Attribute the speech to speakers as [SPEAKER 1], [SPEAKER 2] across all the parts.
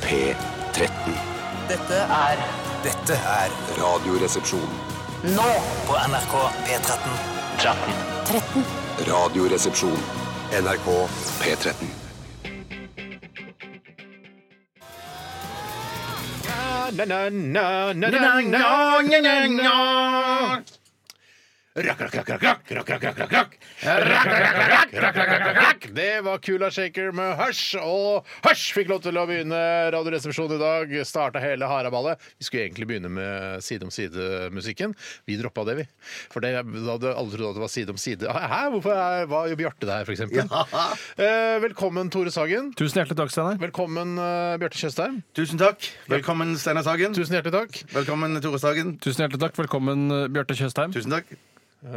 [SPEAKER 1] P13.
[SPEAKER 2] Dette er
[SPEAKER 3] Dette er
[SPEAKER 1] Radioresepsjon.
[SPEAKER 2] nå
[SPEAKER 3] på NRK P13.
[SPEAKER 1] Radioresepsjon. NRK P13.
[SPEAKER 4] Det var Kula Shaker med Hush, og Hush fikk lov til å begynne Radioresepsjonen i dag. Starta hele haraballet. Vi skulle egentlig begynne med Side om side-musikken. Vi droppa det, vi. For det, da hadde alle trodd at det var Side om side. Hæ, hvorfor er, var jo Bjarte der, for eksempel? Eh, velkommen, Tore Sagen.
[SPEAKER 5] Tusen hjertelig takk, Steinar.
[SPEAKER 4] Velkommen, eh, Bjarte Tjøstheim.
[SPEAKER 6] Tusen takk. Velkommen, Steinar Sagen.
[SPEAKER 4] Tusen hjertelig takk.
[SPEAKER 6] Velkommen, Tore Sagen.
[SPEAKER 5] Tusen hjertelig takk. Velkommen, eh, Bjarte Tjøstheim.
[SPEAKER 6] Tusen takk.
[SPEAKER 4] Eh,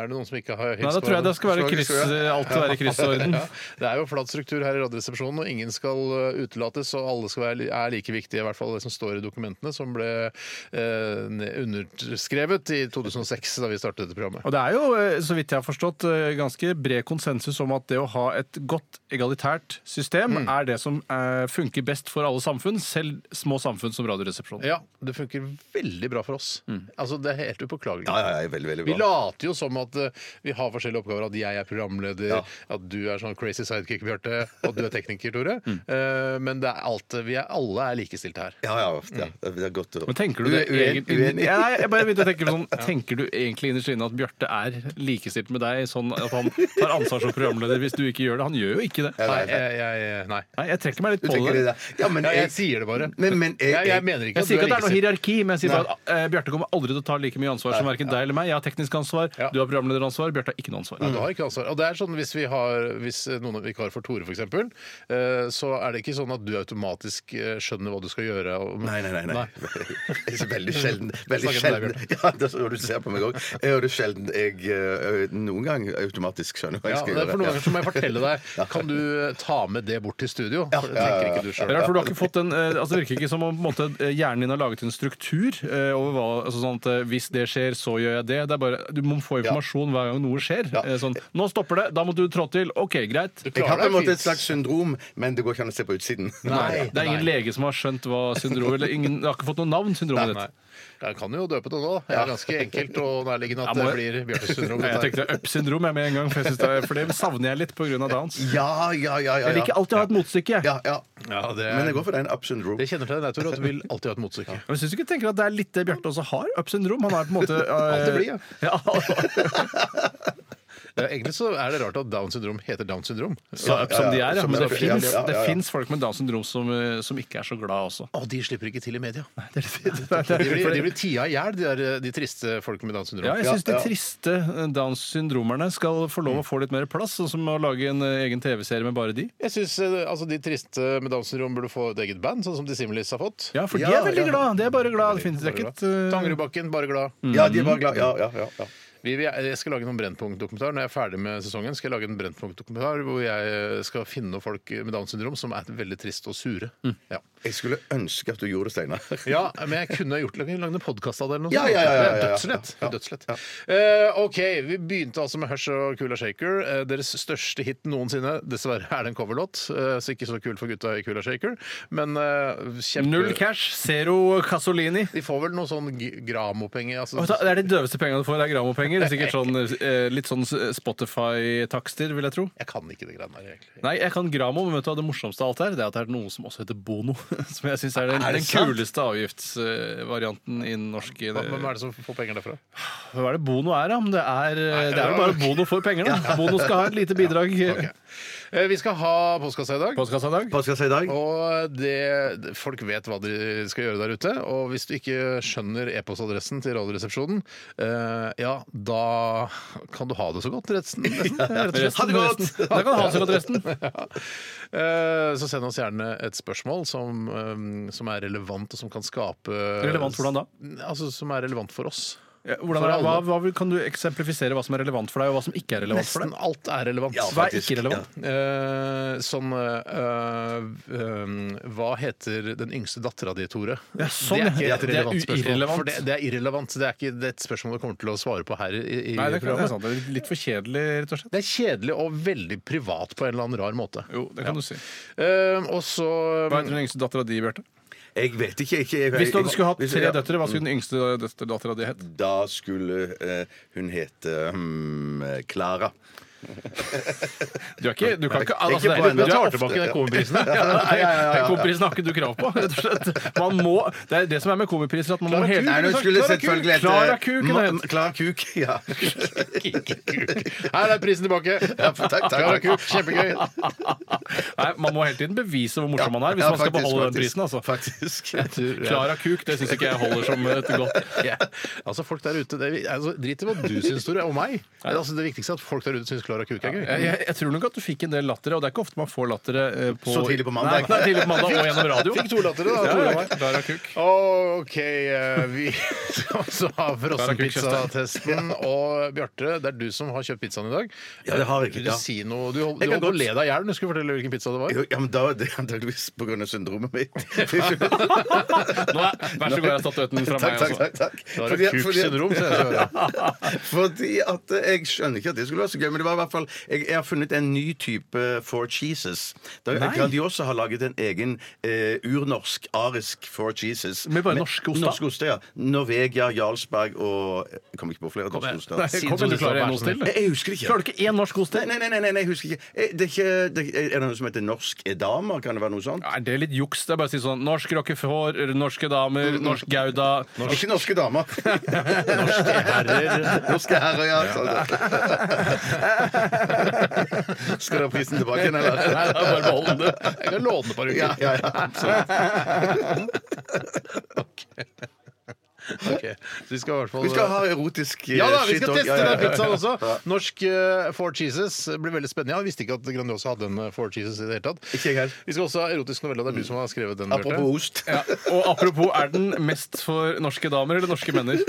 [SPEAKER 4] er det noen som ikke har hilst
[SPEAKER 5] Nei, da tror jeg det skal være kryss, eh, alt skal være i kryssorden.
[SPEAKER 4] Ja, det er jo flat struktur her i Radioresepsjonen, og ingen skal eh, utelates. Og alle skal være, li- er like viktige, i hvert fall det som står i dokumentene, som ble eh, ne- underskrevet i 2006, da vi startet dette programmet.
[SPEAKER 5] Og det er jo, eh, så vidt jeg har forstått, eh, ganske bred konsensus om at det å ha et godt egalitært system
[SPEAKER 6] Mm.
[SPEAKER 5] er det som eh, funker best for alle samfunn, selv små samfunn som Radioresepsjonen.
[SPEAKER 4] Ja, det funker veldig bra for oss.
[SPEAKER 5] Mm.
[SPEAKER 4] Altså, Det er helt upåklagelig.
[SPEAKER 6] Ja, ja, ja, veldig, veldig
[SPEAKER 4] Vi
[SPEAKER 6] bra.
[SPEAKER 4] later jo som at eh, vi har forskjellige oppgaver. At jeg er programleder, at du er sånn crazy sidekick, Bjarte, og at du er tekniker, Tore.
[SPEAKER 5] Mm.
[SPEAKER 4] Eh, men det er alt, vi er, alle er likestilte her.
[SPEAKER 6] Ja, ja, ja.
[SPEAKER 4] Mm.
[SPEAKER 6] Det er godt å
[SPEAKER 5] Men tenker du det
[SPEAKER 6] Uen-
[SPEAKER 5] egentlig
[SPEAKER 6] uenig?
[SPEAKER 5] Ja, nei, jeg bare begynte å tenke på sånn, Tenker du egentlig innerst inne at Bjarte er likestilt med deg, sånn at han tar ansvar som programleder hvis du ikke gjør det? Han gjør jo ikke det.
[SPEAKER 4] Nei,
[SPEAKER 6] nei, nei.
[SPEAKER 4] jeg, jeg, nei.
[SPEAKER 5] Nei, jeg trekker meg litt
[SPEAKER 6] Du
[SPEAKER 5] på
[SPEAKER 6] tenker
[SPEAKER 5] det.
[SPEAKER 6] det der. Ja, men
[SPEAKER 4] Ja, jeg
[SPEAKER 6] jeg-
[SPEAKER 4] sier det bare.
[SPEAKER 6] Men- men jeg-
[SPEAKER 4] jeg, jeg mener ikke
[SPEAKER 5] Jeg
[SPEAKER 4] at du
[SPEAKER 5] sier
[SPEAKER 4] er
[SPEAKER 5] ikke at det er noe
[SPEAKER 4] likestilt.
[SPEAKER 5] hierarki, men jeg sier bare at eh, Bjarte kommer aldri til å ta like mye ansvar som verken deg eller meg. Jeg har teknisk ansvar,
[SPEAKER 4] Ja.
[SPEAKER 5] du har programlederansvar, Bjarte har ikke noe ansvar.
[SPEAKER 4] Du har ikke ansvar. Og det er sånn Hvis vi har hvis noen er vikar for Tore, f.eks., så er det ikke sånn at du automatisk eh, skjønner hva du skal gjøre. og-
[SPEAKER 6] Nei, nei, nei. nei. Det er veldig sjelden. Veldig
[SPEAKER 4] Snakker til deg,
[SPEAKER 6] sjelden. Ja, det er så- og du ser på meg òg. Jeg hører sjelden jeg eh, noen gang automatisk skjønner hva jeg
[SPEAKER 4] Ja,
[SPEAKER 6] skal
[SPEAKER 4] det er for noen
[SPEAKER 6] gjøre.
[SPEAKER 4] ganger så må jeg fortelle deg Kan du eh, ta med det bort til studio? For det
[SPEAKER 6] ja,
[SPEAKER 4] tenker
[SPEAKER 6] ja,
[SPEAKER 4] ikke du
[SPEAKER 5] Det, er
[SPEAKER 4] sjøl.
[SPEAKER 5] rart, for du har ikke fått en, eh, altså det virker ikke som om på en måte, eh, hjernen din har laget en struktur eh, over hva altså sånn at eh, Hvis det skjer, så gjør jeg det. det er bare, du må få informasjon hver gang noe skjer. Eh, Sånn, 'Nå stopper det, da må du trå til.' OK, greit.
[SPEAKER 4] Du
[SPEAKER 6] Jeg har
[SPEAKER 4] klarer
[SPEAKER 6] på en
[SPEAKER 4] deg
[SPEAKER 6] måte
[SPEAKER 4] fint.
[SPEAKER 6] et slags syndrom, men det går ikke an å se på utsiden.
[SPEAKER 5] Det er ingen lege som har skjønt hva syndromet eller ingen, Det har ikke fått noe navn, syndromet
[SPEAKER 4] Nei.
[SPEAKER 5] ditt.
[SPEAKER 4] Jeg kan jo døpe det nå. Det er ganske enkelt og nærliggende at
[SPEAKER 5] Ja,
[SPEAKER 4] det
[SPEAKER 5] må
[SPEAKER 4] blir Bjarte Sundrum.
[SPEAKER 5] Jeg tenkte up-syndrom jeg med en gang, for, jeg synes det, er- for det savner jeg litt pga. downs.
[SPEAKER 6] Ja, ja, ja. ja,
[SPEAKER 5] Jeg liker
[SPEAKER 6] ja.
[SPEAKER 5] alltid å ha et motstykke. jeg.
[SPEAKER 6] ja, ja.
[SPEAKER 4] Ja, det,
[SPEAKER 6] Men jeg
[SPEAKER 4] er,
[SPEAKER 6] går for den up syndrom.
[SPEAKER 4] Eh, det kjenner til deg, Tore, at du vil alltid ha et motstykke.
[SPEAKER 5] Men syns du ikke tenker at det er litt det Bjarte også har? Up-syndrom? Han er på en måte eh,
[SPEAKER 4] Alltid blid, ja.
[SPEAKER 5] ja.
[SPEAKER 4] Ja, Eh, Egentlig så er det rart at Downs syndrom heter Downs syndrom.
[SPEAKER 5] Så up som de er, ja.
[SPEAKER 6] Som
[SPEAKER 5] Men det
[SPEAKER 6] up, ja,
[SPEAKER 5] fins
[SPEAKER 6] ja, ja, ja.
[SPEAKER 5] folk med Downs syndrom som, eh, som ikke er så glad også.
[SPEAKER 4] Og de slipper ikke til i media.
[SPEAKER 5] Det er
[SPEAKER 4] De blir, de blir tia i hjel, de, der, eh, de triste folk med Downs syndrom.
[SPEAKER 5] Ja, jeg syns de
[SPEAKER 6] Ja, ja.
[SPEAKER 5] triste eh, Downs syndromerne skal få lov å få litt mer plass, sånn som å lage en eh, egen TV-serie med bare de.
[SPEAKER 4] Jeg syns altså, de triste med Downs syndrom burde få et eget band, sånn som Dissimilis har fått.
[SPEAKER 5] Ja, for de
[SPEAKER 6] Ja,
[SPEAKER 5] er veldig
[SPEAKER 6] ja.
[SPEAKER 5] glad. De er bare glad. Det finnes det er ikke et eh, Mm.
[SPEAKER 4] Tangerudbakken, bare glad.
[SPEAKER 6] Ja, de er bare glad. Ja, ja, ja, ja.
[SPEAKER 4] Vi, vi, jeg skal lage noen Brennpunkt-dokumentar. Når jeg er ferdig med sesongen, skal jeg lage en Brennpunkt-dokumentar hvor jeg skal finne noen folk med Downs syndrom som er veldig triste og sure.
[SPEAKER 5] Mm.
[SPEAKER 4] Ja.
[SPEAKER 6] Jeg skulle ønske at du gjorde det, Steinar.
[SPEAKER 4] ja, men jeg kunne ha gjort det. Jeg kunne lagd en podkast av det. eller noe
[SPEAKER 6] Ja,
[SPEAKER 4] sånt.
[SPEAKER 6] ja, ja, ja,
[SPEAKER 4] Det er
[SPEAKER 6] ja, ja.
[SPEAKER 4] Dødslett. Det er
[SPEAKER 6] Ja.
[SPEAKER 4] dødslett. Eh, OK, vi begynte altså med Hush og Kula Shaker. Eh, deres største hit noensinne. Dessverre er det en coverlåt, eh, så ikke så kul for gutta i Kula Shaker. Men eh, kjempe...
[SPEAKER 5] Null cash, zero Casolini.
[SPEAKER 4] De får vel noe sånn g- gramopenger? Altså,
[SPEAKER 5] Og da- Det er de døveste pengene du får, det er gramopenger. Sikkert sånn, eh, litt sånn Spotify-takster, vil jeg tro.
[SPEAKER 4] jeg kan ikke det greiene der, egentlig.
[SPEAKER 5] Nei, jeg kan gramo, men vet du hva det morsomste av alt her? Det er at det er noe som også heter bono. Som jeg syns er den,
[SPEAKER 6] Er det
[SPEAKER 5] den
[SPEAKER 6] sant?
[SPEAKER 5] kuleste avgiftsvarianten i norsk
[SPEAKER 4] Hva- Hvem er det som får penger derfra?
[SPEAKER 5] Hva er det bono er, da? Men det er, det er jo bare bono for penger, da. Bono skal ha et lite bidrag.
[SPEAKER 4] Ok. Eh, Vi skal ha postkassa i dag.
[SPEAKER 5] Postkassa i dag.
[SPEAKER 6] Postkassa i dag.
[SPEAKER 4] Og det, folk vet hva de skal gjøre der ute. Og hvis du ikke skjønner e-postadressen til Radioresepsjonen, eh, ja, da kan du ha det så godt, resten. nesten.
[SPEAKER 5] Rett og slett.
[SPEAKER 6] Ha det godt!
[SPEAKER 5] Resten. Da kan du ha så godt resten.
[SPEAKER 4] Eh, Så send oss gjerne et spørsmål som, eh, som er relevant, og som kan skape
[SPEAKER 5] Relevant hvordan da?
[SPEAKER 4] Altså som er relevant for oss.
[SPEAKER 5] Ja, hvordan
[SPEAKER 4] For
[SPEAKER 5] er, hva,
[SPEAKER 4] alle.
[SPEAKER 5] hva, vil- kan du eksemplifisere hva som er relevant for deg, og hva som ikke er relevant for
[SPEAKER 4] Nesten
[SPEAKER 5] deg?
[SPEAKER 4] alt er relevant.
[SPEAKER 6] Ja,
[SPEAKER 5] Hva er
[SPEAKER 6] faktisk,
[SPEAKER 5] ikke relevant?
[SPEAKER 4] Eh, sånn eh, eh, Hva heter den yngste dattera di, Tore?
[SPEAKER 5] Ja, sånn,
[SPEAKER 4] det er ikke
[SPEAKER 5] ja.
[SPEAKER 4] et
[SPEAKER 5] Det er
[SPEAKER 4] relevant spørsmål.
[SPEAKER 5] uirrelevant.
[SPEAKER 4] For det, det er irrelevant. Det er ikke det er et spørsmål du kommer til å svare på her. i, i
[SPEAKER 5] Nei, det er, ikke- det
[SPEAKER 4] programmet.
[SPEAKER 5] er sant. Det er litt for kjedelig, rett og slett.
[SPEAKER 4] Det er kjedelig og veldig privat på en eller annen rar måte.
[SPEAKER 5] Jo, det kan du si.
[SPEAKER 4] Eh, og så
[SPEAKER 5] Hva heter den yngste dattera di, Bjarte?
[SPEAKER 6] Jeg vet ikke. ikke jeg,
[SPEAKER 5] Hvis du hadde skulle hatt
[SPEAKER 6] Hvis-
[SPEAKER 5] tre
[SPEAKER 6] ja,
[SPEAKER 5] døtre, hva skulle den yngste døtre- dattera di hett?
[SPEAKER 6] Da skulle eh, hun hete hmm, Klara.
[SPEAKER 5] Du er ikke Du kan ikke
[SPEAKER 6] Ikke
[SPEAKER 5] altså, det
[SPEAKER 6] på
[SPEAKER 5] er-
[SPEAKER 6] en
[SPEAKER 5] du
[SPEAKER 4] Du
[SPEAKER 5] er-
[SPEAKER 6] dag.
[SPEAKER 4] tar tilbake den komiprisen.
[SPEAKER 5] Ja, nei, nei, Komiprisen har ikke du krav på, rett og slett. Man må, det er det som er med komipriser, at man må
[SPEAKER 4] Klara
[SPEAKER 5] hele
[SPEAKER 4] Kuk,
[SPEAKER 6] Nei, hun skulle
[SPEAKER 4] Klara
[SPEAKER 6] selvfølgelig hete
[SPEAKER 5] altså. Klara Kuk, hun
[SPEAKER 6] Ma-
[SPEAKER 5] het.
[SPEAKER 6] Klara Kuk, ja.
[SPEAKER 4] Her er prisen tilbake.
[SPEAKER 6] Ja, for- takk, takk,
[SPEAKER 4] Klara
[SPEAKER 6] takk.
[SPEAKER 4] Kuk, kjempegøy.
[SPEAKER 5] Nei, Man må hele tiden bevise hvor morsom man er hvis
[SPEAKER 6] Ja,
[SPEAKER 5] man skal
[SPEAKER 6] faktisk,
[SPEAKER 5] beholde den
[SPEAKER 6] faktisk.
[SPEAKER 5] prisen. altså
[SPEAKER 6] Faktisk.
[SPEAKER 5] Klara Kuk, det syns ikke jeg holder som et godt
[SPEAKER 4] Ja. Altså, folk der ute det, altså, Drit i hva du syns, Tore, og meg. Men, altså, det viktigste er at folk der ute syns Klara Kuk er gøy.
[SPEAKER 5] jeg, jeg, jeg tror nok at du fikk en del latter, og det er ikke ofte man får latter eh, på
[SPEAKER 6] Så tidlig på mandag.
[SPEAKER 5] Nei, nei, tidlig på mandag og gjennom radio.
[SPEAKER 4] Fikk to latter, da,
[SPEAKER 5] Ja,
[SPEAKER 4] Tore og
[SPEAKER 5] ja,
[SPEAKER 4] meg.
[SPEAKER 5] Klara Kuk.
[SPEAKER 4] OK, eh, vi skal også ha frossenpizzatesten. Og Bjarte, det er du som har kjøpt pizzaen i dag.
[SPEAKER 6] Ja, det har jeg,
[SPEAKER 4] Vil
[SPEAKER 6] ja.
[SPEAKER 4] du si noe? Du, du
[SPEAKER 6] Jeg
[SPEAKER 4] holdt
[SPEAKER 6] kan
[SPEAKER 4] på å
[SPEAKER 6] godt-
[SPEAKER 4] le deg i hjel. Du skulle fortelle hvilken pizza det var.
[SPEAKER 6] Jo, Ja, men da er det antakeligvis på grunn av syndromet mitt.
[SPEAKER 5] Nå er, vær så god, jeg har tatt statuetten fra
[SPEAKER 6] Takk,
[SPEAKER 5] meg.
[SPEAKER 6] takk,
[SPEAKER 5] Også.
[SPEAKER 6] takk, takk.
[SPEAKER 4] Klara
[SPEAKER 6] Fordi at- fordi at-
[SPEAKER 4] Kuk-syndrom, sier jeg så.
[SPEAKER 6] Fordi at eh, Jeg skjønner ikke at det skulle være så gøy, men det var i hvert fall jeg, jeg har funnet en ny type Four Cheeses. Da Grandiosa har laget en egen eh, urnorsk, arisk Four Cheeses.
[SPEAKER 5] Med bare norske oster?
[SPEAKER 6] Norske oster, ja. Norvegia, Jarlsberg og Jeg kommer ikke på flere norske oster.
[SPEAKER 5] Nei,
[SPEAKER 4] Siden
[SPEAKER 5] kom
[SPEAKER 4] som
[SPEAKER 5] igjen,
[SPEAKER 4] du
[SPEAKER 5] du klarer
[SPEAKER 4] sa,
[SPEAKER 5] en ost til.
[SPEAKER 6] Jeg, jeg husker ikke.
[SPEAKER 5] Klarer du ikke én norsk ost
[SPEAKER 6] Nei,
[SPEAKER 5] til?
[SPEAKER 6] nei, nei, nei, nei, jeg husker ikke. Eh, Det er, ikke det er, er det noe som heter norsk edama? Kan det være noe sånt?
[SPEAKER 5] Er det litt juks? Det er bare å si sånn Norsk rockefår, norske damer, norsk gouda
[SPEAKER 6] Ikke norske damer.
[SPEAKER 4] Norske herrer.
[SPEAKER 6] Norske herrer, ja. sånn. Skal du ha prisen tilbake igjen, eller?
[SPEAKER 4] Nei, da bare behold den, du. Jeg kan låne den et par uker.
[SPEAKER 6] Ja, ja, ja.
[SPEAKER 4] Ok. Så vi skal i hvert fall
[SPEAKER 6] Vi skal ha erotisk eh,
[SPEAKER 4] Ja da, vi
[SPEAKER 6] shit
[SPEAKER 4] skal
[SPEAKER 6] også.
[SPEAKER 4] teste
[SPEAKER 6] Ja, ja,
[SPEAKER 4] den
[SPEAKER 6] ja.
[SPEAKER 4] pizzaen også. Norsk eh, Four Cheeses blir veldig spennende. Jeg visste ikke at Grandiosa hadde en eh, Four Cheeses i det hele tatt.
[SPEAKER 6] Ikke jeg heller.
[SPEAKER 4] Vi skal også ha erotisk novelle. Det er du som har skrevet den. Bjarte.
[SPEAKER 6] Apropos ost.
[SPEAKER 5] Ja, og apropos, er den mest for norske damer eller norske menner?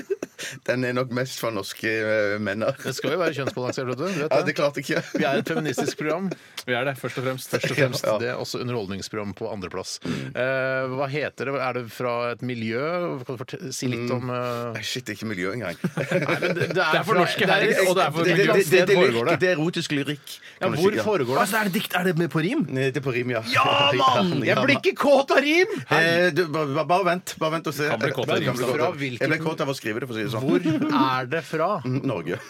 [SPEAKER 6] Den er nok mest for norske eh, menn.
[SPEAKER 4] Det skal jo være kjønnsbalansert, vet du. du.
[SPEAKER 6] Ja,
[SPEAKER 4] Vet
[SPEAKER 6] det
[SPEAKER 4] det.
[SPEAKER 6] klarte ikke
[SPEAKER 4] Vi
[SPEAKER 6] jeg.
[SPEAKER 4] er et feministisk program.
[SPEAKER 5] Vi er det, først og fremst.
[SPEAKER 4] Først og fremst.
[SPEAKER 6] Ja.
[SPEAKER 4] Det er også underholdningsprogram på andreplass. Eh, hva heter det? Er det fra et miljø? Kan du fortell- si litt om eh,
[SPEAKER 6] Nei, Shit, det er ikke miljø engang.
[SPEAKER 5] Det er for
[SPEAKER 4] fra-
[SPEAKER 5] norske
[SPEAKER 4] det er-
[SPEAKER 5] herrer, og det er for
[SPEAKER 4] det-
[SPEAKER 6] det,
[SPEAKER 4] det-
[SPEAKER 6] det, det, det,
[SPEAKER 4] foregår
[SPEAKER 6] det,
[SPEAKER 4] det.
[SPEAKER 6] det er erotisk lyrikk.
[SPEAKER 4] Ja,
[SPEAKER 6] kan du
[SPEAKER 4] hvor
[SPEAKER 6] si, ja.
[SPEAKER 4] foregår det?
[SPEAKER 5] Altså, er det dikt? Er det med på rim?
[SPEAKER 6] Nei, Det er på rim, ja.
[SPEAKER 4] Jeg blir ikke kåt av rim!
[SPEAKER 6] Eh, du, bare, bare- bare vent bare vent og se.
[SPEAKER 5] Kan bli kåt av
[SPEAKER 6] Kan
[SPEAKER 5] rim,
[SPEAKER 6] bli
[SPEAKER 4] fra
[SPEAKER 6] kåt av-
[SPEAKER 4] hvilken-
[SPEAKER 6] Jeg ble kåt av å skrive det, for å si det sånn.
[SPEAKER 4] Hvor er det fra?
[SPEAKER 6] Norge.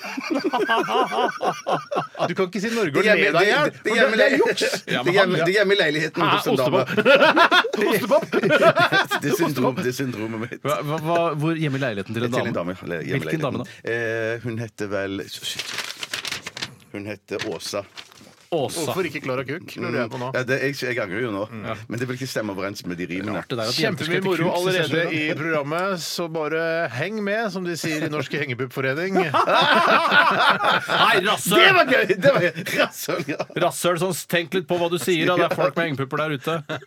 [SPEAKER 4] Du kan ikke si Norge
[SPEAKER 6] Det
[SPEAKER 4] og le
[SPEAKER 6] hjemme-
[SPEAKER 4] deg i hjel!
[SPEAKER 6] det- det
[SPEAKER 4] for
[SPEAKER 6] hjemme-
[SPEAKER 4] Det det er juks!
[SPEAKER 5] Ja,
[SPEAKER 6] det
[SPEAKER 5] men
[SPEAKER 6] hjemme-
[SPEAKER 5] han-
[SPEAKER 6] det hjemme i leiligheten hos en dame. Det er syndrom, det er syndromet mitt.
[SPEAKER 5] Hva, hva, hva- hvor hjemme i leiligheten til en
[SPEAKER 6] Til en
[SPEAKER 5] dame?
[SPEAKER 6] dame. eller hjemme i
[SPEAKER 5] Hvilken dame
[SPEAKER 6] leiligheten. Eh, hun heter vel shit. Hun heter Åsa.
[SPEAKER 5] Åsa.
[SPEAKER 4] Hvorfor ikke Klara Kuk? lurer jeg på nå.
[SPEAKER 6] Ja, Mm. det, jeg, jeg angrer jo nå. Men det vil ikke stemme overens med de rimene.
[SPEAKER 5] Mm. Det der at jenter skal
[SPEAKER 4] Kjempemye
[SPEAKER 5] hete
[SPEAKER 4] moro
[SPEAKER 5] Kuk, synes jeg
[SPEAKER 4] allerede
[SPEAKER 5] selv.
[SPEAKER 4] i programmet, så bare heng med, som de sier i Norsk hengepuppforening.
[SPEAKER 5] Nei,
[SPEAKER 6] Det
[SPEAKER 5] rasshøl!
[SPEAKER 6] var gøy! Det var gøy. Rasshøl, ja.
[SPEAKER 5] Rasshøl, sånn tenk litt på hva du sier, da. Det er folk med hengepupper der ute. Det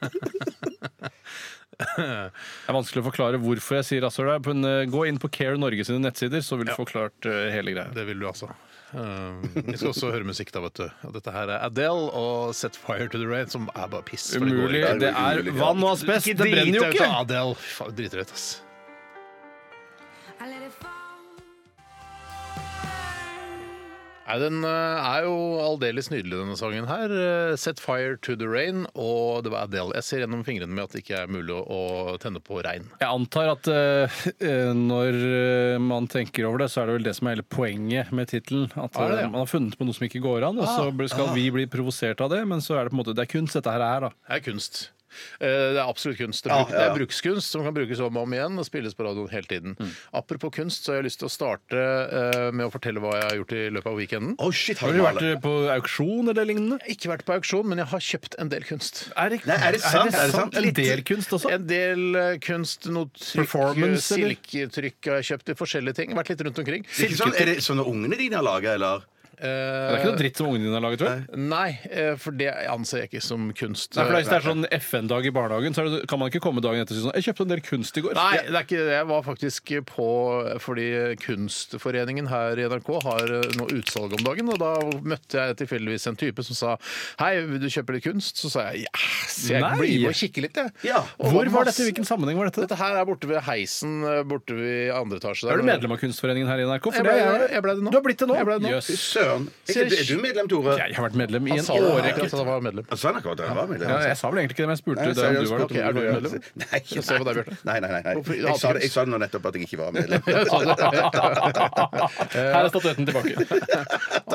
[SPEAKER 5] er vanskelig å forklare hvorfor jeg sier rasshøl. her, men, eh, Gå inn på Care Norge sine nettsider, så vil du få klart eh, hele greia.
[SPEAKER 4] Det vil du altså. Um, Vi skal også høre musikk, da, vet du. Og dette her er Adele og Set Fire to the Rain, som er bare piss. for det går
[SPEAKER 5] Umulig.
[SPEAKER 4] ikke.
[SPEAKER 5] Det er
[SPEAKER 6] umulig, ja.
[SPEAKER 5] vann og asbest. Det brenner jo
[SPEAKER 4] Drit ut av
[SPEAKER 5] ikke!
[SPEAKER 4] Adele. Faen, Dritrøyt, ass.
[SPEAKER 2] I let it fall.
[SPEAKER 4] Nei, Den eh, er jo aldeles nydelig, denne sangen her. Eh, Set fire to the rain, og det var Adele. Jeg ser gjennom fingrene med at det ikke er mulig å å tenne på regn.
[SPEAKER 5] Jeg antar at eh, eh, når eh, man tenker over det, så er det vel det som er hele poenget med tittelen.
[SPEAKER 4] Er det
[SPEAKER 5] At
[SPEAKER 4] Ah. det?
[SPEAKER 5] eh, man har funnet på noe som ikke går an, og så blir- skal vi bli provosert av det. Men så er det på en måte, det er kunst dette her er, da.
[SPEAKER 4] Det er kunst. Eh, Det er absolutt kunst. Det er, bruk, det er brukskunst som kan brukes om og om igjen og spilles på radioen hele tiden. Apropos kunst, så har jeg lyst til å starte eh, med å fortelle hva jeg har gjort i løpet av weekenden.
[SPEAKER 6] Å, shit, har
[SPEAKER 5] Har
[SPEAKER 6] du
[SPEAKER 5] du
[SPEAKER 6] malt
[SPEAKER 5] vært eh, på auksjon eller lignende?
[SPEAKER 4] Jeg har ikke vært på auksjon, men jeg har kjøpt en del kunst.
[SPEAKER 5] Er det,
[SPEAKER 6] Nei, er det sant? Er det sant?
[SPEAKER 5] En del kunst også?
[SPEAKER 4] En del eh, kunst, noe trykk, eh,
[SPEAKER 5] Performance, eller?
[SPEAKER 4] silketrykk har jeg kjøpt i forskjellige ting. Vært litt rundt omkring.
[SPEAKER 5] sånn-
[SPEAKER 6] Det er, ikke sånn, er det sånne ungene dine sånn har laga, eller?
[SPEAKER 5] Det er ikke noe dritt som ungene dine har laget, vel?
[SPEAKER 4] Nei, eh, for det anser jeg ikke som kunst. Eh,
[SPEAKER 5] Nei, for Hvis det er sånn FN-dag i barnehagen, så er det, kan man ikke komme dagen etter og si sånn 'Jeg kjøpte en del kunst i går'.
[SPEAKER 4] Nei, det er ikke det. Jeg var faktisk på fordi Kunstforeningen her i NRK har eh, noe utsalg om dagen. Og da møtte jeg tilfeldigvis en type som sa Hei, vil du kjøpe litt kunst? Så sa jeg ja, så jeg
[SPEAKER 5] Nei.
[SPEAKER 4] blir med og kikker litt, jeg.
[SPEAKER 6] Ja.
[SPEAKER 4] Og
[SPEAKER 5] Hvor var
[SPEAKER 4] masse-
[SPEAKER 5] dette? Hvilken sammenheng var dette?
[SPEAKER 4] Dette her er borte ved heisen eh, borte ved andre etasje. der.
[SPEAKER 5] Er du medlem av Kunstforeningen her i NRK?
[SPEAKER 4] Jeg
[SPEAKER 5] For
[SPEAKER 4] ble-
[SPEAKER 5] det er-
[SPEAKER 4] jeg ble det nå.
[SPEAKER 5] Du har blitt det nå?
[SPEAKER 4] Jeg ble det nå.
[SPEAKER 5] Jøss.
[SPEAKER 6] Søren. Er, ikke- er du medlem, Tore?
[SPEAKER 5] Jeg har vært medlem i
[SPEAKER 4] Han
[SPEAKER 5] en
[SPEAKER 4] sa det akkurat
[SPEAKER 5] årrekke.
[SPEAKER 4] at han var medlem.
[SPEAKER 6] Altså, han har ikke vært han var medlem.
[SPEAKER 5] Ja, jeg sa vel egentlig ikke det, men jeg spurte
[SPEAKER 6] Nei,
[SPEAKER 5] deg om du
[SPEAKER 6] seriøst,
[SPEAKER 5] var
[SPEAKER 4] ok, er du
[SPEAKER 5] medlem.
[SPEAKER 4] medlem?
[SPEAKER 6] Nei,
[SPEAKER 4] Jeg ser på deg, Bjørte.
[SPEAKER 6] Nei, nei, nei. nei.
[SPEAKER 4] Hvorfor-
[SPEAKER 6] Jeg, sa det, jeg sa det nå nettopp at jeg ikke var medlem.
[SPEAKER 4] Altså,
[SPEAKER 5] Her er statuetten tilbake.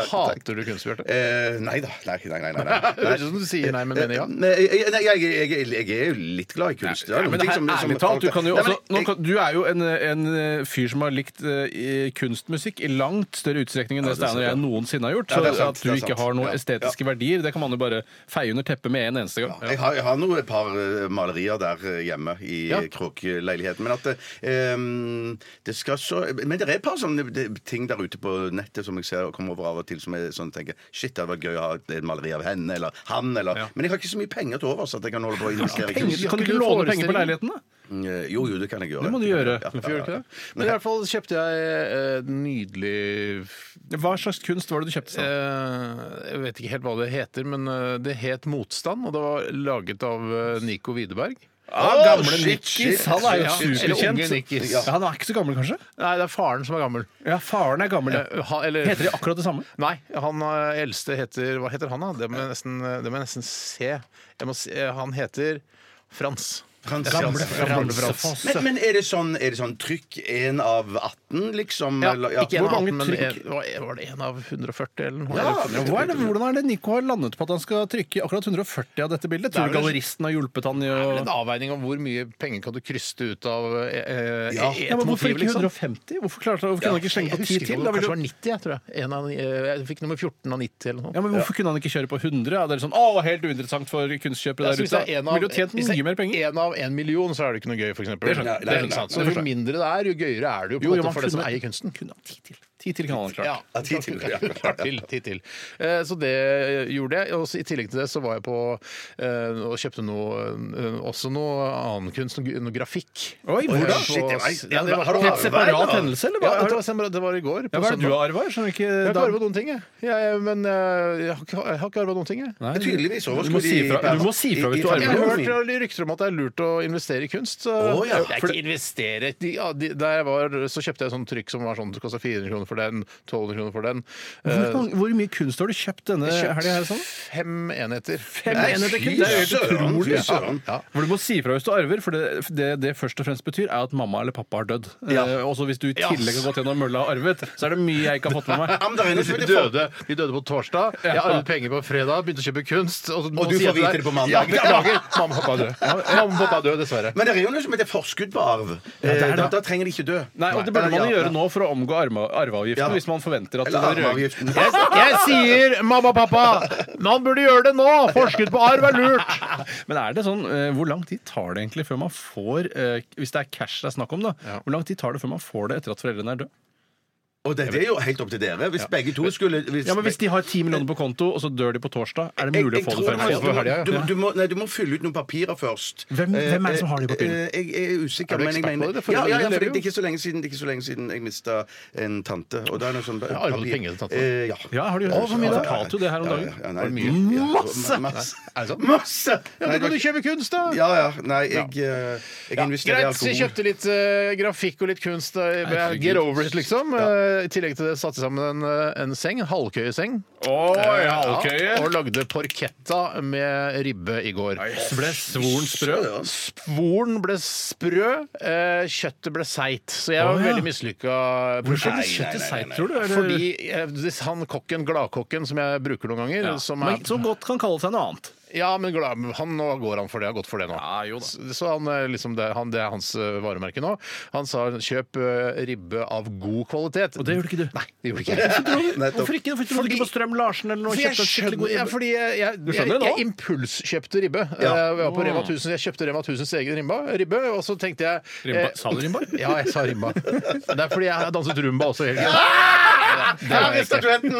[SPEAKER 4] Hater du kunst, Bjarte?
[SPEAKER 6] Eh, nei da. Nei, nei, nei. nei,
[SPEAKER 4] Det
[SPEAKER 6] nei.
[SPEAKER 4] høres ut som du sier nei, men mener ja.
[SPEAKER 6] Nei, jeg, nei, jeg, jeg, jeg, jeg er jo litt glad i kunst. Det er
[SPEAKER 5] Ja,
[SPEAKER 6] noen
[SPEAKER 5] men det
[SPEAKER 6] ting
[SPEAKER 5] her,
[SPEAKER 6] som- som-
[SPEAKER 5] ærlig talt, du, kan jo
[SPEAKER 6] Nei, men
[SPEAKER 5] også, nå
[SPEAKER 6] jeg-
[SPEAKER 5] kan, du er jo en, en fyr som har likt eh, i kunstmusikk i langt større utstrekning enn det
[SPEAKER 6] det er
[SPEAKER 5] Steinar og jeg
[SPEAKER 6] sant,
[SPEAKER 5] noensinne har gjort.
[SPEAKER 6] Ja,
[SPEAKER 5] Så
[SPEAKER 6] det er sant,
[SPEAKER 5] at du
[SPEAKER 6] det er
[SPEAKER 5] ikke
[SPEAKER 6] sant.
[SPEAKER 5] har noen
[SPEAKER 6] Ja.
[SPEAKER 5] estetiske verdier, det kan man jo bare feie under teppet med en eneste gang.
[SPEAKER 6] Jeg har, jeg har noe, et par eh, malerier der eh, hjemme i
[SPEAKER 4] Ja.
[SPEAKER 6] Kråkeleiligheten. Men at eh, em, det skal så Men det er et par sånne det- ting der ute på nettet som jeg ser kommer over av og til, som jeg sånn tenker Shit, det hadde vært gøy å ha et et maleri av henne eller han eller
[SPEAKER 5] Ja.
[SPEAKER 6] Men jeg har ikke så mye penger til overs at jeg kan holde på å investere i kunst.
[SPEAKER 5] Penger, kan du
[SPEAKER 4] Ikke
[SPEAKER 5] ikke låne
[SPEAKER 4] forestilling.
[SPEAKER 5] penger på leiligheten, da?
[SPEAKER 6] Eh, Jo, jo, det kan jeg gjøre.
[SPEAKER 5] Det må du gjøre.
[SPEAKER 6] Ja,
[SPEAKER 4] Hvorfor gjør du ikke det? Men i hvert fall kjøpte jeg eh, et nydelig
[SPEAKER 5] Hva slags kunst var det du
[SPEAKER 4] eh,
[SPEAKER 5] kjøpte? Sånn?
[SPEAKER 4] Jeg vet ikke helt hva det heter, men eh, det het Motstand, og det var laget av eh, Nico Widerberg.
[SPEAKER 5] Ah, gamle
[SPEAKER 6] shit, shit,
[SPEAKER 5] Nikkis, han er jo
[SPEAKER 6] shit, shit,
[SPEAKER 4] shit.
[SPEAKER 5] superkjent.
[SPEAKER 4] Eller unge Nikkis.
[SPEAKER 5] Ja, han er ikke så gammel, kanskje?
[SPEAKER 4] Nei, det er faren som er gammel.
[SPEAKER 5] Ja, faren er gammel,
[SPEAKER 4] Eh, ha- eller-
[SPEAKER 5] Heter de akkurat det samme?
[SPEAKER 4] Nei, han eh, eldste heter Hva heter han, da? Det må jeg nesten, eh, det må jeg nesten se. Jeg må se. eh, Han heter Frans.
[SPEAKER 6] Frans-
[SPEAKER 4] Gamle Frans.
[SPEAKER 6] Men, men er det sånn, er det sånn trykk 1 av 18, liksom?
[SPEAKER 4] Ja,
[SPEAKER 6] eller-
[SPEAKER 4] ikke en
[SPEAKER 5] Hvor
[SPEAKER 4] av
[SPEAKER 5] mange
[SPEAKER 4] men
[SPEAKER 5] trykk?
[SPEAKER 4] en- var, var det en av 140 eller noe?
[SPEAKER 5] Ja,
[SPEAKER 4] Eller-
[SPEAKER 5] hva er det, hvordan er det Nico har landet på at han skal trykke i akkurat 140 av dette bildet?
[SPEAKER 4] er
[SPEAKER 5] Tror du
[SPEAKER 4] vel-
[SPEAKER 5] galleristen har hjulpet han i
[SPEAKER 4] Det er
[SPEAKER 5] å
[SPEAKER 4] vel en avveining om hvor mye penger kan du kryste ut av eh, eh,
[SPEAKER 6] Ja.
[SPEAKER 4] et
[SPEAKER 5] Ja, men Hvorfor
[SPEAKER 4] motiv,
[SPEAKER 5] ikke
[SPEAKER 4] liksom.
[SPEAKER 5] 150? Hvorfor, klarte, hvorfor kunne han ikke slenge
[SPEAKER 4] Jeg
[SPEAKER 5] på
[SPEAKER 4] husker
[SPEAKER 5] 10
[SPEAKER 4] ikke,
[SPEAKER 5] til?
[SPEAKER 4] om
[SPEAKER 5] Da
[SPEAKER 4] det kanskje
[SPEAKER 5] ville jo-
[SPEAKER 4] var 90, jeg tror jeg. En av, eh, jeg fikk nummer 14 av 90 eller noe.
[SPEAKER 5] ja, men Hvorfor kunne han ikke kjøre på 100? Ja, det er sånn, å, Helt uinteressant for kunstkjøpere
[SPEAKER 4] Jeg
[SPEAKER 5] der
[SPEAKER 4] synes
[SPEAKER 5] ute.
[SPEAKER 4] det er en
[SPEAKER 5] Ville
[SPEAKER 4] av-
[SPEAKER 5] jo tjent
[SPEAKER 4] hvis det
[SPEAKER 5] mye
[SPEAKER 4] er
[SPEAKER 5] mer penger.
[SPEAKER 4] En av en million, så er det ikke noe gøy, for eksempel.
[SPEAKER 5] skjønner jeg.
[SPEAKER 4] Det er
[SPEAKER 6] Nei, nei,
[SPEAKER 4] sant.
[SPEAKER 5] nei,
[SPEAKER 4] Så
[SPEAKER 5] det
[SPEAKER 4] jo
[SPEAKER 5] skjønner
[SPEAKER 4] mindre det er, jo gøyere er det jo, på
[SPEAKER 5] Jo,
[SPEAKER 4] en måte,
[SPEAKER 5] jo, man
[SPEAKER 4] for den som
[SPEAKER 5] kunne-
[SPEAKER 4] eier kunsten.
[SPEAKER 5] Kunne han 10 til? 10 til kan han ha klart.
[SPEAKER 4] Ja,
[SPEAKER 6] Ja, ti til, ja.
[SPEAKER 4] klart til, ti til. Eh, Så det gjorde jeg. Og så I tillegg til det så var jeg på eh, og kjøpte noe, eh, også noe annen kunst, noe noe grafikk.
[SPEAKER 5] Oi, hvor da?
[SPEAKER 4] På-
[SPEAKER 6] Shit, det var-
[SPEAKER 4] Ja, det var-
[SPEAKER 6] Har du
[SPEAKER 5] Helt separat
[SPEAKER 6] Arve?
[SPEAKER 5] hendelse, eller?
[SPEAKER 4] Ja,
[SPEAKER 5] Hva,
[SPEAKER 4] det var, semra- det var i går. på
[SPEAKER 5] ja, hva er
[SPEAKER 4] søndag.
[SPEAKER 5] det du har arva? Jeg skjønner
[SPEAKER 4] Jeg har
[SPEAKER 5] ikke
[SPEAKER 4] ikke arva noen ting, jeg. jeg men eh, jeg har ikke, jeg har ikke arva noen ting, jeg.
[SPEAKER 5] Nei,
[SPEAKER 6] Tydeligvis
[SPEAKER 5] Du må
[SPEAKER 6] overskudd
[SPEAKER 5] si fra, du må si fra hvis
[SPEAKER 4] Jeg
[SPEAKER 5] du arver
[SPEAKER 4] har
[SPEAKER 5] noe.
[SPEAKER 4] hørt rykter om at det er lurt å investere i kunst. Så
[SPEAKER 6] Å, ja.
[SPEAKER 4] Jeg ikke investere de, ja, de, Da jeg var, så kjøpte jeg sånn trykk som var sånn Det kosta 400 kroner for den, 1200 kroner for den.
[SPEAKER 5] Hvor,
[SPEAKER 4] Eh,
[SPEAKER 5] mange- hvor mye kunst har du kjøpt denne helga? her, sånn?
[SPEAKER 4] fem enheter.
[SPEAKER 6] Nei,
[SPEAKER 5] enheter
[SPEAKER 6] fy
[SPEAKER 5] kunst, det er jo helt
[SPEAKER 6] søren,
[SPEAKER 5] utrolig.
[SPEAKER 6] fy søren.
[SPEAKER 4] Ja.
[SPEAKER 5] Hvor du må si fra hvis du arver, for det, det det først og fremst betyr, er at mamma eller pappa har dødd.
[SPEAKER 6] Ja.
[SPEAKER 5] Eh, også hvis du i tillegg har gått gjennom mølla og arvet, så er det mye jeg ikke har fått med meg.
[SPEAKER 6] Am der inne, så
[SPEAKER 4] De
[SPEAKER 6] vil de få-
[SPEAKER 4] døde, de døde på torsdag. Jeg arvet penger på fredag, begynte å kjøpe kunst. Og, nå
[SPEAKER 6] du
[SPEAKER 4] sier jeg
[SPEAKER 6] får
[SPEAKER 4] til
[SPEAKER 6] vite
[SPEAKER 4] deg,
[SPEAKER 6] det på mandag.
[SPEAKER 4] Ja, beklager. Mamma og pappa er døde. Mamma og pappa er døde, dessverre.
[SPEAKER 6] Men det er jo noe som heter forskudd på arv. Eh, da, da trenger de ikke dø.
[SPEAKER 5] Nei, og Det burde man
[SPEAKER 6] Ja,
[SPEAKER 5] jo
[SPEAKER 6] ja.
[SPEAKER 5] gjøre nå for å omgå arma- arveavgiften,
[SPEAKER 6] Ja.
[SPEAKER 5] hvis man forventer at
[SPEAKER 6] Eller
[SPEAKER 5] det røde
[SPEAKER 6] arveavgiften.
[SPEAKER 4] Jeg, jeg sier mamma og pappa, man burde gjøre det nå! Forskudd på arv er lurt!
[SPEAKER 5] Men er det sånn, eh, hvor lang tid tar det egentlig før man får eh, Hvis det er cash det er snakk om, da. Hvor lang tid tar det før man får det etter at foreldrene er døde?
[SPEAKER 6] Og det, det er jo helt opp til dere. Hvis begge to skulle hvis,
[SPEAKER 5] Ja, men Hvis de har ti millioner på konto, og så dør de på torsdag, er det
[SPEAKER 6] Jeg-
[SPEAKER 5] mulig
[SPEAKER 6] jeg
[SPEAKER 5] å få
[SPEAKER 6] tror
[SPEAKER 5] det frem? altså,
[SPEAKER 6] du må-
[SPEAKER 5] til helga?
[SPEAKER 6] du, må- du, må- nei, du må fylle ut noen papirer først.
[SPEAKER 5] Hvem- hvem er det som har de
[SPEAKER 6] Eh,
[SPEAKER 5] papirene?
[SPEAKER 6] eh, Jeg er usikker,
[SPEAKER 4] Er du
[SPEAKER 6] men jeg
[SPEAKER 4] ekspert på
[SPEAKER 6] mener
[SPEAKER 4] det? Det
[SPEAKER 6] ja, ja, ja,
[SPEAKER 4] lever
[SPEAKER 6] for det,
[SPEAKER 4] jo.
[SPEAKER 6] det er ikke så lenge siden, det er ikke så lenge siden jeg mista en tante. Og det er noe sånn
[SPEAKER 4] har arvet penger til tante.
[SPEAKER 6] Eh, ja.
[SPEAKER 5] Ja, har du
[SPEAKER 6] Ja,
[SPEAKER 5] hørt?
[SPEAKER 6] ja,
[SPEAKER 5] Han
[SPEAKER 6] ja,
[SPEAKER 5] fortalte jo det her om
[SPEAKER 6] ja,
[SPEAKER 5] dagen.
[SPEAKER 6] ja, ja, nei,
[SPEAKER 4] det
[SPEAKER 6] mye.
[SPEAKER 4] Masse!
[SPEAKER 6] Masse!
[SPEAKER 4] Er det sant?
[SPEAKER 6] Masse!
[SPEAKER 4] Ja, men kan du kjøpe kunst, da?
[SPEAKER 6] Ja, ja. Nei, jeg, eh, jeg investerer i
[SPEAKER 4] Greit, så jeg
[SPEAKER 6] alkohol.
[SPEAKER 4] kjøpte litt eh, grafikk og litt kunst. eh,
[SPEAKER 5] Herregud.
[SPEAKER 4] get over it, liksom. Eh, I tillegg til det satte jeg sammen en, eh, en seng, en halvkøyeseng. Eh,
[SPEAKER 5] Oi,
[SPEAKER 4] Ja,
[SPEAKER 5] halvkøye.
[SPEAKER 4] Og lagde porketta med ribbe i går.
[SPEAKER 5] Så ble svoren sprø.
[SPEAKER 4] Sporen ble sprø, eh, kjøttet ble seigt. Så jeg var
[SPEAKER 5] Å, ja.
[SPEAKER 4] veldig mislykka.
[SPEAKER 5] Hvorfor er
[SPEAKER 6] Nei,
[SPEAKER 5] det kjøttet
[SPEAKER 6] nei, nei,
[SPEAKER 5] seigt,
[SPEAKER 6] nei.
[SPEAKER 5] tror du? Eller?
[SPEAKER 4] Fordi eh, hvis han kokken, gladkokken, som jeg bruker noen ganger
[SPEAKER 5] ja.
[SPEAKER 4] som er,
[SPEAKER 5] Men som godt kan kalle seg noe annet.
[SPEAKER 4] Ja, men glad, han, nå går han for det. Har gått for det nå.
[SPEAKER 5] Ja, jo da.
[SPEAKER 4] Så, så han, eh, liksom, det, han, det er hans eh, varemerke nå. Han sa kjøp eh, ribbe av god kvalitet.
[SPEAKER 5] Og det gjorde ikke du.
[SPEAKER 4] Nei, det gjorde ikke jeg.
[SPEAKER 6] Nettopp.
[SPEAKER 5] Hvorfor ikke? Hvorfor trodde du ikke på Strøm Larsen eller noe?
[SPEAKER 4] For jeg
[SPEAKER 5] Kjøpte en skikkelig
[SPEAKER 4] skjønner,
[SPEAKER 5] god
[SPEAKER 4] ja,
[SPEAKER 5] ribbe?
[SPEAKER 4] fordi jeg, jeg, jeg,
[SPEAKER 5] skjønner det nå?
[SPEAKER 4] jeg impulskjøpte ribbe.
[SPEAKER 6] Ja.
[SPEAKER 4] Eh, Jeg, var på Rema 1000, jeg kjøpte Rema 1000s egen rimba, ribbe, og så tenkte jeg eh,
[SPEAKER 5] Rimba- Sa du rimba?
[SPEAKER 4] Ja, jeg sa rimba. Det er fordi jeg har danset rumba også. Helt.
[SPEAKER 5] Ah!
[SPEAKER 6] Her er statuetten!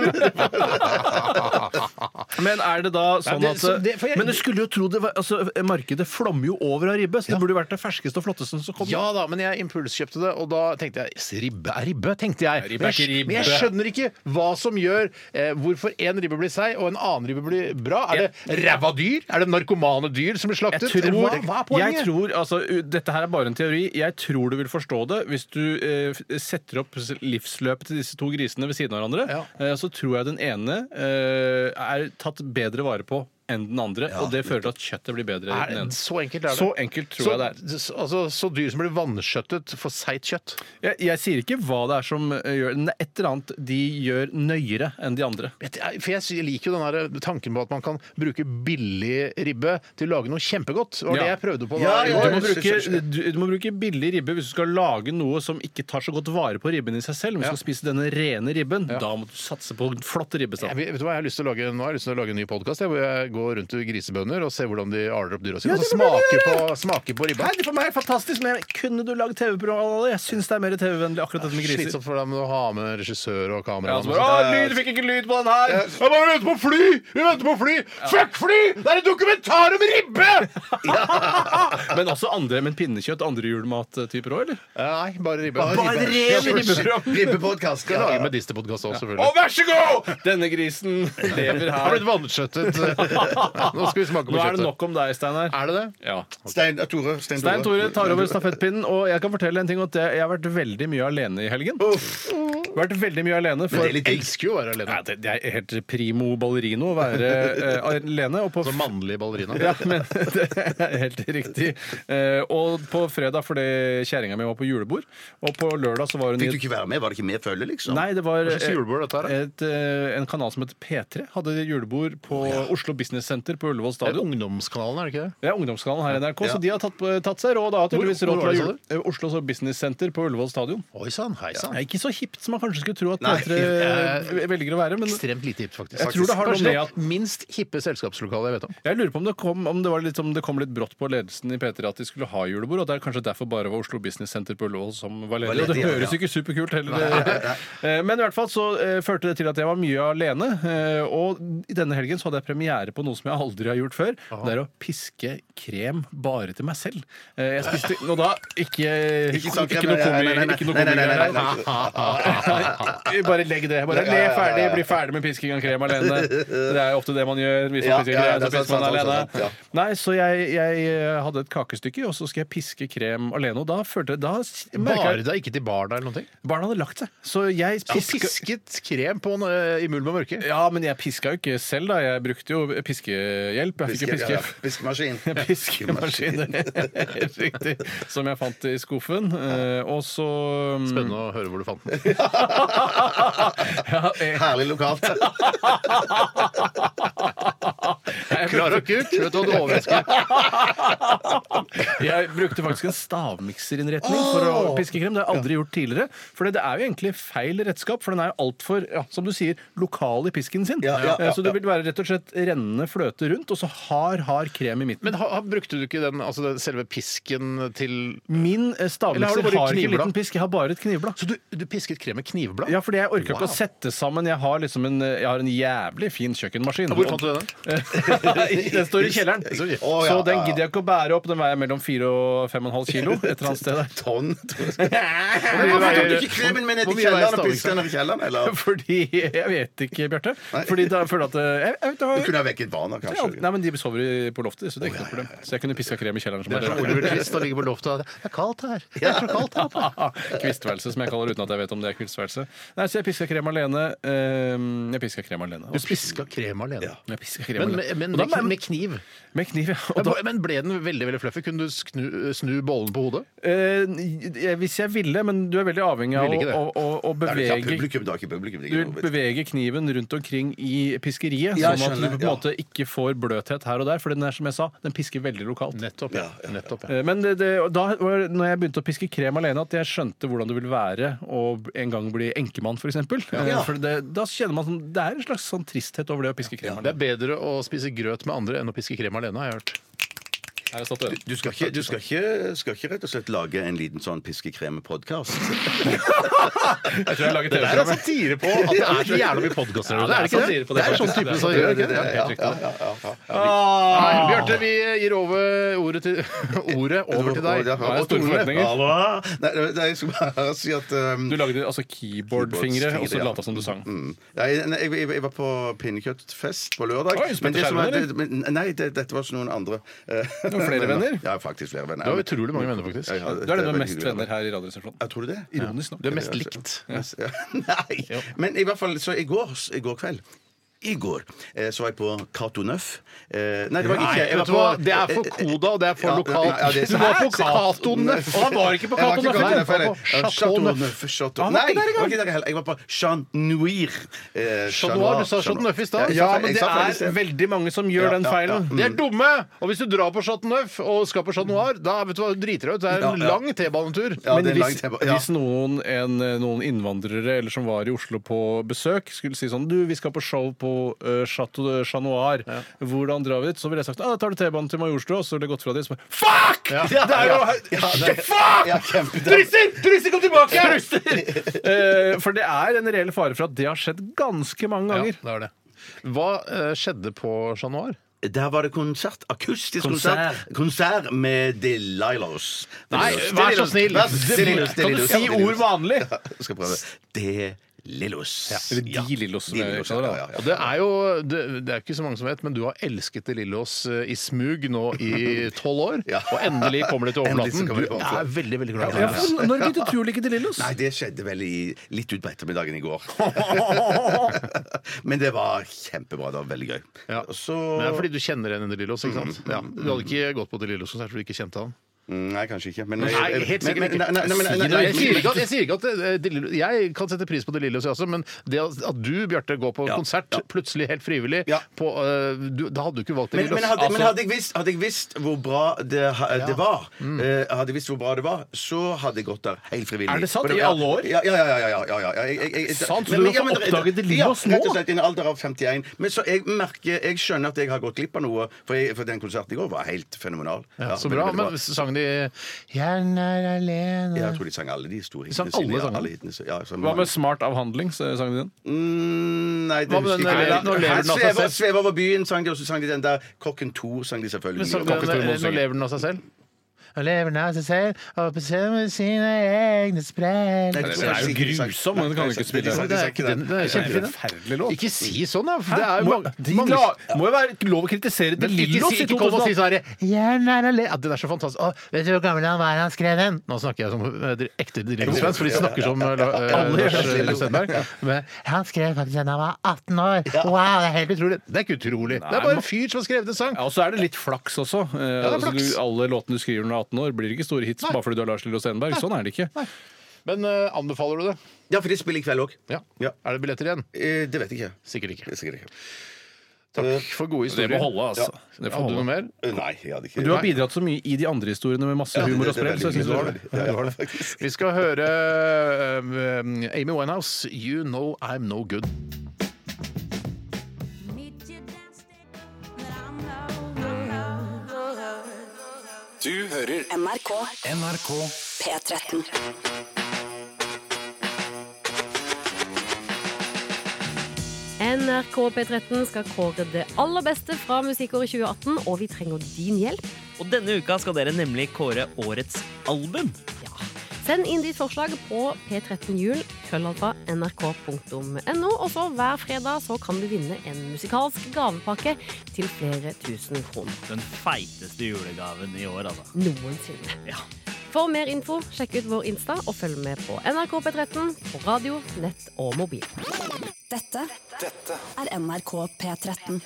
[SPEAKER 5] Men er det da sånn
[SPEAKER 4] det-
[SPEAKER 5] at
[SPEAKER 4] så det- for jeg-
[SPEAKER 5] Men du skulle jo tro det var altså, Markedet flommer jo over av ribbe, så det burde jo vært det ferskeste og flotteste som kom.
[SPEAKER 4] Ja da, men jeg impulskjøpte det, og da tenkte jeg "S- ribbe er ribbe. tenkte jeg.
[SPEAKER 5] Ribbe er
[SPEAKER 4] Men jeg,
[SPEAKER 5] ikke ribbe.
[SPEAKER 4] men jeg skjønner ikke hva som gjør eh, hvorfor én ribbe blir seig og en annen ribbe blir bra. Er det ræva dyr? Er det narkomane dyr som blir slaktet?
[SPEAKER 5] Jeg tror,
[SPEAKER 4] hva, hva er poenget?
[SPEAKER 5] Jeg tror, altså, u- dette her er bare en teori. Jeg tror du vil forstå det hvis du eh, f- setter opp s- livsløpet til disse to grisene ved siden av hverandre.
[SPEAKER 4] Ja.
[SPEAKER 5] Eh, så tror jeg den ene eh, er tatt bedre vare på enn den andre, og det fører til at kjøttet blir bedre. i
[SPEAKER 4] er,
[SPEAKER 5] den ene.
[SPEAKER 4] så enkelt er det.
[SPEAKER 5] Så enkelt tror
[SPEAKER 4] så,
[SPEAKER 5] jeg det er.
[SPEAKER 4] s- Altså, så dyr som blir vanskjøttet for seigt kjøtt.
[SPEAKER 5] Jeg, jeg sier ikke hva det er som eh, gjør men det. er Et eller annet de gjør nøyere enn de andre.
[SPEAKER 4] Vet jeg- For jeg sy- liker jo den her tanken på at man kan bruke billig ribbe til å lage noe kjempegodt. Det var
[SPEAKER 5] Ja.
[SPEAKER 4] det jeg prøvde på. da
[SPEAKER 6] Ja,
[SPEAKER 4] i
[SPEAKER 5] Du
[SPEAKER 6] ja,
[SPEAKER 4] går.
[SPEAKER 5] må,
[SPEAKER 6] jeg
[SPEAKER 5] bruke,
[SPEAKER 6] synes-
[SPEAKER 5] du, du må bruke billig ribbe hvis du skal lage noe som ikke tar så godt vare på ribben i seg selv. Men hvis du skal spise denne rene ribben, da må du satse på en flott
[SPEAKER 4] Jeg,
[SPEAKER 5] ribbestand.
[SPEAKER 4] vet vet du hva, jeg har lyst til å lage, nå har jeg lyst til å lage en ny podkast hvor jeg går rundt til grisebønder og ser hvordan de aler opp dyra sine. Og så smaker på, smaker på ribba.
[SPEAKER 5] for meg er fantastisk, men kunne du lagd TV-program av det? Jeg syns det er mer TV-vennlig akkurat dette
[SPEAKER 4] Slitsomt for dem å ha med regissør og
[SPEAKER 5] Ja, altså,
[SPEAKER 4] kameramann.
[SPEAKER 5] så
[SPEAKER 4] og
[SPEAKER 5] bare,
[SPEAKER 4] sånt.
[SPEAKER 5] «Å, lyd, fikk ikke lyd på den her!
[SPEAKER 4] Jeg bare venter på fly! Vi venter på fly! Fuck fly! Det er en dokumentar om ribbe!
[SPEAKER 5] Men også andre, men pinnekjøtt, andre julemattyper òg, eller?
[SPEAKER 4] Nei, bare ribbe.
[SPEAKER 5] Bare
[SPEAKER 4] ribbe.
[SPEAKER 5] ren
[SPEAKER 4] Ja, for
[SPEAKER 5] ribbe.
[SPEAKER 4] shit.
[SPEAKER 6] Ribbepodkast.
[SPEAKER 4] Skal lage med distepodkast også, selvfølgelig.
[SPEAKER 5] Å, vær så god! Denne grisen lever
[SPEAKER 4] Har
[SPEAKER 5] her.
[SPEAKER 4] blitt vanskjøttet. Nå skal vi smake på
[SPEAKER 5] Nå er det
[SPEAKER 4] kjøttet.
[SPEAKER 5] nok om deg, Steinar.
[SPEAKER 4] Er det det?
[SPEAKER 5] Ja.
[SPEAKER 6] Stein eh, Tore. Stein
[SPEAKER 5] Stein Tore tar over stafettpinnen, og jeg kan fortelle en ting at jeg jeg har vært veldig mye alene i helgen. Vært veldig mye alene for
[SPEAKER 4] Jeg elsker jo å være alene.
[SPEAKER 5] Nei, det, det er helt primo ballerino å være eh, alene. Og på
[SPEAKER 4] Som mannlig ballerina.
[SPEAKER 5] ja, men det er helt riktig. Eh, og på fredag, fordi kjerringa mi var på julebord, og på lørdag så var hun i
[SPEAKER 6] Fikk du
[SPEAKER 5] et
[SPEAKER 6] ikke være med? Var det ikke med følge, liksom?
[SPEAKER 5] Nei, det var
[SPEAKER 4] Hva slags
[SPEAKER 5] eh,
[SPEAKER 4] julebord er dette her, da?
[SPEAKER 5] et, eh, en kanal som heter P3. Hadde julebord på Oslo Business Center på Ullevål
[SPEAKER 4] Det er
[SPEAKER 5] stadion.
[SPEAKER 4] Ungdomskanalen, er det ikke det?
[SPEAKER 5] Det er ungdomskanalen her i NRK,
[SPEAKER 6] Ja.
[SPEAKER 5] så de har tatt, eh, tatt seg råd. Da, tydeligvis
[SPEAKER 4] hvor
[SPEAKER 5] råd
[SPEAKER 4] var
[SPEAKER 5] fra
[SPEAKER 4] det,
[SPEAKER 5] jule, eh, Oslo Business Center på Ullevål stadion.
[SPEAKER 4] Oi sann, hei sann.
[SPEAKER 5] Det er ikke så hipt som man kanskje skulle tro at
[SPEAKER 6] Nei,
[SPEAKER 5] P3 eh, velger å være. Men
[SPEAKER 4] Ekstremt lite hipt, faktisk.
[SPEAKER 5] Jeg tror det har noe
[SPEAKER 4] Kanskje
[SPEAKER 5] med
[SPEAKER 4] det
[SPEAKER 5] at-
[SPEAKER 4] minst hippe selskapslokalet jeg vet om.
[SPEAKER 5] Jeg lurer på om det kom, om det var litt, om det kom litt brått på ledelsen i P3 at de skulle ha julebord, og det er kanskje derfor bare var Oslo Business Center på Ullevål som var ledig.
[SPEAKER 6] Var ledig,
[SPEAKER 5] Og det
[SPEAKER 6] ja,
[SPEAKER 5] høres
[SPEAKER 6] ja.
[SPEAKER 5] ikke superkult heller. Eh, Men i hvert fall så eh, førte det til at jeg var mye alene, eh, og i denne helgen så hadde jeg premiere på noe som jeg aldri har gjort før. Det er å piske krem bare til meg selv. Eh, Jeg spiste Og da ikke Ikke,
[SPEAKER 6] sånn krem,
[SPEAKER 5] ikke noe
[SPEAKER 6] nei, nei, nei, nei, nei, nei, nei, nei, nei,
[SPEAKER 5] komigreier.
[SPEAKER 6] nei.
[SPEAKER 5] Bare legg det. Bare le ferdig, bli ferdig med pisking av krem alene. Det er jo ofte det man gjør. Hvis man
[SPEAKER 6] Ja,
[SPEAKER 5] pisker
[SPEAKER 6] ja, ja,
[SPEAKER 5] krem,
[SPEAKER 6] det
[SPEAKER 5] så
[SPEAKER 6] er
[SPEAKER 5] pisker
[SPEAKER 6] sant,
[SPEAKER 5] man
[SPEAKER 6] sant,
[SPEAKER 5] alene.
[SPEAKER 6] sant, sant,
[SPEAKER 5] Nei, så jeg, jeg eh, hadde et kakestykke, og så skal jeg piske krem alene. Og da følte jeg da s- merket
[SPEAKER 4] Bare
[SPEAKER 5] jeg
[SPEAKER 4] da, ikke til barna eller noen ting.
[SPEAKER 5] Barna hadde lagt seg. Så jeg piska
[SPEAKER 4] Pisket krem på en, eh, i mulm og mørke.
[SPEAKER 5] Ja, men jeg piska jo ikke selv, da. Jeg brukte jo piskehjelp. Jeg fikk jo
[SPEAKER 6] Piske-
[SPEAKER 5] piske.
[SPEAKER 6] ja, ja. Piskemaskin.
[SPEAKER 5] Piskemaskiner. Helt riktig. Som jeg fant i skuffen. eh, Og så
[SPEAKER 4] Spennende
[SPEAKER 5] Mm.
[SPEAKER 4] å høre hvor du fant den.
[SPEAKER 5] Ja, eh,
[SPEAKER 6] Herlig lokalt.
[SPEAKER 5] jeg
[SPEAKER 4] Klar og kuk, vet du hva du overrasker.
[SPEAKER 5] Jeg brukte faktisk en stavmikserinnretning for å piske krem. Det har jeg aldri gjort tidligere. For det er jo egentlig feil redskap, for den er jo altfor, ja, som du sier, lokal i pisken sin. Eh,
[SPEAKER 6] Ja, ja, ja,
[SPEAKER 5] så det vil være rett og slett rennende fløte rundt, og så hard, hard krem i midten.
[SPEAKER 4] Men ha, ha- brukte du ikke den, altså den selve pisken til
[SPEAKER 5] Min
[SPEAKER 4] Eller
[SPEAKER 5] eh,
[SPEAKER 4] har du
[SPEAKER 5] stavmikser
[SPEAKER 4] bare
[SPEAKER 5] har, ikke
[SPEAKER 4] knivblad?
[SPEAKER 5] liten pisk, jeg har bare et knivblad.
[SPEAKER 4] Så du, du pisket krem med knivblad?
[SPEAKER 5] Ja, fordi jeg orka ikke
[SPEAKER 4] Wow.
[SPEAKER 5] å sette sammen. Jeg har liksom en, jeg har en jævlig fin kjøkkenmaskin.
[SPEAKER 4] Hvor fant du den?
[SPEAKER 5] den står i kjelleren.
[SPEAKER 6] Så- Å, ja,
[SPEAKER 5] så
[SPEAKER 6] ja,
[SPEAKER 5] den
[SPEAKER 6] ja.
[SPEAKER 5] gidder jeg ikke å bære opp. Den veier mellom 4 og 5,5 kilo et eller annet sted der.
[SPEAKER 6] Tonn.
[SPEAKER 4] Hvor
[SPEAKER 6] Hvorfor tok du
[SPEAKER 4] mye
[SPEAKER 6] ikke kremen min ned
[SPEAKER 4] hvor
[SPEAKER 6] i
[SPEAKER 4] mye veier
[SPEAKER 6] kjelleren og
[SPEAKER 4] stavmikser?
[SPEAKER 6] piska den ned i kjelleren? Eller?
[SPEAKER 5] Fordi Jeg vet ikke, Bjarte. Fordi da føler jeg at eh, jeg, jeg, vet,
[SPEAKER 6] Du
[SPEAKER 5] ikke hva-
[SPEAKER 6] kunne ha vekket barna,
[SPEAKER 5] ja,
[SPEAKER 6] kanskje.
[SPEAKER 5] Nei, men De sover i- på loftet, så det er ikke noe problem. Så jeg kunne piska krem i kjelleren. som
[SPEAKER 4] Det er som
[SPEAKER 5] bare-
[SPEAKER 4] Oliver Twist og ligger på loftet. Det er kaldt her. Det er så kaldt her.
[SPEAKER 5] Kvistværelse, som jeg kaller det uten at jeg vet om det er kvistværelse. Nei, Så jeg piska krem alene. eh, Jeg piska krem alene.
[SPEAKER 4] Du piska krem alene.
[SPEAKER 5] Jeg piska krem
[SPEAKER 4] Men,
[SPEAKER 5] alene.
[SPEAKER 4] men, men
[SPEAKER 5] Og da
[SPEAKER 4] med,
[SPEAKER 5] med,
[SPEAKER 4] med kniv.
[SPEAKER 5] med kniv, ja. Og
[SPEAKER 4] Men,
[SPEAKER 5] da,
[SPEAKER 4] men ble den veldig veldig fluffy? Kunne du snu, snu bollen på hodet?
[SPEAKER 5] eh, jeg- hvis jeg ville, men du er veldig avhengig av
[SPEAKER 4] Ville ikke det.
[SPEAKER 5] å, å, å
[SPEAKER 6] Nei, du tar
[SPEAKER 5] bevege
[SPEAKER 6] Publikum, da. Ikke publikum. det er
[SPEAKER 5] du
[SPEAKER 6] ikke noe vits.
[SPEAKER 5] beveger kniven rundt omkring i piskeriet,
[SPEAKER 6] Ja,
[SPEAKER 5] sånn at du
[SPEAKER 6] skjønner,
[SPEAKER 5] på en
[SPEAKER 6] ja.
[SPEAKER 5] måte ikke får bløthet her og der. For den er som jeg sa, den pisker veldig lokalt.
[SPEAKER 4] Nettopp.
[SPEAKER 6] Ja, ja.
[SPEAKER 4] Nettopp, ja.
[SPEAKER 5] Eh, Men det, det, og da var det når jeg begynte å piske krem alene, at jeg skjønte hvordan det ville være å en gang bli enkemann, f.eks.
[SPEAKER 6] Ja.
[SPEAKER 5] For det, da kjenner man sånn, Det er en slags sånn tristhet over det å piske krem
[SPEAKER 4] Det er
[SPEAKER 5] alene.
[SPEAKER 4] bedre å spise grøt med andre enn å piske krem alene, har jeg hørt.
[SPEAKER 5] Her er sånn statuen.
[SPEAKER 6] Du skal ikke, du skal ikke, skal ikke rett og slett lage en liten sånn piskekrem-podkast?
[SPEAKER 5] Jeg tror jeg lager
[SPEAKER 4] Det er
[SPEAKER 5] TV-program. jeg.
[SPEAKER 4] satire på at det er så jævla mye podkaster
[SPEAKER 5] Ja,
[SPEAKER 4] ute, er det ikke det?
[SPEAKER 5] satire på
[SPEAKER 4] Det er sånn
[SPEAKER 5] faktisk.
[SPEAKER 4] type
[SPEAKER 5] Det er
[SPEAKER 4] som
[SPEAKER 5] satire,
[SPEAKER 4] gjør det.
[SPEAKER 5] det er helt riktig.
[SPEAKER 4] Nei,
[SPEAKER 5] Ah.
[SPEAKER 4] Bjarte, vi gir over ordet, til, ordet over til deg.
[SPEAKER 6] Ja,
[SPEAKER 5] Nå har jeg store
[SPEAKER 6] Tore.
[SPEAKER 5] forventninger.
[SPEAKER 6] Hallo. Nei, nei, nei, jeg skulle bare si at um,
[SPEAKER 5] Du lagde altså keyboardfingre, og så lata som du sang.
[SPEAKER 6] Mm. Nei, nei, jeg, jeg, jeg var på pinnekjøttfest på lørdag.
[SPEAKER 5] Oi, spente
[SPEAKER 6] men det som
[SPEAKER 5] skjermen,
[SPEAKER 6] er- det- men- nei, det, dette var ikke noen andre. Du
[SPEAKER 5] har flere venner?
[SPEAKER 6] Ja, faktisk flere venner.
[SPEAKER 4] Du har utrolig mange venner, faktisk.
[SPEAKER 6] Ja, ja,
[SPEAKER 5] Du er den med
[SPEAKER 6] veldig
[SPEAKER 5] mest
[SPEAKER 6] hyggelig.
[SPEAKER 5] venner her i Radioresepsjonen.
[SPEAKER 6] Ja, tror du det?
[SPEAKER 5] Ironisk nok.
[SPEAKER 4] Du er mest likt.
[SPEAKER 6] Ja. Nei. Men i hvert fall, så i går, i går kveld i går eh, så var jeg på Cato Nøff. Eh, nei, det var ikke
[SPEAKER 4] Nei,
[SPEAKER 6] jeg.
[SPEAKER 4] vet
[SPEAKER 6] var Eh,
[SPEAKER 4] du hva? Det er for koda, og det er for lokalt. Du var på Cato Nøff.
[SPEAKER 5] Han var ikke på
[SPEAKER 6] Jeg var
[SPEAKER 5] Cato
[SPEAKER 6] ikke
[SPEAKER 5] Nøff,
[SPEAKER 6] Cato
[SPEAKER 5] han
[SPEAKER 6] Nøff, jeg
[SPEAKER 4] var på
[SPEAKER 6] var
[SPEAKER 4] Chateau
[SPEAKER 6] på Chateau
[SPEAKER 4] Neuf.
[SPEAKER 6] Nøff. Chateau-
[SPEAKER 5] Han var
[SPEAKER 6] Nei,
[SPEAKER 5] ikke der
[SPEAKER 6] jeg
[SPEAKER 5] engang.
[SPEAKER 6] var ikke der heller. Jeg var på Chat Noir. Eh,
[SPEAKER 4] Chat Noir,
[SPEAKER 6] Noir,
[SPEAKER 4] du sa
[SPEAKER 6] Chat
[SPEAKER 4] Chat
[SPEAKER 6] Noir.
[SPEAKER 4] Neuf i stad.
[SPEAKER 6] jeg
[SPEAKER 5] Ja,
[SPEAKER 6] sa-
[SPEAKER 5] men
[SPEAKER 6] jeg
[SPEAKER 5] det
[SPEAKER 6] sa faktisk
[SPEAKER 5] er veldig mange som gjør den feilen.
[SPEAKER 6] Mm.
[SPEAKER 4] De er dumme! Og hvis du drar på Chat Neuf og skal på Chat Noir, da vet du hva, du driter deg ut. Det er en
[SPEAKER 6] Ja, ja.
[SPEAKER 4] lang T-banetur.
[SPEAKER 6] Ja,
[SPEAKER 5] Men
[SPEAKER 6] det er en lang
[SPEAKER 5] hvis,
[SPEAKER 6] tema. Ja.
[SPEAKER 5] hvis noen, en, noen innvandrere eller som var i Oslo på besøk, skulle si sånn Du, vi skal på show på eh, Chateau de Chat Noir. Hvordan drar vi dit? Så ville jeg sagt ah, da tar du T-banen til Majorstua, og så ville jeg gått fra dit. Så bare, Fuck!
[SPEAKER 6] Ja,
[SPEAKER 5] Det er jo
[SPEAKER 6] ja, det er-
[SPEAKER 5] Fuck!
[SPEAKER 6] Ja, kjempe-
[SPEAKER 5] Truster! Truster, kom tilbake! Eh, for det er en reell fare for at det har skjedd ganske mange
[SPEAKER 4] Ja,
[SPEAKER 5] ganger.
[SPEAKER 4] det er det. Hva eh, skjedde på Chat Noir?
[SPEAKER 6] Der var det konsert. Akustisk
[SPEAKER 5] Konsert.
[SPEAKER 6] konsert. Konsert, med Delilahs. Delilahs.
[SPEAKER 4] vær så snill.
[SPEAKER 6] Vær så snill.
[SPEAKER 4] Delilahs,
[SPEAKER 5] Kan du
[SPEAKER 6] Delilahs.
[SPEAKER 5] si ord vanlig?
[SPEAKER 6] Ja, jeg skal prøve. Delilahs.
[SPEAKER 5] Eller De Lillos, som jeg
[SPEAKER 6] De Lillos,
[SPEAKER 5] kaller det.
[SPEAKER 6] ja, ja,
[SPEAKER 4] Og det er jo det, det er ikke så mange som vet, men du har elsket De Lillos eh, i smug nå i tolv år.
[SPEAKER 6] Ja.
[SPEAKER 4] Og endelig kommer det til
[SPEAKER 6] Endelig så
[SPEAKER 4] overflaten.
[SPEAKER 6] kommer det
[SPEAKER 4] Du
[SPEAKER 6] til overflaten.
[SPEAKER 4] er veldig, veldig glad i
[SPEAKER 5] Ja,
[SPEAKER 4] det.
[SPEAKER 5] for når begynte du å like De Lillos?
[SPEAKER 6] Nei, det skjedde vel i, litt utpå ettermiddagen i går. Men det var kjempebra. Det var veldig gøy.
[SPEAKER 4] Ja.
[SPEAKER 6] Og så
[SPEAKER 4] Men det er fordi du kjenner igjen De Lillos,
[SPEAKER 6] Mm.
[SPEAKER 4] ikke sant? Ja. Du hadde ikke gått på De Lillos konsert fordi du ikke kjente han?
[SPEAKER 6] Nei, kanskje ikke. Men,
[SPEAKER 4] Nei, helt sikkert
[SPEAKER 6] men-
[SPEAKER 4] ikke.
[SPEAKER 6] Nei, nei, nei, nei,
[SPEAKER 4] Nei,
[SPEAKER 6] nei,
[SPEAKER 4] Jeg sier ikke at, jeg, sier ikke at eh, De Lillo- jeg kan sette pris på De Lillos, jeg også, men det at at du, Bjarte, går på
[SPEAKER 6] Ja,
[SPEAKER 4] konsert
[SPEAKER 6] ja.
[SPEAKER 4] plutselig helt frivillig
[SPEAKER 6] Ja.
[SPEAKER 4] på, eh, du, Da hadde du ikke valgt De
[SPEAKER 6] Men,
[SPEAKER 4] Lillos.
[SPEAKER 6] men, hadde, men hadde, jeg visst, hadde jeg visst hvor bra det, ha- det var, eh, Hadde jeg visst hvor bra det var, så hadde jeg gått der helt frivillig.
[SPEAKER 5] Mm. Er det sant?
[SPEAKER 6] Og
[SPEAKER 5] I alle år?
[SPEAKER 6] Ja, ja, ja. ja, ja, ja, ja, ja. Jeg- jeg- jeg-
[SPEAKER 5] Sant, så
[SPEAKER 6] men-
[SPEAKER 5] du
[SPEAKER 6] men-
[SPEAKER 5] har fått
[SPEAKER 6] men-
[SPEAKER 5] oppdaget det livet
[SPEAKER 6] ja,
[SPEAKER 5] oss nå?
[SPEAKER 6] Rett og slett i en alder av 51. Men så jeg merker, jeg skjønner at jeg har gått glipp av noe, for, jeg, for den konserten i går var helt fenomenal.
[SPEAKER 4] ja, så
[SPEAKER 6] veldig,
[SPEAKER 4] bra.
[SPEAKER 6] veldig
[SPEAKER 4] Men sang de 'Jeg er alene'
[SPEAKER 6] Ja, jeg tror de sang alle de store
[SPEAKER 4] sang
[SPEAKER 6] hitene
[SPEAKER 4] alle
[SPEAKER 6] sine. Ja,
[SPEAKER 4] sangene?
[SPEAKER 6] alle hitene sine. Ja,
[SPEAKER 5] Hva
[SPEAKER 6] så mange.
[SPEAKER 5] med Smart av handling? Sang de den?
[SPEAKER 6] Mm, Nei, det
[SPEAKER 4] Hva med
[SPEAKER 6] husker jeg
[SPEAKER 4] den
[SPEAKER 6] ikke.
[SPEAKER 4] der- Nå lever den av seg
[SPEAKER 6] Svever-
[SPEAKER 4] selv.
[SPEAKER 6] Svever over byen sang de, og så sang de den der Kokken 2 sang de selvfølgelig.
[SPEAKER 4] Men sang
[SPEAKER 6] Kokken
[SPEAKER 4] den,
[SPEAKER 6] to, må
[SPEAKER 4] eh, Nå
[SPEAKER 6] synge.
[SPEAKER 4] lever den av seg selv. Nå lever den av seg selv og bestemmer sine egne sprell.
[SPEAKER 6] Nei,
[SPEAKER 5] Den er jo grusom, men den kan du ikke spille.
[SPEAKER 4] Det er ikke den. Det er kjempefin, den.
[SPEAKER 5] Forferdelig låt.
[SPEAKER 4] Ikke si sånn, da! for
[SPEAKER 5] Hæ?
[SPEAKER 4] Det er jo
[SPEAKER 5] må,
[SPEAKER 4] mange,
[SPEAKER 5] de
[SPEAKER 4] mange
[SPEAKER 5] la, må jo være lov å kritisere De
[SPEAKER 4] Men ikke,
[SPEAKER 5] Lillos
[SPEAKER 4] si,
[SPEAKER 5] i
[SPEAKER 4] ikke kom og si
[SPEAKER 5] 2018.
[SPEAKER 4] sånn herre ja, Den er så fantastisk. Å, vet du hvor gammel han var da han skrev den? Nå snakker jeg som eh, dere- ekte drillingsvenn, for de snakker som eh, la- eh,
[SPEAKER 5] Alle gjør
[SPEAKER 4] Lars
[SPEAKER 5] det.
[SPEAKER 4] Lillo Stenberg. Men Han skrev faktisk den da han var 18 år! Wow, det er helt utrolig! Det er ikke utrolig. Det er bare en fyr som har skrevet en sang.
[SPEAKER 5] Ja, og så er det litt flaks også. Eh,
[SPEAKER 4] det er
[SPEAKER 5] altså, du,
[SPEAKER 4] flaks.
[SPEAKER 5] alle låtene du skriver når du er 18 år, blir ikke store hits bare fordi du er Lars Lillo Stenberg. Sånn er det ikke.
[SPEAKER 4] Men eh, anbefaler du det?
[SPEAKER 6] Ja, for de spiller i kveld òg.
[SPEAKER 4] Ja.
[SPEAKER 6] Ja.
[SPEAKER 4] Er det billetter igjen?
[SPEAKER 6] Eh, Det vet jeg ikke.
[SPEAKER 4] Sikkert ikke.
[SPEAKER 6] Det er sikkert ikke.
[SPEAKER 4] Takk for gode
[SPEAKER 5] Det
[SPEAKER 4] historier.
[SPEAKER 5] må holde, altså.
[SPEAKER 4] Hadde
[SPEAKER 5] Det får
[SPEAKER 4] du
[SPEAKER 5] holde.
[SPEAKER 4] noe mer?
[SPEAKER 6] Eh, Nei, jeg hadde ikke
[SPEAKER 5] Du har bidratt så mye i de andre historiene med masse humor og
[SPEAKER 6] Det- det er
[SPEAKER 5] sprell, så jeg
[SPEAKER 6] veldig-
[SPEAKER 5] syns du har det.
[SPEAKER 6] veldig- Ja, ja, faktisk.
[SPEAKER 4] Vi skal høre eh, Amy Winehouse, 'You Know I'm No Good'.
[SPEAKER 2] Meet you downstairs, but I'm no good.
[SPEAKER 7] Du hører
[SPEAKER 8] NRK
[SPEAKER 3] NRK
[SPEAKER 8] P13.
[SPEAKER 9] NRK P13 skal kåre det aller beste fra musikkåret 2018, og vi trenger din hjelp.
[SPEAKER 10] Og denne uka skal dere nemlig kåre årets album.
[SPEAKER 9] Send inn ditt forslag på p13jul, krøllalfa, nrk.no, og så hver fredag så kan du vinne en musikalsk gavepakke til flere tusen kroner
[SPEAKER 10] Den feiteste julegaven i år, altså.
[SPEAKER 9] noensinne.
[SPEAKER 10] Ja.
[SPEAKER 9] For mer info, sjekk ut vår Insta, og følg med på NRK P13, på radio, nett og mobil.
[SPEAKER 8] Dette er NRK P13.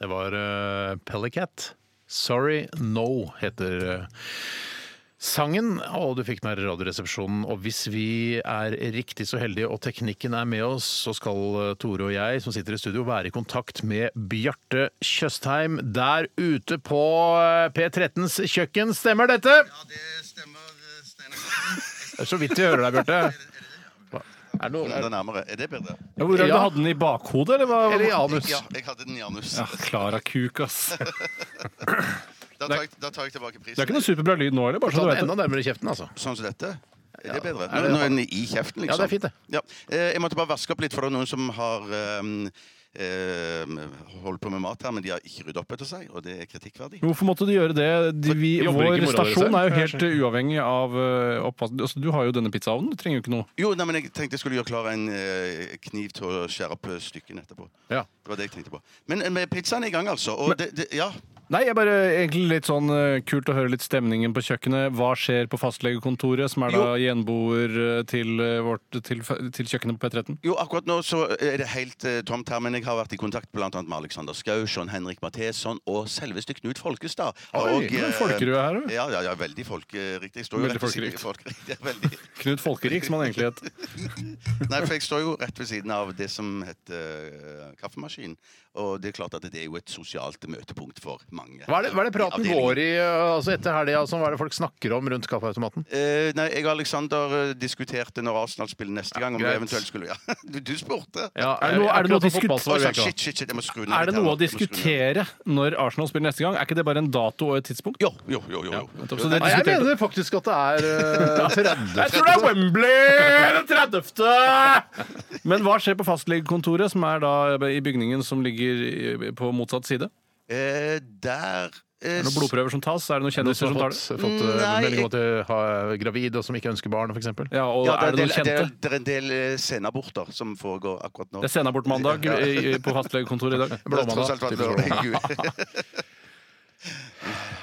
[SPEAKER 4] Det var eh, Pellicat. Sorry No heter eh, sangen, og du fikk den her i Radioresepsjonen. Og hvis vi er riktig så heldige og teknikken er med oss, så skal eh, Tore og jeg som sitter i studio være i kontakt med Bjarte Tjøstheim der ute på eh, P13s kjøkken. Stemmer dette?
[SPEAKER 6] Ja, det stemmer, Steinar.
[SPEAKER 4] Det er så vidt vi hører deg, Bjarte. Hva? Er det noe,
[SPEAKER 6] Kom
[SPEAKER 4] er,
[SPEAKER 6] deg nærmere. Er det bedre?
[SPEAKER 5] Ja, hvor er det
[SPEAKER 4] Ja.
[SPEAKER 5] Du hadde den i bakhodet, eller hva?
[SPEAKER 4] eller i anus?
[SPEAKER 6] Ja, jeg hadde den i anus.
[SPEAKER 5] Ja, Klara Kuk, ass. Det
[SPEAKER 6] Da tar jeg, da tar jeg tilbake prisen.
[SPEAKER 5] er ikke noe superbra lyd nå, eller? Bare
[SPEAKER 4] Ta
[SPEAKER 5] så du
[SPEAKER 4] den
[SPEAKER 5] vet
[SPEAKER 4] enda
[SPEAKER 5] det.
[SPEAKER 4] nærmere kjeften, altså.
[SPEAKER 6] Sånn som dette? Er det bedre?
[SPEAKER 4] Er det-
[SPEAKER 6] Nå, nå er den i kjeften, liksom.
[SPEAKER 4] Ja, det er fint, det.
[SPEAKER 6] Ja. Eh, Jeg måtte bare vaske opp litt, for det er noen som har ehm, ehm, holdt på med mat her, men de har ikke ryddet opp etter seg, og det er kritikkverdig.
[SPEAKER 5] Hvorfor måtte du gjøre det? De, vi,
[SPEAKER 4] Jobber
[SPEAKER 5] vår
[SPEAKER 4] ikke mora deres
[SPEAKER 5] stasjon
[SPEAKER 4] her?
[SPEAKER 5] er jo helt uh, uavhengig av uh, oppvask. Altså, du har jo denne pizzaovnen, du trenger jo ikke noe.
[SPEAKER 6] Jo, nei, men jeg tenkte jeg skulle gjøre klar en eh, kniv til å skjære opp eh, stykken etterpå.
[SPEAKER 4] Ja.
[SPEAKER 6] Det var det jeg tenkte på. Men eh, med pizzaen er i gang, altså. Og det, det, ja.
[SPEAKER 5] Nei, jeg bare egentlig litt sånn eh, kult å høre litt stemningen på kjøkkenet. Hva skjer på fastlegekontoret, som er da gjenboer eh, til, eh, vårt, til, til kjøkkenet på P13?
[SPEAKER 6] Jo, akkurat nå så er det helt eh, tomt her, men jeg har vært i kontakt blant annet med Alexander Skau, John Henrik Matheson og selveste Knut Folkestad.
[SPEAKER 5] Oi,
[SPEAKER 6] Og,
[SPEAKER 5] men
[SPEAKER 6] eh,
[SPEAKER 5] folkerud er her, du.
[SPEAKER 6] Ja, ja, ja, veldig folkeriktig. Jeg står jo
[SPEAKER 5] Veldig
[SPEAKER 6] rett ved siden- folkeriktig, ja, veldig.
[SPEAKER 5] Knut Folkerik, som han egentlig het.
[SPEAKER 6] Nei, for jeg står jo rett ved siden av det som heter eh, kaffemaskin. Og det er klart at det er jo et sosialt møtepunkt for mange.
[SPEAKER 4] Hva er det, hva er det praten
[SPEAKER 6] avdelingen.
[SPEAKER 4] går i uh, altså etter helga? Altså, hva er det folk snakker om rundt kaffeautomaten?
[SPEAKER 6] Eh, nei, jeg og Alexander eh, diskuterte når Arsenal spiller neste gang, om vi
[SPEAKER 4] greit.
[SPEAKER 6] eventuelt skulle Ja, du, du spurte!
[SPEAKER 5] Er det noe- er det noe
[SPEAKER 4] akkurat på fotball så var
[SPEAKER 6] Oi,
[SPEAKER 4] vi
[SPEAKER 6] sånn,
[SPEAKER 4] ikke.
[SPEAKER 6] shit, shit, shit, jeg må skru ned
[SPEAKER 5] Er det
[SPEAKER 6] litt her
[SPEAKER 5] noe å
[SPEAKER 6] nå. Jeg må skru ned.
[SPEAKER 5] diskutere når Arsenal spiller neste gang? Er ikke det bare en dato og et tidspunkt?
[SPEAKER 6] Jo, jo, jo. jo, jo.
[SPEAKER 5] nettopp. Så det
[SPEAKER 4] Nei, jeg
[SPEAKER 5] diskuterte-
[SPEAKER 4] mener faktisk at det er uh, 30.
[SPEAKER 5] Jeg tror det er Wembley den 30. Men hva skjer på fastlegekontoret, som er da i bygningen som ligger i- på motsatt side?
[SPEAKER 6] Eh, der eh,
[SPEAKER 5] Er det noen blodprøver som tas? Er det noen
[SPEAKER 4] Noen
[SPEAKER 5] kjendiser
[SPEAKER 4] som
[SPEAKER 5] som
[SPEAKER 4] har
[SPEAKER 5] tar
[SPEAKER 4] fått,
[SPEAKER 5] det?
[SPEAKER 4] fått uh,
[SPEAKER 6] Nei,
[SPEAKER 4] melding
[SPEAKER 6] jeg-
[SPEAKER 4] om at du er gravid og som ikke ønsker barn, f.eks.?
[SPEAKER 5] Ja, og
[SPEAKER 6] ja,
[SPEAKER 5] er det noen
[SPEAKER 6] del- det, er,
[SPEAKER 5] kjente?
[SPEAKER 6] det er en del eh, senaborter som foregår akkurat nå.
[SPEAKER 5] Det er senabortmandag i- i- på fastlegekontoret i dag.
[SPEAKER 6] Det har tross alt
[SPEAKER 5] Blåmandag.
[SPEAKER 6] vært lørdag.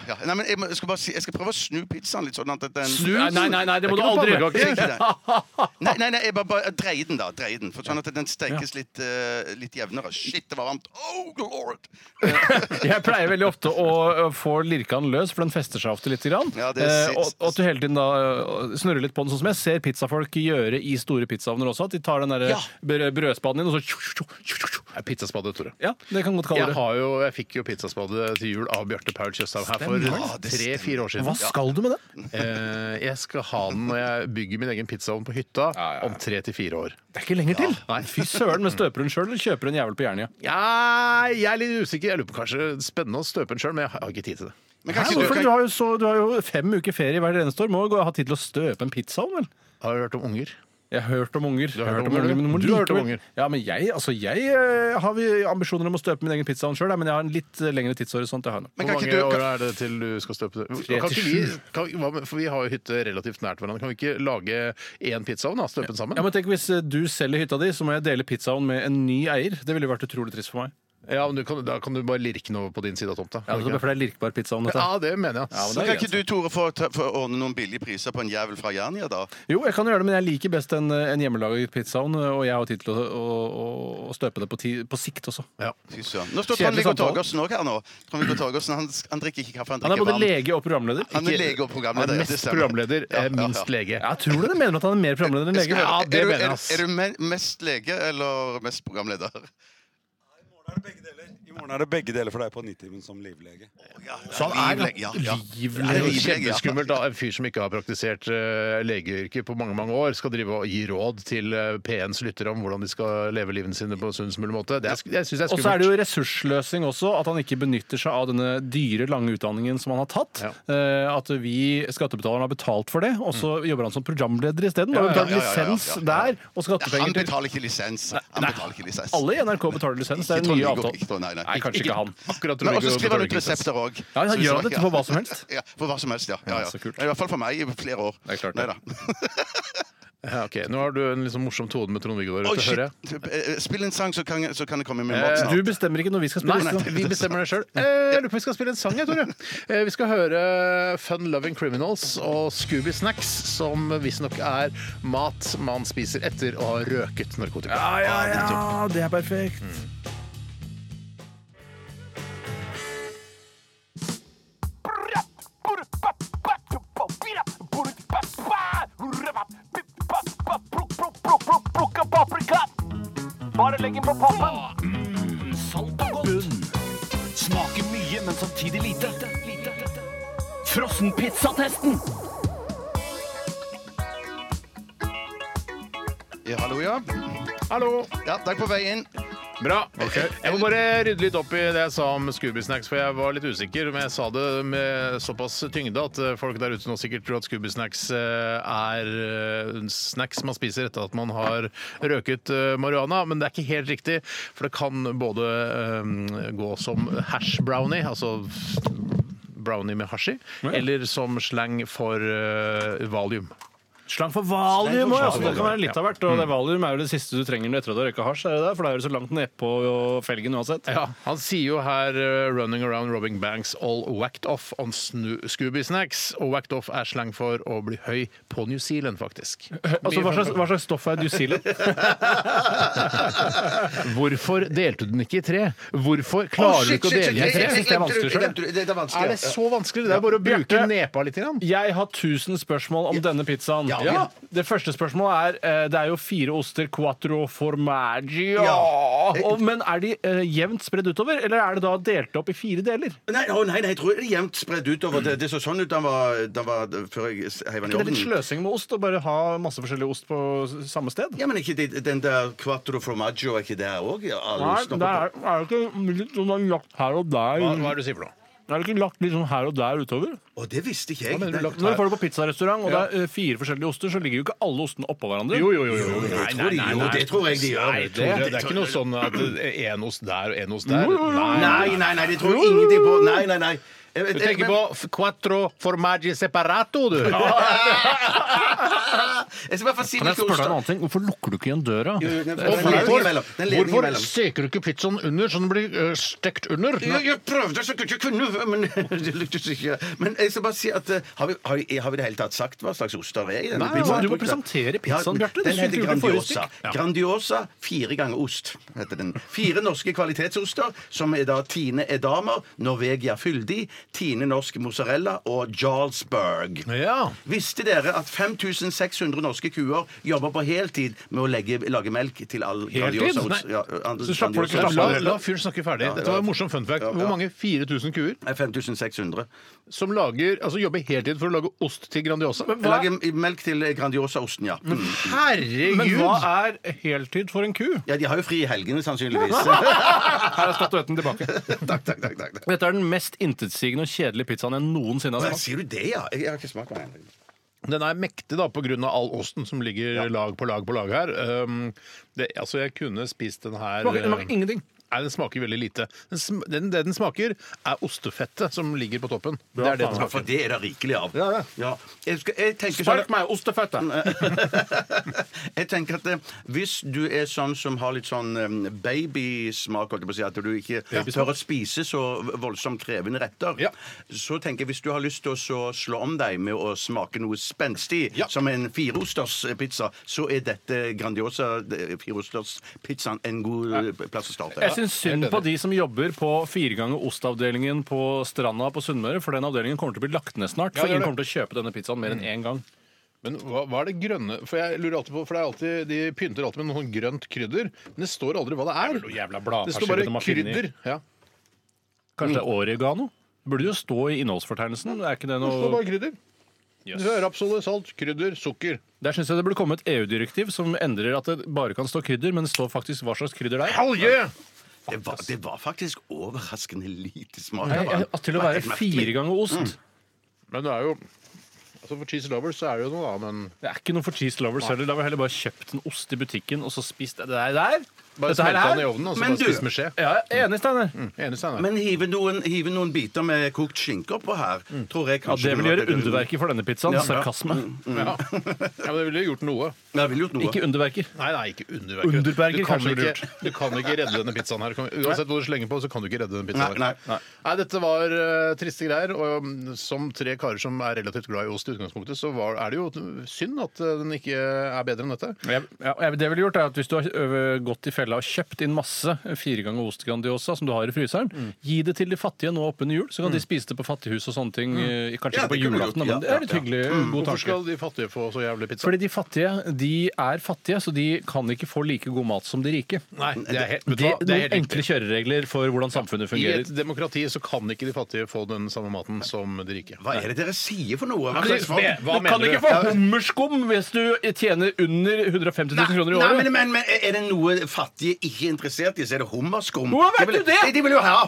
[SPEAKER 6] ja, nei, men jeg, må- jeg, skal bare si, jeg skal prøve å snu pizzaen litt sånn at den
[SPEAKER 5] Nei, nei, nei, nei, det må
[SPEAKER 4] Det
[SPEAKER 5] du
[SPEAKER 4] er ikke noe
[SPEAKER 5] aldri
[SPEAKER 4] problem.
[SPEAKER 5] gjøre.
[SPEAKER 6] Jeg skal ikke det. Nei, nei, nei, jeg bare, bare dreie den, da. Dreie den. For sånn at den stekes litt, eh, litt jevnere. Shit, det var varmt. Oh, lord!
[SPEAKER 5] Jeg pleier veldig ofte å ø, få lirka den løs, for den fester seg ofte litt. Grann.
[SPEAKER 6] Ja, det
[SPEAKER 5] Eh,
[SPEAKER 6] sier-
[SPEAKER 5] og, og at du hele tiden da ø, snurrer litt på den, sånn som jeg ser pizzafolk gjøre i store pizzaovner også. At de tar den der
[SPEAKER 6] Ja.
[SPEAKER 5] br- brødspaden din, og så tjo, tjo, tjo, tjo, tjo.
[SPEAKER 4] Det er Pizzaspade, Tore.
[SPEAKER 5] Ja, det kan godt kalle
[SPEAKER 4] Jeg,
[SPEAKER 5] det.
[SPEAKER 4] har jo, jeg fikk jo pizzaspade til jul av Bjarte Paul Tjøstheim her for
[SPEAKER 5] Stemmer.
[SPEAKER 6] Ja, det stemmer.
[SPEAKER 4] tre-fire år siden.
[SPEAKER 5] Hva skal du med det?
[SPEAKER 4] Eh, jeg skal ha den når jeg bygger min egen pizzaovn på hytta om tre til fire år.
[SPEAKER 5] Det er ikke lenger til. Nei, fy søren, men støper hun sjøl, eller kjøper hun jævel på Jernia?
[SPEAKER 4] Ja, jeg er litt usikker. Jeg lurer på kanskje Spennende å støpe den sjøl, men jeg har ikke tid til det.
[SPEAKER 6] Men
[SPEAKER 5] Hæ,
[SPEAKER 6] kanskje
[SPEAKER 5] hvorfor?
[SPEAKER 6] du
[SPEAKER 5] Du
[SPEAKER 6] kan
[SPEAKER 5] har, jo så, du har jo fem uker ferie hvert eneste år. Må jo gå- ha tid til å støpe en pizzaovn, vel?
[SPEAKER 4] Har du hørt om unger?
[SPEAKER 5] Jeg har hørt om unger.
[SPEAKER 4] har
[SPEAKER 5] Jeg
[SPEAKER 4] hørt om unger, du.
[SPEAKER 5] men må
[SPEAKER 4] Du har hørt om
[SPEAKER 5] likevel-
[SPEAKER 4] unger.
[SPEAKER 5] Ja, men jeg, altså, jeg eh, har vi ambisjoner om å støpe min egen pizzaovn sjøl, men jeg har en litt eh, lengre tidshorisont. Jeg har nå.
[SPEAKER 6] Men
[SPEAKER 4] Hvor mange
[SPEAKER 6] kan ikke du-
[SPEAKER 4] år
[SPEAKER 6] kan-
[SPEAKER 4] er det til du skal støpe det?
[SPEAKER 5] til
[SPEAKER 4] Kan ikke vi,
[SPEAKER 5] sju.
[SPEAKER 4] kan, hva med- for vi har jo hytte relativt nært hverandre. Kan vi ikke lage én pizzaovn og støpe den sammen?
[SPEAKER 5] Ja, men tenk Hvis eh, du selger hytta di, så må jeg dele pizzaen med en ny eier. Det ville jo vært utrolig trist for meg.
[SPEAKER 4] Ja, men du kan, Da kan du bare lirke den over på din side av tomta.
[SPEAKER 5] Ja,
[SPEAKER 4] Kan du ikke
[SPEAKER 5] for det er lirkbar pizzaovn,
[SPEAKER 4] det?
[SPEAKER 5] dette.
[SPEAKER 4] ja, det mener jeg.
[SPEAKER 5] Ja, men
[SPEAKER 6] men
[SPEAKER 5] det
[SPEAKER 6] kan
[SPEAKER 5] er
[SPEAKER 6] ikke
[SPEAKER 5] greit.
[SPEAKER 6] du, Tore, få, ta- få ordne noen billige priser på en jævel fra Jernia, da?
[SPEAKER 5] Jo, jeg kan gjøre det, men jeg liker best en, eh, en hjemmelaget pizzaovn, eh, og jeg har tid til å, å, å- å støpe det på, ti, på sikt også.
[SPEAKER 6] Fy søren. Nå står
[SPEAKER 5] Kjedelig
[SPEAKER 6] Trond-Viggo
[SPEAKER 5] samtale.
[SPEAKER 6] Torgersen òg her nå. Trond-Viggo Torgersen, han, han drikker ikke kaffe, han
[SPEAKER 5] Han er
[SPEAKER 6] drikker
[SPEAKER 5] både
[SPEAKER 6] varm.
[SPEAKER 5] lege og programleder.
[SPEAKER 6] Han er
[SPEAKER 5] Ikke-
[SPEAKER 6] lege
[SPEAKER 4] Han
[SPEAKER 6] og programleder.
[SPEAKER 4] er
[SPEAKER 6] ja, det
[SPEAKER 4] mest
[SPEAKER 6] stemmer.
[SPEAKER 4] programleder,
[SPEAKER 6] Ja,
[SPEAKER 4] er
[SPEAKER 6] ja, ja.
[SPEAKER 4] minst lege.
[SPEAKER 5] eh, Ja, tror du det mener at han er mer programleder enn lege?
[SPEAKER 4] Ja, det
[SPEAKER 6] er, du,
[SPEAKER 4] mener jeg,
[SPEAKER 6] er,
[SPEAKER 4] ass.
[SPEAKER 6] er du me- mest lege eller mest programleder?
[SPEAKER 11] I morgen er det begge deler for deg på Nitimen som livlege.
[SPEAKER 5] Sånn
[SPEAKER 4] Så han er
[SPEAKER 6] Livlege, ja, ja.
[SPEAKER 4] livlege.
[SPEAKER 6] Ja,
[SPEAKER 4] og
[SPEAKER 6] livlege, ja.
[SPEAKER 4] Kjempeskummelt. da. En fyr som ikke har praktisert eh, legeyrket på mange mange år, skal drive og gi råd til eh, P1s lyttere om hvordan de skal leve livene sine på sunnest mulig måte. Det er, sk- jeg synes det er
[SPEAKER 5] Og så er
[SPEAKER 4] skummelt.
[SPEAKER 5] det jo ressursløsing også, at han ikke benytter seg av denne dyre, lange utdanningen som han har tatt.
[SPEAKER 4] Ja.
[SPEAKER 5] Eh, At vi skattebetalerne har betalt for det, og så jobber han som programleder isteden. Da har vi betalt
[SPEAKER 6] ja, ja, ja, ja,
[SPEAKER 5] lisens
[SPEAKER 6] ja, ja.
[SPEAKER 5] der, og
[SPEAKER 6] Han
[SPEAKER 5] skattepenger til
[SPEAKER 6] betaler ikke lisens. Han betaler ikke lisens.
[SPEAKER 5] Alle i NRK betaler lisens. Det er
[SPEAKER 6] Ikke
[SPEAKER 5] den nye
[SPEAKER 6] Trond-Viggo, ikke
[SPEAKER 5] avtalen.
[SPEAKER 6] Trond, nei, nei.
[SPEAKER 5] Nei, kanskje ikke han.
[SPEAKER 4] Akkurat
[SPEAKER 6] Men
[SPEAKER 4] Trond-Viggo
[SPEAKER 6] også skriver han
[SPEAKER 4] betaler
[SPEAKER 6] ut
[SPEAKER 4] ikke
[SPEAKER 6] resepter òg.
[SPEAKER 5] Ja, han gjør dette på hva som helst.
[SPEAKER 6] Ja, for hva som helst, ja. ja,
[SPEAKER 5] Ja,
[SPEAKER 6] ja.
[SPEAKER 5] så kult.
[SPEAKER 6] I hvert fall for meg i flere år.
[SPEAKER 5] Det er klart det.
[SPEAKER 6] Neida.
[SPEAKER 4] Ja, ok. Nå har du en liksom morsom tone med Trond-Viggo der
[SPEAKER 6] Oi,
[SPEAKER 4] ute, hører jeg.
[SPEAKER 6] shit. Eh, Spill en sang, så kan, jeg- så kan det komme med mat
[SPEAKER 5] Eh, Du
[SPEAKER 6] snart.
[SPEAKER 5] bestemmer ikke når vi skal
[SPEAKER 4] Eh, Nei,
[SPEAKER 5] spille.
[SPEAKER 4] vi bestemmer det sjøl. Jeg lurer på om vi skal spille en sang, jeg, Tore. Eh, Vi skal høre Fun Loving Criminals og Scooby Snacks, som visstnok er mat man spiser etter å ha røket narkotika.
[SPEAKER 5] Ja, ja, ja, det er perfekt.
[SPEAKER 12] Bare legg den på pappen. salt og godt. Smaker mye, men samtidig lite. Frossenpizzatesten.
[SPEAKER 6] Ja, hallo, ja.
[SPEAKER 7] ja.
[SPEAKER 4] Hallo.
[SPEAKER 7] Ja, da er jeg på vei inn.
[SPEAKER 4] Bra. Jeg må bare Eh, rydde litt opp i det jeg sa om Scoobysnacks, for jeg var litt usikker. Men jeg sa det med såpass tyngde at eh, folk der ute nå sikkert tror at Scoobysnacks eh, er eh, snacks man spiser etter at man har røket eh, marihuana. Men det er ikke helt riktig, for det kan både eh, gå som hash brownie, altså brownie med hasj i, eller som slang for eh, valium.
[SPEAKER 5] Slang for valium òg, altså. Det kan være
[SPEAKER 4] valium,
[SPEAKER 5] litt av hvert. Og det valium er jo det siste du trenger etter at du har røyka hasj, er det der? For da er du så langt nedpå felgen uansett.
[SPEAKER 4] Ja, Han sier jo her eh, 'running around robbing banks all whacked off on snu- Scooby snacks'. Og whacked off er slang for å bli høy på New Zealand, faktisk.
[SPEAKER 5] Altså, hva slags, hva slags stoff er New Zealand?
[SPEAKER 4] Hvorfor delte du den ikke i tre? Hvorfor klarer du ikke å dele den i
[SPEAKER 5] shit,
[SPEAKER 4] tre?
[SPEAKER 5] shit, shit.
[SPEAKER 4] Er det så vanskelig? Det er bare å bruke
[SPEAKER 5] Bjarte.
[SPEAKER 4] nepa litt. Grann.
[SPEAKER 5] Jeg har 1000 spørsmål om denne pizzaen.
[SPEAKER 4] Ja.
[SPEAKER 5] Ja. Det første spørsmålet er eh, Det er jo fire oster, quattro formaggio. Og, men er de eh, jevnt spredd utover, eller er det da delt opp i fire deler?
[SPEAKER 6] Nei, å nei, nei, jeg tror det er jevnt spredt utover. Det, det så sånn ut da han var, da han var før jeg heiv den i
[SPEAKER 5] Det er litt
[SPEAKER 6] ovnen.
[SPEAKER 5] sløsing med ost å bare ha masse forskjellig ost på s- samme sted.
[SPEAKER 6] Ja, men er ikke det, den der quattro formaggio, er ikke det her òg?
[SPEAKER 5] Nei, det er, er det ikke litt sånn lagt her og der
[SPEAKER 4] Hva, hva er det du sier for noe?
[SPEAKER 5] Er det ikke lagt litt sånn her og der utover?
[SPEAKER 6] Å, det visste ikke
[SPEAKER 4] Hva
[SPEAKER 6] jeg.
[SPEAKER 4] mener du, lagt
[SPEAKER 5] Når du får det på pizzarestaurant, og
[SPEAKER 4] Ja.
[SPEAKER 5] det er eh, fire forskjellige oster, så ligger jo ikke alle ostene oppå hverandre.
[SPEAKER 4] Jo, jo, jo. jo. Nei,
[SPEAKER 6] tror de gjør. Det tror jeg de gjør.
[SPEAKER 4] Nei,
[SPEAKER 6] Det-
[SPEAKER 4] Tore,
[SPEAKER 6] det-
[SPEAKER 4] det er ikke noe sånn at én ost der og én ost der.
[SPEAKER 6] Nei, nei, nei, det tror jeg ingenting på. Nei, nei, nei. Jeg-
[SPEAKER 4] Du
[SPEAKER 6] jeg-
[SPEAKER 4] tenker
[SPEAKER 6] men-
[SPEAKER 4] på f- quattro formaggi separato, du.
[SPEAKER 6] Jeg skal i hvert fall si
[SPEAKER 5] Kan jeg
[SPEAKER 6] litt
[SPEAKER 5] spørre
[SPEAKER 6] ost.
[SPEAKER 5] deg en
[SPEAKER 6] da.
[SPEAKER 5] annen ting? Hvorfor lukker du ikke igjen døra?
[SPEAKER 6] Jo, jo,
[SPEAKER 4] Og
[SPEAKER 6] den- den ledningen
[SPEAKER 4] Eh, hvorfor,
[SPEAKER 6] imellom. Den ledningen
[SPEAKER 4] hvorfor
[SPEAKER 6] imellom.
[SPEAKER 4] steker du ikke pizzaen under, så den blir ø, stekt under?
[SPEAKER 6] Jeg, jeg prøvde så godt jeg kunne, men det lyktes ikke. Men jeg skal bare si at eh, har vi, har vi, har vi det hele tatt sagt hva slags ost det er i denne
[SPEAKER 5] Nei, altså, du må presentere pizzaen, Bjarte. Det
[SPEAKER 6] Den
[SPEAKER 5] synes
[SPEAKER 6] heter
[SPEAKER 5] jeg du gjorde forrige
[SPEAKER 6] Grandiosa.
[SPEAKER 5] stikk.
[SPEAKER 6] Grandiosa fire ganger ost heter den. Fire norske kvalitetsoster, som er da Tine Edamer, Norvegia Fyldig, Tine Norsk Mozzarella og Jarlsberg.
[SPEAKER 4] Ja.
[SPEAKER 6] Visste dere at 5600 norske kuer jobber på heltid med å legge, lage melk til all
[SPEAKER 4] Heltid?
[SPEAKER 6] Grandiosa?
[SPEAKER 4] Nei.
[SPEAKER 5] Så slapp folk å
[SPEAKER 4] La,
[SPEAKER 5] slappe
[SPEAKER 4] la,
[SPEAKER 5] av.
[SPEAKER 4] la fyren snakke ferdig. Dette var en morsom fun fact.
[SPEAKER 6] Ja, ja.
[SPEAKER 4] Hvor mange 4000 kuer
[SPEAKER 6] 5600.
[SPEAKER 4] som lager, altså jobber heltid for å lage ost til Grandiosa?
[SPEAKER 6] Jeg lager melk til Grandiosa-osten, ja. Mm.
[SPEAKER 5] Men
[SPEAKER 4] Herregud!
[SPEAKER 5] hva er heltid for en ku?
[SPEAKER 6] Ja, De har jo fri i helgene, sannsynligvis.
[SPEAKER 5] Her er statuetten tilbake.
[SPEAKER 6] takk, takk, takk, takk. takk.
[SPEAKER 5] Dette er den mest intetsigende og kjedelige pizzaen jeg noensinne har
[SPEAKER 6] Hva,
[SPEAKER 5] smakt.
[SPEAKER 6] sier du det, ja? Jeg har ikke smakt på den.
[SPEAKER 4] Den er mektig da, pga. all osten som ligger lag på lag på lag her. Um, det, altså, jeg kunne spist den her
[SPEAKER 5] Smaker- den
[SPEAKER 4] ø,
[SPEAKER 5] smaker ingenting.
[SPEAKER 4] Nei, Den smaker veldig lite. Den, sm- den, det den smaker, er ostefettet som ligger på toppen. Det er det den
[SPEAKER 6] Ja, for
[SPEAKER 4] smaker.
[SPEAKER 6] det er det rikelig av.
[SPEAKER 4] Ja, ja.
[SPEAKER 6] Jeg, skal, jeg tenker sånn
[SPEAKER 5] Spark meg, ostefett! da.
[SPEAKER 6] jeg tenker at eh, Hvis du er sånn som har litt sånn eh, babysmak, holdt jeg på å si, at du ikke tør å spise så voldsomt krevende retter,
[SPEAKER 4] Ja.
[SPEAKER 6] så tenker jeg hvis du har lyst til å så slå om deg med å smake noe spenstig,
[SPEAKER 4] Ja.
[SPEAKER 6] som en fireosters pizza, så er dette Grandiosa eh, fireosters pizzaen en god eh, plass å starte.
[SPEAKER 5] Jeg syns synd på de som jobber på fire ganger ostavdelingen på Stranda på Sunnmøre, for den avdelingen kommer til å bli lagt ned snart. For
[SPEAKER 4] det er
[SPEAKER 5] ingen
[SPEAKER 4] det. Mm.
[SPEAKER 5] kommer til å kjøpe denne pizzaen mer enn én gang.
[SPEAKER 4] Men hva, hva er det grønne For jeg lurer alltid på, for det er alltid, de pynter alltid med noe sånn grønt krydder, men det står aldri hva det er.
[SPEAKER 5] noe jævla bladfarse
[SPEAKER 4] det står bare
[SPEAKER 5] de har funnet i.
[SPEAKER 4] krydder. Ja.
[SPEAKER 5] Kanskje det er oregano? Det burde jo stå i innholdsfortegnelsen. Er ikke det
[SPEAKER 4] Mm. Det står
[SPEAKER 5] noe
[SPEAKER 4] bare krydder.
[SPEAKER 5] Jøss.
[SPEAKER 4] Du har Rapsolje, salt, krydder, sukker.
[SPEAKER 5] Der syns jeg det burde komme et EU-direktiv som endrer at det bare kan stå krydder, men det står faktisk hva slags krydder det er.
[SPEAKER 4] Olje!
[SPEAKER 6] Det var, det var faktisk overraskende lite smak.
[SPEAKER 5] Nei,
[SPEAKER 6] av den.
[SPEAKER 5] at til å
[SPEAKER 6] Det var
[SPEAKER 5] være
[SPEAKER 6] helt merkelig.
[SPEAKER 5] fire ganger
[SPEAKER 4] Mm.
[SPEAKER 5] ost.
[SPEAKER 4] Men det er jo Altså For cheese lovers så er det jo noe, da, men
[SPEAKER 5] Det er ikke noe for cheese lovers heller. Da har vi heller bare kjøpt en ost i butikken og så spist det der. der.
[SPEAKER 4] Bare
[SPEAKER 5] Dette her
[SPEAKER 4] smelte den i
[SPEAKER 5] er-
[SPEAKER 4] ovnen og så
[SPEAKER 6] Men
[SPEAKER 4] bare
[SPEAKER 6] du-
[SPEAKER 4] spise med skje.
[SPEAKER 5] Ja, jeg er enig, Steinar.
[SPEAKER 4] Enig, Steinar.
[SPEAKER 6] Men hive noen, hive noen biter med kokt skinke oppå her, tror jeg
[SPEAKER 5] Mm. Ja,
[SPEAKER 6] kanskje
[SPEAKER 5] det vil
[SPEAKER 6] var
[SPEAKER 5] gjøre
[SPEAKER 6] bedre.
[SPEAKER 5] underverker for denne pizzaen.
[SPEAKER 6] Ja, ja.
[SPEAKER 5] Sarkasme.
[SPEAKER 4] Ja. ja, men det ville gjort noe.
[SPEAKER 6] Ja, det ville gjort noe.
[SPEAKER 5] Ikke underverker.
[SPEAKER 4] Nei, nei, ikke underverker.
[SPEAKER 5] Underberger
[SPEAKER 4] du, kan
[SPEAKER 5] kanskje ville
[SPEAKER 4] ikke, du kan ikke redde denne pizzaen her. Kan- Uansett hvor du slenger på, så kan du ikke redde denne pizzaen.
[SPEAKER 6] Nei,
[SPEAKER 4] her. Nei, dette var eh, triste greier. Og mm, som tre karer som er relativt glad i ost i utgangspunktet, så var, er det jo synd at eh, den ikke er bedre enn dette.
[SPEAKER 5] Ja, ja, det ville gjort er at Hvis du har ø, gått i fella fella og kjøpt inn masse eh, firegang og ost Grandiosa som du har i fryseren.
[SPEAKER 4] Mm.
[SPEAKER 5] Gi det til de fattige nå oppunder jul, så kan de spise det på fattighus og sånne
[SPEAKER 4] Mm.
[SPEAKER 5] ting. eh, Kanskje
[SPEAKER 6] Ja,
[SPEAKER 5] ikke på
[SPEAKER 6] det kunne du
[SPEAKER 5] julaften, men
[SPEAKER 6] gjort. Ja,
[SPEAKER 5] det er litt
[SPEAKER 6] ja, ja.
[SPEAKER 5] hyggelig.
[SPEAKER 6] Mm.
[SPEAKER 5] God
[SPEAKER 4] Hvorfor
[SPEAKER 5] tanke.
[SPEAKER 4] skal de fattige få så jævlig pizza?
[SPEAKER 5] Fordi de fattige de er fattige, så de kan ikke få like god mat som de rike.
[SPEAKER 4] Nei, det er helt, vet
[SPEAKER 5] Det,
[SPEAKER 4] du hva? Det er
[SPEAKER 5] noen
[SPEAKER 4] helt riktig.
[SPEAKER 5] enkle kjøreregler for hvordan samfunnet
[SPEAKER 4] I
[SPEAKER 5] fungerer.
[SPEAKER 4] et demokrati så kan ikke de fattige få den samme maten som de rike.
[SPEAKER 6] Hva er det dere sier for noe? Hva
[SPEAKER 4] Nei,
[SPEAKER 6] slags folk?
[SPEAKER 4] det- hva
[SPEAKER 5] Du kan
[SPEAKER 4] mener
[SPEAKER 5] ikke
[SPEAKER 4] du?
[SPEAKER 5] få hummerskum hvis du tjener under 150 000 kroner i
[SPEAKER 6] Nei,
[SPEAKER 5] året.
[SPEAKER 6] men, men, men Er det noe fattige ikke er interessert i, så er det hummerskum.
[SPEAKER 5] Hvordan vet
[SPEAKER 6] De vil-
[SPEAKER 5] du det?
[SPEAKER 6] De, de vil jo ha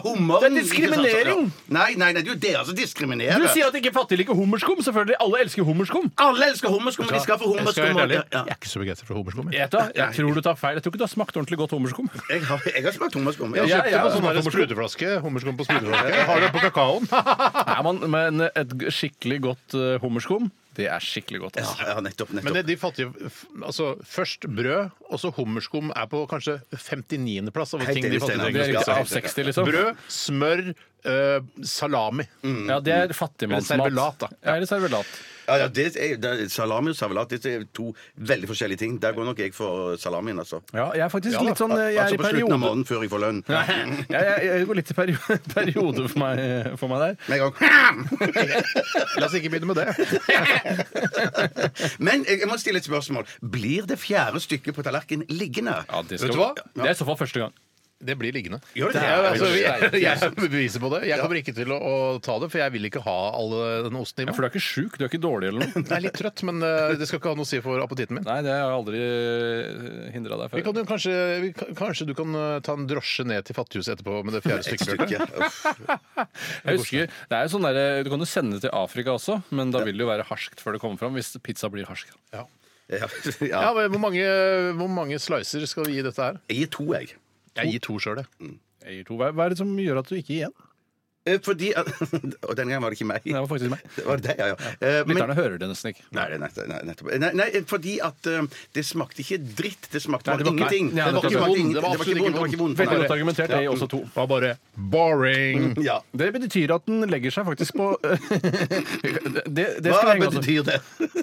[SPEAKER 5] Det
[SPEAKER 6] hummeren.
[SPEAKER 5] er diskriminering.
[SPEAKER 6] ikke sant? Ja. Nei, nei, nei, det er jo dere som diskriminerer.
[SPEAKER 5] Du sier at ikke fattige liker hummerskum. Selvfølgelig, alle elsker hummerskum.
[SPEAKER 6] Alle elsker hummerskum, og de skal få
[SPEAKER 4] Jeg skal
[SPEAKER 6] hummerskum.
[SPEAKER 4] være ærlig,
[SPEAKER 6] Ja, ja.
[SPEAKER 4] jeg er ikke så begeistret for hummerskum. jeg.
[SPEAKER 5] Jeg, vet da, jeg tror du tar feil. Jeg tror ikke du har smakt ordentlig godt hummerskum.
[SPEAKER 6] Jeg har, jeg har smakt hummerskum.
[SPEAKER 4] Jeg
[SPEAKER 5] Ja,
[SPEAKER 4] kjøpte
[SPEAKER 5] ja,
[SPEAKER 4] på sånn
[SPEAKER 5] ja.
[SPEAKER 4] der spruteflaske. Hummerskum på spruteflaske. Jeg har det på kakaoen.
[SPEAKER 5] Nei, man, men et g- skikkelig godt eh, hummerskum, det er skikkelig godt.
[SPEAKER 6] Ja,
[SPEAKER 5] Altså.
[SPEAKER 6] ja, nettopp, nettopp.
[SPEAKER 4] Men det, de fattige f- Altså, først brød, og så hummerskum er på kanskje 59. plass av
[SPEAKER 6] Helt
[SPEAKER 4] ting de
[SPEAKER 6] enig,
[SPEAKER 4] fattige
[SPEAKER 6] Steinar.
[SPEAKER 5] Det
[SPEAKER 4] trenger.
[SPEAKER 5] er
[SPEAKER 6] Ja,
[SPEAKER 5] riktig
[SPEAKER 6] ja,
[SPEAKER 5] av 60, liksom.
[SPEAKER 4] Brød, smør, eh, salami.
[SPEAKER 5] Ja, det er fattigmannsmat.
[SPEAKER 4] Eller servelat, da.
[SPEAKER 5] Ja, eller servelat.
[SPEAKER 6] Ja, ja, det er, det er, salami og servelat det er to veldig forskjellige ting. Der går nok jeg for salamien, altså.
[SPEAKER 5] Ja, jeg er faktisk
[SPEAKER 4] Ja, da.
[SPEAKER 5] litt sånn eh, Jeg er i
[SPEAKER 6] altså på slutten av
[SPEAKER 5] periode.
[SPEAKER 6] måneden før jeg får lønn.
[SPEAKER 5] Nei, jeg, jeg, jeg går litt i periode, periode for, meg, eh, for meg der.
[SPEAKER 6] Med en gang.
[SPEAKER 4] La oss ikke begynne med det.
[SPEAKER 6] Men jeg jeg må stille et spørsmål. Blir det fjerde stykket på tallerkenen liggende?
[SPEAKER 5] det,
[SPEAKER 4] skal- Vet du hva?
[SPEAKER 5] det er i så fall første gang.
[SPEAKER 4] Det blir liggende.
[SPEAKER 6] Gjør det?
[SPEAKER 4] Jeg, altså,
[SPEAKER 6] Oi,
[SPEAKER 4] jeg, jeg er beviset på det. Jeg kommer ikke til å, å ta det, for jeg vil ikke ha all den osten i
[SPEAKER 5] Ja, for
[SPEAKER 4] meg.
[SPEAKER 5] du er ikke sjuk, du er ikke dårlig eller noe.
[SPEAKER 4] Jeg er litt trøtt, men eh, det skal ikke ha noe å si for appetitten min.
[SPEAKER 5] Nei, det har jeg aldri hindra deg
[SPEAKER 4] Vi
[SPEAKER 5] før.
[SPEAKER 4] kan jo kanskje, vi, kan- kanskje du kan eh, ta en drosje ned til Fattighuset etterpå med det fjerde
[SPEAKER 6] Et
[SPEAKER 4] stykket? Bjarte?
[SPEAKER 6] stykke. Uff.
[SPEAKER 5] Jeg husker, det er jo sånn der, Du kan jo sende det til Afrika også, men da vil det jo være harskt før det kommer fram. Hvis pizza blir harsk.
[SPEAKER 6] Ja,
[SPEAKER 4] Ja,
[SPEAKER 6] ja.
[SPEAKER 4] men hvor mange, hvor mange slicer skal vi gi dette her?
[SPEAKER 6] Jeg gir to, jeg.
[SPEAKER 4] Jeg gir to sjøl, jeg.
[SPEAKER 5] Jeg gir to. Hva hva er det som gjør at du ikke gir igjen?
[SPEAKER 6] Eh, Fordi Og denne gangen var det ikke meg.
[SPEAKER 5] Det var faktisk meg.
[SPEAKER 6] Det var det, ja, ja. Eh, men-
[SPEAKER 5] Lytterne hører det nesten ikke.
[SPEAKER 6] Nei, det er nett- nei, nettopp. Nei, nei, fordi at eh, det smakte ikke dritt. Det smakte
[SPEAKER 5] Nei, det var
[SPEAKER 6] bare
[SPEAKER 5] ikke-
[SPEAKER 6] ingenting.
[SPEAKER 5] Nei,
[SPEAKER 6] Det var
[SPEAKER 5] nettopp.
[SPEAKER 6] ikke-
[SPEAKER 4] Vond,
[SPEAKER 6] det var ikke det var ikke vondt.
[SPEAKER 5] Veldig
[SPEAKER 6] Nei.
[SPEAKER 5] godt argumentert. Jeg gir også to.
[SPEAKER 4] Var bare boring.
[SPEAKER 6] Ja.
[SPEAKER 5] Det betyr at den legger seg faktisk på det, det,
[SPEAKER 6] Hva
[SPEAKER 5] skal jeg også.
[SPEAKER 6] betyr det?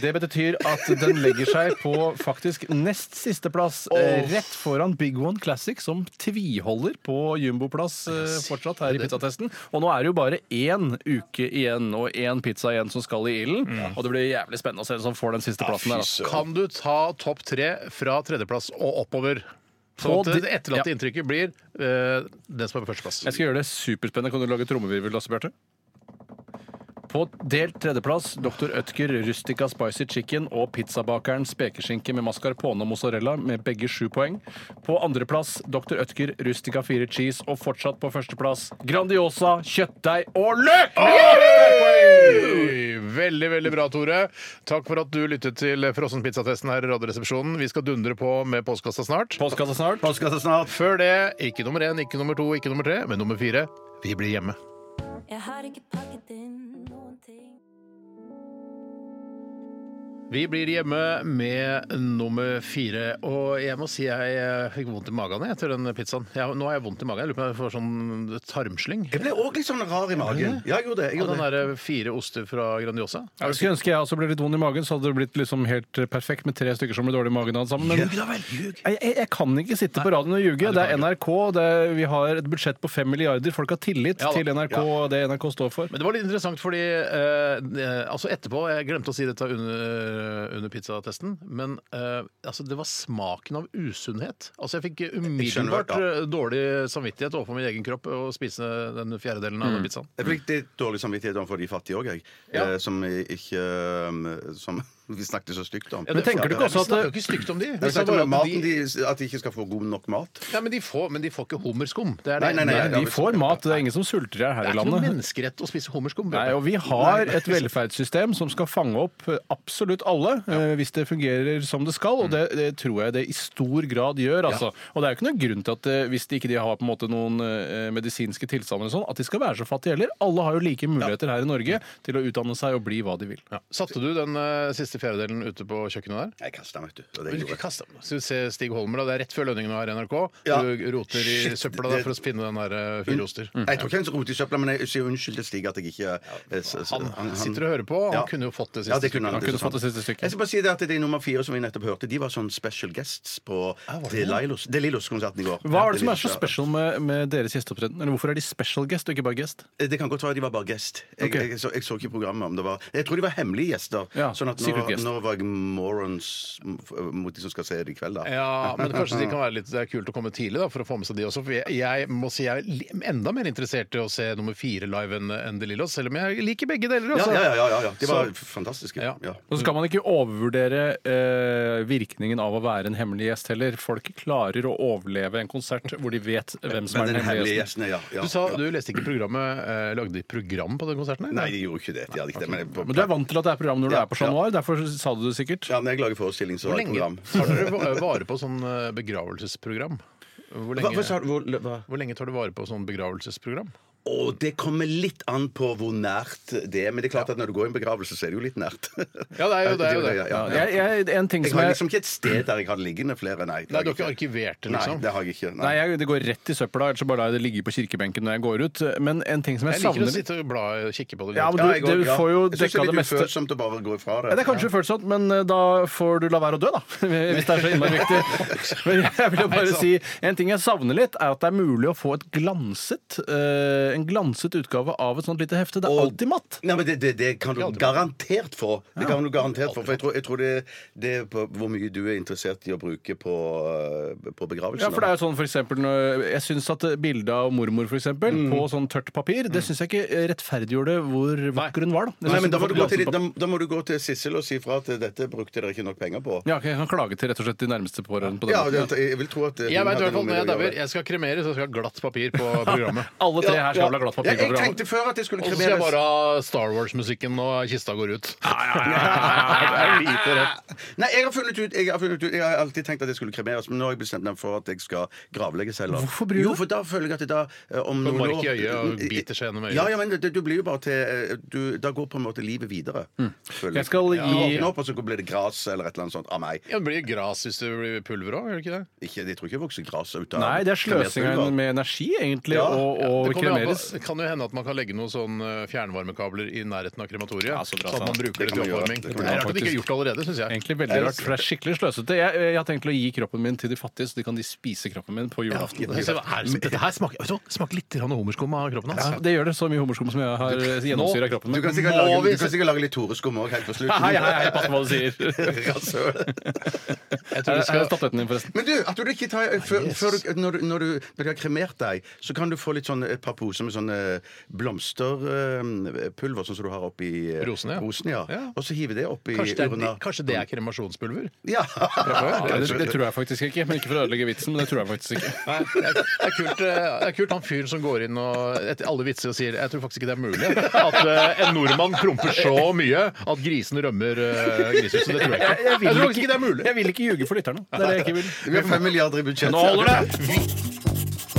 [SPEAKER 5] det betyr at den legger seg på faktisk nest siste plass, eh, rett foran Big One Classic, som tviholder på jumboplass eh, fortsatt her i pizzatesten. Og nå er det jo bare én uke igjen, og én pizza igjen som skal i ilden. Og det blir jævlig spennende å se hvem som får den siste plassen der. Altså.
[SPEAKER 4] Kan du ta topp tre fra tredjeplass og oppover? Så
[SPEAKER 5] På
[SPEAKER 4] at det
[SPEAKER 5] de-
[SPEAKER 4] etterlatte
[SPEAKER 5] ja.
[SPEAKER 4] inntrykket blir eh, den som er på førsteplass.
[SPEAKER 5] Jeg skal gjøre det superspennende. Kan du lage trommevirvel også, Bjarte? På delt tredjeplass Dr. Ødker Rustica Spicy Chicken og pizzabakeren spekeskinke med mascarpone og mozzarella med begge sju poeng. På andreplass Dr. Ødker Rustica 4 Cheese og fortsatt på førsteplass Grandiosa kjøttdeig og løk!
[SPEAKER 4] Oi! Veldig, veldig bra, Tore. Takk for at du lyttet til frossenpizzatesten her i Radioresepsjonen. Vi skal dundre på med postkassa snart.
[SPEAKER 5] Postkassa snart.
[SPEAKER 6] Postkassa snart.
[SPEAKER 4] Før det, ikke nummer én, ikke nummer to, ikke nummer tre, men nummer fire. Vi blir hjemme.
[SPEAKER 2] Jeg har ikke pakket inn noen ting.
[SPEAKER 4] Vi blir hjemme med nummer fire. Og jeg må si jeg eh, fikk vondt i magen jeg, etter den pizzaen. Jeg, nå har jeg vondt i magen. Jeg lurer på om jeg får sånn tarmslyng.
[SPEAKER 6] Jeg ble òg litt sånn rar i magen. Ja, jeg gjorde det. Jeg
[SPEAKER 4] Og
[SPEAKER 6] gjorde
[SPEAKER 4] den
[SPEAKER 6] det.
[SPEAKER 4] der fire oster fra Grandiosa.
[SPEAKER 5] Jeg skulle ønske jeg også ble litt vond i magen, så hadde det blitt liksom helt perfekt med tre stykker som ble dårlig i magen av det sammen. Men
[SPEAKER 6] Ljug da vel, ljug.
[SPEAKER 5] Jeg, jeg, jeg kan ikke sitte på radioen og ljuge. Det er NRK, det er, vi har et budsjett på fem milliarder. Folk har tillit
[SPEAKER 4] Ja da.
[SPEAKER 5] til NRK og det NRK står for.
[SPEAKER 4] Men det var litt interessant, fordi eh, eh, altså etterpå Jeg glemte å si dette under, eh, under pizzatesten, men eh, altså det var smaken av usunnhet. Altså Jeg fikk
[SPEAKER 6] skjønner
[SPEAKER 4] umiddelbart
[SPEAKER 6] hva- ja.
[SPEAKER 4] eh, dårlig samvittighet overfor min egen kropp å spise den fjerdedelen av den pizzaen.
[SPEAKER 6] Jeg fikk litt dårlig samvittighet overfor de fattige òg, jeg. Eh, Som ikke eh, Som vi snakket så stygt om.
[SPEAKER 5] Men tenker du ikke
[SPEAKER 4] Vi
[SPEAKER 5] også at
[SPEAKER 4] snakker jo ikke stygt om de.
[SPEAKER 6] Vi
[SPEAKER 4] Vi sa
[SPEAKER 6] snakket
[SPEAKER 4] bare
[SPEAKER 6] om
[SPEAKER 4] at
[SPEAKER 6] maten,
[SPEAKER 4] de,
[SPEAKER 6] de, at de ikke skal få god nok mat.
[SPEAKER 4] ja, men, de får, men de får ikke hummerskum. Det er det.
[SPEAKER 6] Nei, nei, nei,
[SPEAKER 4] Det er-
[SPEAKER 6] ja,
[SPEAKER 5] de
[SPEAKER 6] hvis-
[SPEAKER 5] får mat, det er ingen som sulter her,
[SPEAKER 4] Det
[SPEAKER 5] her
[SPEAKER 4] er
[SPEAKER 5] i
[SPEAKER 4] ikke noen
[SPEAKER 5] landet.
[SPEAKER 4] menneskerett å spise hummerskum.
[SPEAKER 5] Nei,
[SPEAKER 4] Bjørte.
[SPEAKER 5] og Vi har et velferdssystem som skal fange opp eh, absolutt alle, eh, hvis det fungerer som det
[SPEAKER 4] Mm.
[SPEAKER 5] skal. Og det, det tror jeg det i stor grad gjør. Altså. Og det er jo ikke noen grunn til at eh, hvis de ikke de har på en måte noen eh, medisinske tilstander, og sånn, at de skal være så fattige heller. Alle har jo like muligheter her i Norge til å utdanne seg og bli hva de vil.
[SPEAKER 4] Satte du den eh, siste siste fjerdedelen ute på kjøkkenet der?
[SPEAKER 6] Jeg kasta den, vet du. Og det
[SPEAKER 4] Men du
[SPEAKER 6] gjorde
[SPEAKER 4] ikke
[SPEAKER 6] jeg.
[SPEAKER 4] kastet den. Så du ser Stig Holmer, da. Det er rett før lønningen her i NRK.
[SPEAKER 6] Ja.
[SPEAKER 4] Du roter i
[SPEAKER 6] Shit,
[SPEAKER 4] søpla der
[SPEAKER 6] det- Mm.
[SPEAKER 4] for å spinne den der eh, fire oster.
[SPEAKER 6] Jeg tror ikke han roter i søpla, men jeg sier unnskyld til Stig at jeg ikke eh, s- s-
[SPEAKER 4] Han, sitter og hører på. Han
[SPEAKER 6] Ja.
[SPEAKER 4] kunne jo fått det siste.
[SPEAKER 6] Ja, det kunne
[SPEAKER 5] Han
[SPEAKER 6] han.
[SPEAKER 5] kunne fått det siste
[SPEAKER 6] Jeg
[SPEAKER 5] stykket.
[SPEAKER 6] skal bare si det at de nummer fire som vi nettopp hørte, de var sånn special guests på Delilos konserten i går.
[SPEAKER 5] Hva er det som er så
[SPEAKER 6] Ja.
[SPEAKER 5] special med, med deres gjesteopptreden? Eller hvorfor er de special guest og ikke bare guest?
[SPEAKER 6] Eh, Det kan godt være de var bare gjest. Jeg,
[SPEAKER 5] Ok.
[SPEAKER 6] jeg, så, jeg så ikke programmet om det var Jeg tror de var hemmelige gjester.
[SPEAKER 5] Ja,
[SPEAKER 6] sånn at nå,
[SPEAKER 5] secret guest.
[SPEAKER 6] nå var jeg morons m- f- mot de som skal se det i kveld, da.
[SPEAKER 4] Ja, men kanskje det kan være litt det er kult å komme tidlig da, for å få med seg de også. For jeg, jeg må si jeg er li- enda mer interessert i å se nummer fire live enn enn De Lillos, selv om jeg liker begge deler.
[SPEAKER 6] Ja,
[SPEAKER 4] Altså.
[SPEAKER 6] ja, ja, ja, ja. De var
[SPEAKER 4] Så-
[SPEAKER 6] fantastiske.
[SPEAKER 4] Ja.
[SPEAKER 6] Ja.
[SPEAKER 5] Og så skal man ikke overvurdere eh, virkningen av å være en hemmelig gjest heller. Folk klarer å overleve en konsert hvor de vet hvem som er
[SPEAKER 6] Men den
[SPEAKER 5] den hemmelige
[SPEAKER 6] hemmelige
[SPEAKER 5] gjesten.
[SPEAKER 6] gjesten, ja. ja.
[SPEAKER 4] Du sa du leste ikke programmet. Eh, lagde de program på den konserten? eller?
[SPEAKER 6] Nei, de gjorde ikke det. De hadde ikke det. Men, jeg-
[SPEAKER 5] Men du er vant til at det er program når du
[SPEAKER 6] Ja,
[SPEAKER 5] er på
[SPEAKER 6] ja.
[SPEAKER 5] Chat Noir, derfor sa du det sikkert.
[SPEAKER 6] Ja, når jeg lager forestilling, så
[SPEAKER 4] Hvor
[SPEAKER 6] har jeg
[SPEAKER 4] lenge
[SPEAKER 6] program.
[SPEAKER 4] tar dere va- vare på sånn eh, begravelsesprogram? Hvor
[SPEAKER 6] Hva, hva
[SPEAKER 4] lenge,
[SPEAKER 6] sa du? Hvor, hva?
[SPEAKER 4] hvor lenge tar du vare på sånn begravelsesprogram?
[SPEAKER 6] Å, det kommer litt an på hvor nært det er. Men det er klart at når du går i en begravelse, så er det jo litt nært.
[SPEAKER 4] Ja, det er jo det. Er jo det.
[SPEAKER 6] Ja, ja, ja.
[SPEAKER 5] Jeg, jeg, en ting
[SPEAKER 6] Jeg
[SPEAKER 5] som
[SPEAKER 6] har
[SPEAKER 5] jeg,
[SPEAKER 6] liksom ikke et sted der jeg har det liggende flere, nei. det
[SPEAKER 4] Nei,
[SPEAKER 6] har
[SPEAKER 4] du har
[SPEAKER 6] jeg
[SPEAKER 4] ikke arkivert det,
[SPEAKER 6] Nei,
[SPEAKER 4] liksom?
[SPEAKER 6] det har jeg ikke.
[SPEAKER 5] nei, jeg, det går rett i søpla, ellers så bare lar jeg det ligge på kirkebenken når jeg går ut. Men en ting som
[SPEAKER 4] Jeg
[SPEAKER 5] jeg,
[SPEAKER 4] liker å
[SPEAKER 5] savner
[SPEAKER 4] sitte og bla kikke på det.
[SPEAKER 5] Ja, men
[SPEAKER 6] Ja,
[SPEAKER 5] du-
[SPEAKER 6] jeg går-
[SPEAKER 5] du
[SPEAKER 6] ja.
[SPEAKER 5] får jo
[SPEAKER 6] Jeg synes
[SPEAKER 5] dekka det
[SPEAKER 6] Det
[SPEAKER 5] meste.
[SPEAKER 6] er litt ufølsomt å bare gå ifra
[SPEAKER 5] Ja,
[SPEAKER 6] det.
[SPEAKER 5] det er kanskje følsomt, men eh, da får du la være å dø, da. Hvis det er så innmari viktig. Men jeg vil jo bare si En ting jeg savner litt, er at det er mulig å få et glanset eh, en glanset utgave av et sånt lite hefte. Det er
[SPEAKER 6] Og-
[SPEAKER 5] alltid matt.
[SPEAKER 6] Nei, men det, det, det kan du garantert få. Det kan du garantert få, for jeg tror, jeg tror det, det er på hvor mye du er interessert i å bruke på, eh, på begravelsen.
[SPEAKER 5] Ja, for det er jo sånn for eksempel, når- Jeg syns at bildet av mormor for eksempel, på sånn tørt papir det syns jeg ikke rettferdiggjorde hvor vakker hun var. Da, Jeg
[SPEAKER 6] Nei,
[SPEAKER 5] synes
[SPEAKER 6] men da
[SPEAKER 5] det
[SPEAKER 6] må,
[SPEAKER 5] var
[SPEAKER 6] du gå til,
[SPEAKER 5] glanset
[SPEAKER 6] da, da må du gå til Sissel og si fra at dette brukte dere ikke nok penger på.
[SPEAKER 5] papir. ja, ok, Jeg kan klage til rett og slett de nærmeste pårørende på den
[SPEAKER 6] Ja,
[SPEAKER 5] måten.
[SPEAKER 6] det, jeg vil tro at eh,
[SPEAKER 4] Jeg vet i
[SPEAKER 6] hun hadde
[SPEAKER 4] hvert fall når
[SPEAKER 6] noe
[SPEAKER 4] jeg
[SPEAKER 6] med det å
[SPEAKER 4] dauer.
[SPEAKER 6] gjøre.
[SPEAKER 4] Jeg skal kremeres, og jeg skal ha glatt papir på programmet.
[SPEAKER 5] Alle tre her skal
[SPEAKER 6] Ja,
[SPEAKER 5] vel ha glatt papir
[SPEAKER 6] ja,
[SPEAKER 5] på
[SPEAKER 6] jeg
[SPEAKER 5] programmet.
[SPEAKER 6] tenkte før at jeg skulle
[SPEAKER 4] Og så skal jeg
[SPEAKER 6] kremeres.
[SPEAKER 4] bare ha Star Wars-musikken når kista går ut.
[SPEAKER 6] Det er lite
[SPEAKER 5] Ah.
[SPEAKER 6] rett. Nei, jeg har funnet ut Jeg har, funnet ut, jeg har alltid tenkt at jeg skulle kremeres, men nå har jeg bestemt meg for at jeg skal gravlegges heller.
[SPEAKER 5] Hvorfor bryr du
[SPEAKER 6] Jo,
[SPEAKER 5] deg?
[SPEAKER 6] for da føler jeg at det da eh, om
[SPEAKER 4] Får
[SPEAKER 6] noen
[SPEAKER 4] mark i
[SPEAKER 6] år-
[SPEAKER 4] øyet og biter seg gjennom øyet.
[SPEAKER 6] Ja, ja, men det, du blir jo bare til eh, du, Da går på en måte livet videre. føler
[SPEAKER 5] Mm. Jeg skal
[SPEAKER 6] Du
[SPEAKER 5] gi-
[SPEAKER 6] våkner opp, og så blir det gras eller et eller annet sånt av meg.
[SPEAKER 4] Ja, det blir gras hvis det blir pulver òg, gjør det ikke det?
[SPEAKER 6] Ikke, jeg tror ikke jeg vokser gras ut av
[SPEAKER 5] Nei, det er sløsinga
[SPEAKER 6] kremert pulver.
[SPEAKER 5] med energi, egentlig,
[SPEAKER 6] Ja,
[SPEAKER 5] å å
[SPEAKER 4] Det kommer jo an på-
[SPEAKER 5] kremeres.
[SPEAKER 4] det kan jo hende at man kan legge noen sånn eh, fjernvarmekabler i nærheten av krematoriet.
[SPEAKER 5] Ja, så
[SPEAKER 4] så
[SPEAKER 5] bra,
[SPEAKER 4] at
[SPEAKER 5] sant.
[SPEAKER 4] man bruker det
[SPEAKER 6] Det kan
[SPEAKER 4] til
[SPEAKER 6] man gjøre.
[SPEAKER 4] oppvarming.
[SPEAKER 6] Det
[SPEAKER 4] Det
[SPEAKER 6] kan
[SPEAKER 5] man
[SPEAKER 4] er
[SPEAKER 5] gjøre,
[SPEAKER 4] rart at de ikke har
[SPEAKER 5] faktisk.
[SPEAKER 4] gjort det allerede, syns jeg.
[SPEAKER 5] Egentlig veldig rart, for det er skikkelig sløsete. Jeg, jeg har tenkt til å gi kroppen min til de fattige, så de kan de spise kroppen min på julaften.
[SPEAKER 4] Men se hva her- Dette her smaker, vet du, hva? smaker litt grann hummerskum av kroppen altså.
[SPEAKER 5] Ja,
[SPEAKER 4] hans.
[SPEAKER 5] det gjør det så mye homoskum som jeg har gjennomsyra kroppen
[SPEAKER 6] Du
[SPEAKER 5] min.
[SPEAKER 6] kan sikkert
[SPEAKER 4] Må
[SPEAKER 6] lage,
[SPEAKER 4] vi
[SPEAKER 6] du kan sikkert lage litt Toreskum òg helt på slutten.
[SPEAKER 5] Hei, hei, hei, pass på hva du sier. Er
[SPEAKER 6] Rasshøl.
[SPEAKER 4] Jeg tror vi
[SPEAKER 5] er det
[SPEAKER 4] skal
[SPEAKER 5] statuetten din, forresten?
[SPEAKER 6] Men du, at du ikke tar, før, før du, når, du, når, du, når du har kremert deg, så kan du få litt sånn, et par poser med sånn blomsterpulver, sånn som du har oppi eh,
[SPEAKER 4] Rosene, ja.
[SPEAKER 6] rosen ja.
[SPEAKER 4] Ja.
[SPEAKER 6] Og så hive det oppi
[SPEAKER 4] Kanskje det, er,
[SPEAKER 6] urna.
[SPEAKER 4] kanskje det er kremasjonspulver?
[SPEAKER 6] Ja.
[SPEAKER 5] Nei, det, det tror jeg faktisk ikke. Men ikke for å ødelegge vitsen, men det tror jeg faktisk ikke.
[SPEAKER 4] Nei, det er, det, er kult, eh, det er kult han fyren som går inn og etter alle vitser og sier Jeg tror faktisk ikke det er mulig at eh, en nordmann promper så mye at grisen rømmer eh, grisehuset. Det tror jeg ikke. Jeg, tror faktisk ikke det er mulig.
[SPEAKER 5] Jeg vil ikke ljuge for lytterne. Det er det jeg ikke vil.
[SPEAKER 6] Vi har fem milliarder i budsjett.
[SPEAKER 5] Nå holder det!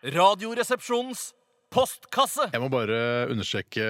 [SPEAKER 10] Radioresepsjonens postkasse.
[SPEAKER 4] Jeg må bare understreke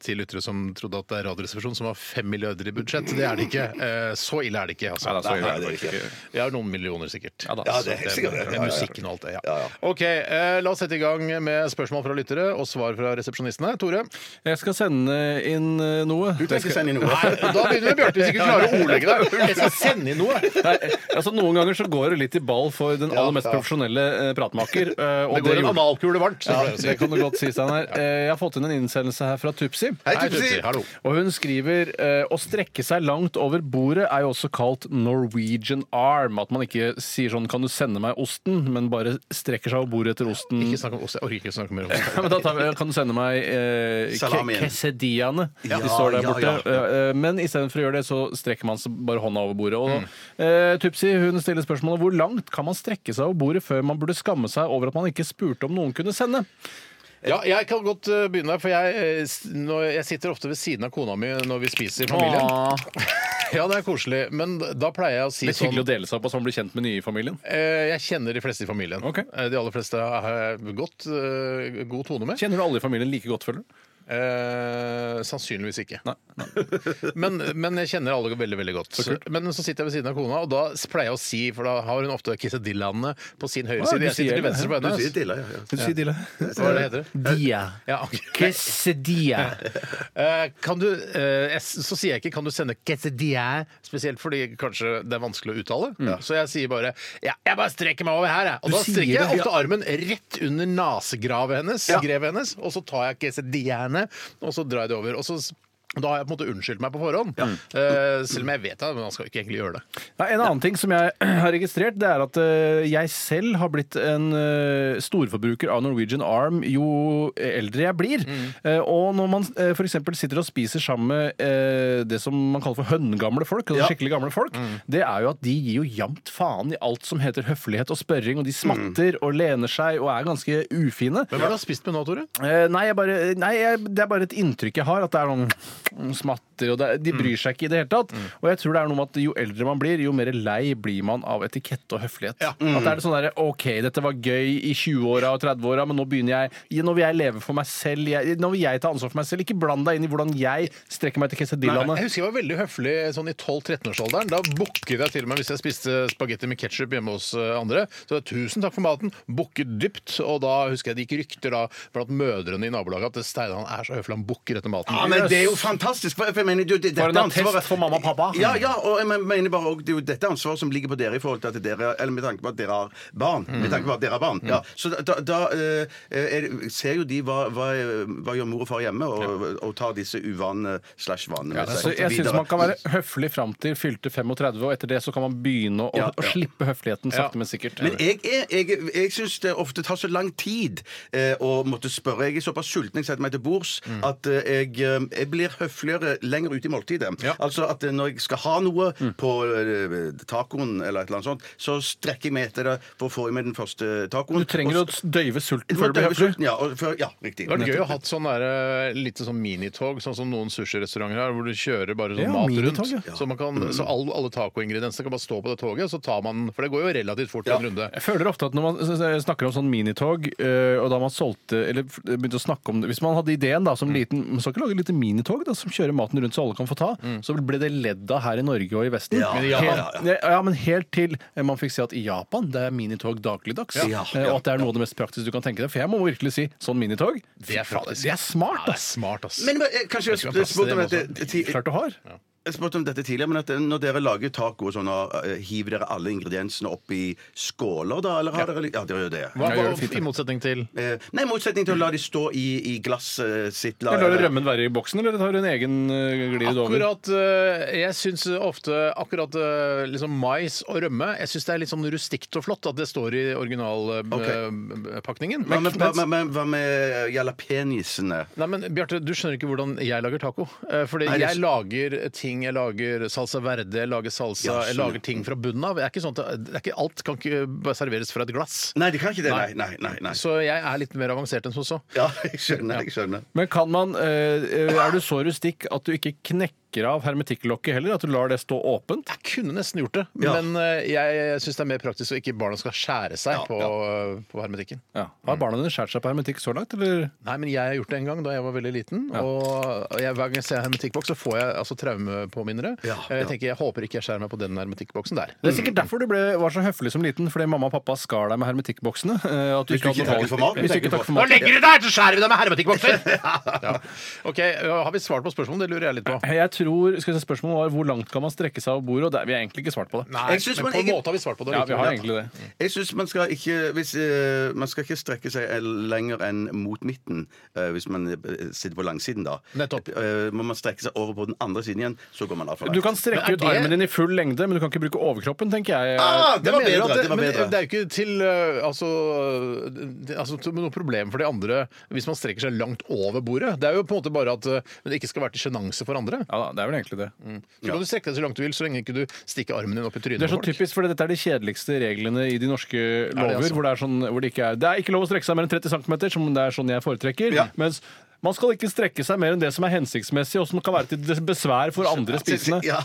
[SPEAKER 4] til lyttere som trodde at det er Radioresepsjonen som har fem milliarder i budsjett. Det er det ikke. Eh, Så ille er det ikke. Altså.
[SPEAKER 5] Nei, da, så gjør jeg det.
[SPEAKER 4] Vi har noen millioner, sikkert.
[SPEAKER 5] da.
[SPEAKER 6] Ja, det er helt
[SPEAKER 4] Så
[SPEAKER 6] sikkert det.
[SPEAKER 4] med
[SPEAKER 6] Ja, ja, ja.
[SPEAKER 4] musikken og alt det. Ja.
[SPEAKER 6] Ja, ja.
[SPEAKER 4] OK, eh, la oss sette i gang med spørsmål fra lyttere og svar fra resepsjonistene. Tore?
[SPEAKER 5] Jeg skal sende inn eh, noe.
[SPEAKER 6] Du trenger ikke sende inn noe.
[SPEAKER 4] Nei, da begynner vi, Bjarte, hvis du ikke klarer å ordlegge deg. Jeg skal sende inn noe.
[SPEAKER 5] Nei, altså Noen ganger så går det litt i ball for den aller mest profesjonelle eh, pratmaker. eh, og
[SPEAKER 4] Det går en
[SPEAKER 5] gjorde-
[SPEAKER 4] analkule varmt. som
[SPEAKER 5] Ja,
[SPEAKER 4] jeg pleier å si.
[SPEAKER 5] det kan du godt si, Steinar. Eh, Jeg har fått inn en innsendelse her fra Tupsi.
[SPEAKER 6] Hei,
[SPEAKER 4] Hei,
[SPEAKER 6] Tupsi!
[SPEAKER 4] Tupsi. Hallo.
[SPEAKER 5] Og hun skriver eh, å strekke seg langt over bordet er jo også kalt Norwegian arm. At man ikke sier sånn kan du sende meg osten, men bare strekker seg over bordet etter osten.
[SPEAKER 4] Ikke snakk om oss. Jeg orker ikke snakke mer om
[SPEAKER 5] Ja,
[SPEAKER 4] oss.
[SPEAKER 5] men da tar vi, kan du sende meg eh,
[SPEAKER 6] Salamien.
[SPEAKER 5] ke- quesadillaene?
[SPEAKER 6] Ja,
[SPEAKER 5] de står der
[SPEAKER 6] ja,
[SPEAKER 5] borte. Eh, eh, men istedenfor å gjøre det, så strekker man seg bare hånda over bordet.
[SPEAKER 6] Mm.
[SPEAKER 5] Og, eh, Tupsi hun stiller spørsmålet hvor langt kan man strekke seg over bordet før man burde skamme seg over at man ikke spurte om noen kunne sende?
[SPEAKER 4] Ja, jeg kan godt eh, begynne, for jeg, eh, s- når jeg sitter ofte ved siden av kona mi når vi spiser i familien.
[SPEAKER 5] Åh.
[SPEAKER 4] Ja, det er koselig, men da pleier jeg å si
[SPEAKER 5] Litt
[SPEAKER 4] sånn
[SPEAKER 5] hyggelig å dele seg opp og sånn bli kjent med nye i familien.
[SPEAKER 4] Eh, Jeg kjenner de fleste i familien.
[SPEAKER 5] Ok.
[SPEAKER 4] Eh, De aller fleste har jeg godt, eh, god tone med.
[SPEAKER 5] Kjenner du alle i familien like godt, føler du?
[SPEAKER 4] Eh, sannsynligvis ikke. men, men jeg kjenner alle veldig veldig godt. men så sitter jeg ved siden av kona, og da pleier jeg å si, for da har hun ofte quesadillene på sin høyre
[SPEAKER 5] Ah,
[SPEAKER 4] side.
[SPEAKER 5] du
[SPEAKER 4] Jeg
[SPEAKER 5] sier
[SPEAKER 4] sitter til
[SPEAKER 5] det.
[SPEAKER 4] venstre på
[SPEAKER 6] Du
[SPEAKER 4] hennes.
[SPEAKER 6] sier dilla, ja. ja.
[SPEAKER 5] Du sier Dilla.
[SPEAKER 4] Hva er det det heter?
[SPEAKER 10] Dia.
[SPEAKER 4] Ja, ok.
[SPEAKER 10] Quesadilla.
[SPEAKER 4] Eh, kan du, eh, jeg, så sier jeg ikke 'kan du sende quesadilla', spesielt fordi kanskje det er vanskelig å uttale. Så jeg sier bare ja, 'jeg bare strekker meg over her', jeg. Og
[SPEAKER 5] Du
[SPEAKER 4] da
[SPEAKER 5] sier
[SPEAKER 4] strekker jeg
[SPEAKER 5] det, ja.
[SPEAKER 4] ofte armen rett under nasegravet hennes, grevet hennes, og så tar jeg quesadillaene, og så drar jeg det over. Og så s- da har jeg på en måte unnskyldt meg på forhånd, eh, selv om jeg vet det, men man skal ikke egentlig gjøre det.
[SPEAKER 5] Nei, en annen ting som jeg har registrert, det er at eh, jeg selv har blitt en eh, storforbruker av Norwegian Arm jo eldre jeg blir. Eh, og når man eh, for f.eks. sitter og spiser sammen med eh, det som man kaller for høngamle folk, altså skikkelig gamle folk, det er jo at de gir jo jamt faen i alt som heter høflighet og spørring, og de smatter og lener seg og er ganske ufine.
[SPEAKER 4] Hvem har du spist med nå, Tore?
[SPEAKER 5] Eh, nei, jeg bare, nei jeg, det er bare et inntrykk jeg har. At det er noen mm, smatter og det, er- De bryr seg ikke i det hele tatt. Og jeg tror det er noe med at jo eldre man blir, jo mer lei blir man av etikette og høflighet. At det er sånn derre OK, dette var gøy i 20-åra og 30-åra, men nå begynner jeg Nå vil jeg leve for meg selv. Jeg, nå vil jeg ta ansvar for meg selv. Ikke bland deg inn i hvordan jeg strekker meg til
[SPEAKER 4] Jeg
[SPEAKER 5] quesadillaene.
[SPEAKER 4] husker jeg var veldig høflig sånn i 12-13-årsalderen. Da bukket jeg til meg hvis jeg spiste spagetti med ketsjup hjemme hos eh, andre. Så jeg, tusen takk for maten. Bukket dypt. Og da husker jeg det gikk rykter da blant mødrene i nabolaget at Steinar han er så høflig, han bukker etter maten.
[SPEAKER 6] Ja, men Det er jo fantastisk! For, for jeg mener, det, det,
[SPEAKER 5] Var det
[SPEAKER 6] dette
[SPEAKER 5] en attest
[SPEAKER 6] ansvaret-
[SPEAKER 5] for mamma og pappa?
[SPEAKER 6] Ja, ja, og jeg men- mener bare også, det er jo dette ansvaret som ligger på dere i forhold til at dere, eller med tanke på at dere har barn. Med tanke på at dere har barn. Ja, så da, da, da eh, er, ser jo de hva, hva, hva gjør mor og far hjemme, og, og tar disse uvanene slash vanene med
[SPEAKER 5] Så
[SPEAKER 6] seg
[SPEAKER 5] jeg syns
[SPEAKER 6] videre.
[SPEAKER 5] man kan være høflig fram til fylte 35, og etter det så kan man begynne å,
[SPEAKER 6] Ja, ja.
[SPEAKER 5] å slippe høfligheten sakte, men sikkert.
[SPEAKER 6] Men jeg, er- jeg, jeg syns det ofte tar så lang tid eh, å måtte spørre. Jeg er såpass sulten jeg setter meg til bords at eh, jeg, eh, jeg blir høfligere lenger ute i måltidet. Altså at eh, når jeg skal ha noe på eh, tacoen eller et eller annet sånt, så strekker jeg meg etter det for å få i meg den første tacoen.
[SPEAKER 5] Du trenger å døyve sulten før
[SPEAKER 6] før
[SPEAKER 5] du blir høflig.
[SPEAKER 6] Ja, og før, ja, riktig.
[SPEAKER 4] Det hadde vært gøy å ha sånn der, eh, lite sånn minitog, sånn som noen sushirestauranter har, hvor du kjører bare sånn
[SPEAKER 5] Ja,
[SPEAKER 4] mat rundt.
[SPEAKER 5] minitog, ja.
[SPEAKER 4] Så, man kan, så alle, alle tacoingrediensene kan bare stå på det toget, og så tar man For det går jo relativt fort en runde.
[SPEAKER 5] Jeg føler ofte at når man s- s- snakker om sånn minitog, eh, og da man solgte Eller f- begynte å snakke om det Hvis man hadde ideen da som liten Man skal ikke lage et lite minitog da, som kjører maten rundt så alle kan få ta. Så ble det ledd av her i Norge og i Vesten.
[SPEAKER 6] Ja,
[SPEAKER 5] helt,
[SPEAKER 6] men i Japan,
[SPEAKER 5] Mm. ja, men helt til eh, man fikk se at i Japan det er minitog dagligdags.
[SPEAKER 6] Ja,
[SPEAKER 5] Eh, og at det er noe av det mest praktiske du kan tenke deg. For jeg må virkelig si sånn minitog
[SPEAKER 4] Det er
[SPEAKER 5] fy faen,
[SPEAKER 4] praktisk.
[SPEAKER 5] det er smart,
[SPEAKER 4] Ja, det er
[SPEAKER 5] ass!
[SPEAKER 4] smart, ass.
[SPEAKER 6] Men, men eh, kanskje
[SPEAKER 4] Jeg
[SPEAKER 6] jeg
[SPEAKER 4] skulle ha plass til
[SPEAKER 6] spurte om,
[SPEAKER 4] det, men
[SPEAKER 6] dette ti-
[SPEAKER 5] Klart du har.
[SPEAKER 6] jeg spurte om dette tidligere, men at eh, når dere lager taco, og sånn, og, eh, hiver dere alle ingrediensene opp i skåler da? Eller har dere Ja, dere gjør det.
[SPEAKER 4] Hva,
[SPEAKER 5] Jeg gjør det fint,
[SPEAKER 4] hva, I motsetning til
[SPEAKER 6] Eh, Nei, i motsetning til å la de stå i, i glasset sitt. La,
[SPEAKER 5] Lar du rømmen være i boksen, eller tar du en egen eh, glid over?
[SPEAKER 4] Akkurat, eh, jeg syns ofte akkurat eh, liksom mais og rømme Jeg syns det er litt sånn rustikt og flott at det står i eh, originalpakningen.
[SPEAKER 6] Hva med, hva, med- med, eh, hva med jalapenisene?
[SPEAKER 4] Nei, men Bjarte, du skjønner ikke hvordan jeg lager taco. Eh, Fordi
[SPEAKER 6] Nei, det-
[SPEAKER 4] jeg lager ting, jeg lager salsa verde, jeg lager salsa,
[SPEAKER 6] Ja,
[SPEAKER 4] jeg
[SPEAKER 6] skjønner.
[SPEAKER 4] lager ting fra bunnen av. Jeg er ikke sånn at, det er ikke, alt kan ikke bare serveres fra et glass.
[SPEAKER 6] Nei, de kan ikke det. Nei, nei, nei. nei.
[SPEAKER 4] Så jeg er litt mer avansert enn som så.
[SPEAKER 6] Ja, jeg skjønner. jeg skjønner
[SPEAKER 5] Men kan man, eh, er du så rustikk at du ikke knekker av hermetikklokket heller? At du lar det stå åpent?
[SPEAKER 4] Jeg kunne nesten gjort det,
[SPEAKER 6] Ja.
[SPEAKER 4] men eh, jeg syns det er mer praktisk så ikke barna skal skjære seg
[SPEAKER 6] Ja,
[SPEAKER 4] på, på hermetikken.
[SPEAKER 5] Har barna dine skåret seg på hermetikk så langt, eller?
[SPEAKER 4] Nei, men jeg har gjort det en gang da jeg var veldig liten. Og jeg, hver gang jeg ser hermetikkboks, så får jeg altså, traumepåminnere. Eh,
[SPEAKER 6] Ja,
[SPEAKER 4] jeg
[SPEAKER 6] ja.
[SPEAKER 4] tenker, jeg håper ikke jeg skjærer meg på den hermetikkboksen der.
[SPEAKER 5] Det er sikkert derfor du ble, var så høflig som liten, fordi mamma og pappa skar deg med hermetikkboksene. eh, at du
[SPEAKER 6] Hvis du
[SPEAKER 5] ikke hadde noe
[SPEAKER 6] ikke takket for
[SPEAKER 5] valg.
[SPEAKER 6] maten,
[SPEAKER 5] Hvis du
[SPEAKER 6] tenker
[SPEAKER 5] ikke takket
[SPEAKER 6] du
[SPEAKER 5] for
[SPEAKER 4] Nå
[SPEAKER 5] maten.
[SPEAKER 4] legger du deg, så skjærer vi deg med hermetikkbokser! ja. Ok, eh, Har vi svart på spørsmålet? Det lurer jeg litt på.
[SPEAKER 5] Jeg tror, skal jeg si, Spørsmålet var hvor langt kan man strekke seg av bordet, og det, vi har egentlig ikke svart på det.
[SPEAKER 4] Nei,
[SPEAKER 6] Jeg synes
[SPEAKER 4] men
[SPEAKER 6] man
[SPEAKER 4] på en
[SPEAKER 6] ikke-
[SPEAKER 4] måte har vi svart på det.
[SPEAKER 5] Ja, vi
[SPEAKER 4] likevel.
[SPEAKER 5] har egentlig det.
[SPEAKER 6] Jeg synes man skal ikke hvis, eh, Man skal ikke strekke seg el- lenger enn mot midten eh, hvis man eh, sitter på langsiden, da.
[SPEAKER 4] Nettopp.
[SPEAKER 6] Eh, må man strekke seg over på den andre siden igjen, så går man altfor langt.
[SPEAKER 5] Du kan strekke
[SPEAKER 4] Men er
[SPEAKER 5] ut
[SPEAKER 4] det-
[SPEAKER 5] armen din i full lengde, men du kan ikke bruke overkroppen, tenker jeg.
[SPEAKER 6] ah, det var
[SPEAKER 4] Men mener du
[SPEAKER 6] bedre!
[SPEAKER 4] at
[SPEAKER 6] Det var
[SPEAKER 4] men
[SPEAKER 6] bedre.
[SPEAKER 4] det er jo ikke til eh, altså, det, altså til noe problem for de andre hvis man strekker seg langt over bordet. Det er jo på en måte bare at eh, det ikke skal være til sjenanse for andre. Mm.
[SPEAKER 5] Ja, da, det er vel egentlig det.
[SPEAKER 4] Så kan du strekke deg så langt du vil, så lenge ikke du stikker armen din opp i trynet
[SPEAKER 5] Det er så
[SPEAKER 4] på folk.
[SPEAKER 5] typisk, for dette er de kjedeligste reglene i de norske lover.
[SPEAKER 4] altså?
[SPEAKER 5] hvor det, er sånn, hvor det, ikke er, det er ikke lov å strekke seg mer enn 30 cm, som det er sånn jeg foretrekker. Mens Man skal ikke strekke seg mer enn det som er hensiktsmessig, og som kan være til besvær for andre spisende.
[SPEAKER 6] Ja.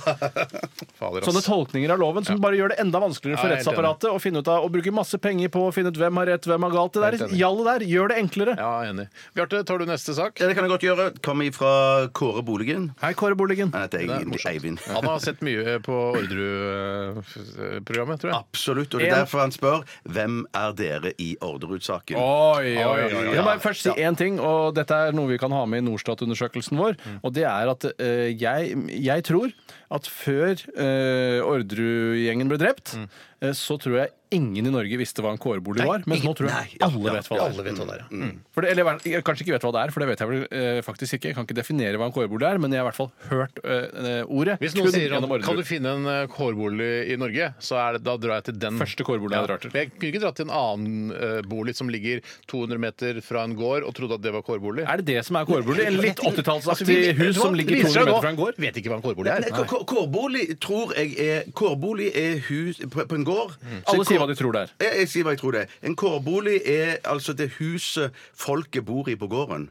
[SPEAKER 4] Fader, ass.
[SPEAKER 5] Sånne tolkninger av loven som bare gjør det enda vanskeligere for
[SPEAKER 4] altså. Ja, jeg er helt
[SPEAKER 5] rettsapparatet å finne ut av, og bruke masse penger på å finne ut hvem har rett, hvem har galt. Det
[SPEAKER 4] Helt
[SPEAKER 5] der
[SPEAKER 4] enig.
[SPEAKER 5] gjallet der gjør det enklere.
[SPEAKER 4] Ja, enig. Bjarte, tar du neste sak?
[SPEAKER 6] Ja, det kan jeg godt gjøre. Kommer ifra Kåre Boligen.
[SPEAKER 5] Hei, Kåre Boligen.
[SPEAKER 6] Han
[SPEAKER 4] Det
[SPEAKER 6] heter
[SPEAKER 4] er
[SPEAKER 6] Eivind.
[SPEAKER 4] morsomt.
[SPEAKER 6] Eivind.
[SPEAKER 4] Han har sett mye på Orderud-programmet, tror jeg.
[SPEAKER 6] Absolutt. Og det er
[SPEAKER 5] En-
[SPEAKER 6] derfor han spør hvem er dere i Orderud-saken.
[SPEAKER 5] Oi, oi, oi.
[SPEAKER 6] oi, oi.
[SPEAKER 5] Jeg må bare først si én ting, og dette er noe vi kan ha med i Norstat-undersøkelsen vår. Og det er at eh, jeg, jeg tror at før uh, Orderud-gjengen ble drept, eh, så tror jeg ingen i Norge visste hva en kårbolig var. Mens nå tror jeg
[SPEAKER 6] Nei, ja,
[SPEAKER 5] alle
[SPEAKER 6] ja,
[SPEAKER 5] vet hva det
[SPEAKER 4] Alle
[SPEAKER 5] er. Mm.
[SPEAKER 4] vet hva det er. ja. Mm.
[SPEAKER 5] For det, eller jeg kanskje ikke vet hva det er, for det vet jeg vel eh, faktisk ikke. Jeg kan ikke definere hva en kårbolig er, men jeg har i hvert fall hørt eh, ordet.
[SPEAKER 4] Hvis noen
[SPEAKER 5] kun
[SPEAKER 4] sier
[SPEAKER 5] gjennom
[SPEAKER 4] at
[SPEAKER 5] Orderud.
[SPEAKER 4] kan du finne en eh, kårbolig i Norge, så er det, da drar jeg til den.
[SPEAKER 5] Første kårbolig jeg drar til.
[SPEAKER 4] for Jeg kunne ikke dratt til en annen eh, bolig som ligger 200 meter fra en gård og trodde at det var kårbolig.
[SPEAKER 5] Er det det som er kårbolig? En litt 80-tallsaktig
[SPEAKER 4] Altså, vi- vet
[SPEAKER 5] hus
[SPEAKER 4] du hva?
[SPEAKER 5] som ligger
[SPEAKER 4] Viser
[SPEAKER 5] 200
[SPEAKER 4] seg nå.
[SPEAKER 5] meter fra en gård?
[SPEAKER 4] Vet ikke hva en kårbolig er.
[SPEAKER 6] Nei, eh, kå- kå- Kårbolig tror jeg er Kårbolig er hus på, på en gård. Så
[SPEAKER 5] Alle
[SPEAKER 6] en
[SPEAKER 5] sier
[SPEAKER 6] kår-
[SPEAKER 5] hva de tror det er.
[SPEAKER 6] Jeg, jeg sier hva jeg tror det er. En kårbolig er altså det huset folket bor i på gården.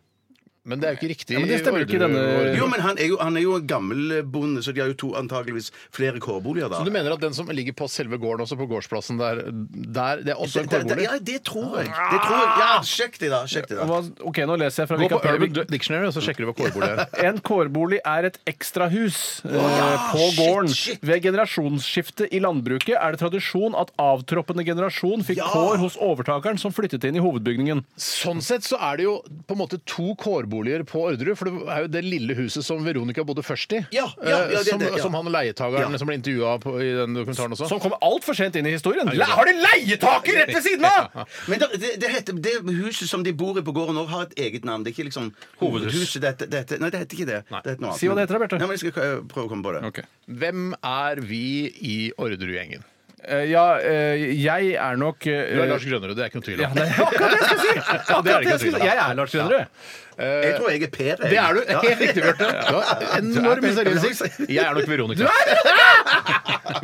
[SPEAKER 4] Men det er jo ikke riktig.
[SPEAKER 5] Ja, men det stemmer jo ikke i denne-
[SPEAKER 4] Orderud.
[SPEAKER 6] Jo, men han er jo, han er jo en gammel bonde, så de har jo to antakeligvis flere kårboliger da.
[SPEAKER 4] Så du mener at den som ligger på selve gården, også på gårdsplassen der, der det er også en
[SPEAKER 6] Det- det-
[SPEAKER 4] kårbolig?
[SPEAKER 6] Ja, det tror jeg. Det tror jeg. Ja, sjekk det, da. Sjekk det, da.
[SPEAKER 5] Hva, ok, nå leser jeg fra
[SPEAKER 4] Gå på
[SPEAKER 5] Wikipedia.
[SPEAKER 4] Urban Dictionary, og så sjekker du hva kårbolig er.
[SPEAKER 5] En kårbolig er et ekstrahus eh,
[SPEAKER 4] Ah,
[SPEAKER 5] på
[SPEAKER 6] shit,
[SPEAKER 5] gården.
[SPEAKER 6] shit.
[SPEAKER 5] Ved generasjonsskifte i landbruket er det tradisjon at avtroppende generasjon fikk
[SPEAKER 6] Ja.
[SPEAKER 5] kår hos overtakeren som flyttet inn i hovedbygningen.
[SPEAKER 4] Sånn sett så er det jo på en måte to kårboliger på Orderud, for det er jo det lille huset som Veronica bodde først i.
[SPEAKER 6] Ja, ja, ja,
[SPEAKER 4] eh,
[SPEAKER 6] det-
[SPEAKER 4] som,
[SPEAKER 6] det- ja.
[SPEAKER 4] som han leietageren
[SPEAKER 6] Ja.
[SPEAKER 4] som ble intervjua på- i den dokumentaren også.
[SPEAKER 5] Som kommer altfor sent inn i historien. Le har de leietaker rett ved siden av?!
[SPEAKER 6] Men det, det, det, heter, det huset som de bor i på gården òg, har et eget navn. Det er ikke liksom hovedhuset. Dette, dette. Nei, det heter ikke det. det heter noe annet.
[SPEAKER 5] Si hva det heter da, Bjarte.
[SPEAKER 6] Nei, men Jeg skal eh, prøve å komme på det.
[SPEAKER 5] Ok.
[SPEAKER 4] Hvem er vi i Orderud-gjengen?
[SPEAKER 5] Eh, ja, eh, jeg er nok eh,
[SPEAKER 4] Du er Lars Grønnerud, det er ikke noe tvil
[SPEAKER 5] ja,
[SPEAKER 4] om.
[SPEAKER 5] det er akkurat det jeg skal si! Akkurat
[SPEAKER 4] det
[SPEAKER 5] det
[SPEAKER 4] er det ikke
[SPEAKER 5] jeg, skal si. jeg er Lars Grønnerud.
[SPEAKER 6] Jeg tror jeg er Per. jeg.
[SPEAKER 4] Det er du.
[SPEAKER 6] Ja.
[SPEAKER 4] Helt riktig, Bjarte. Du har Enorm seriøsitet. Jeg er nok Veronica.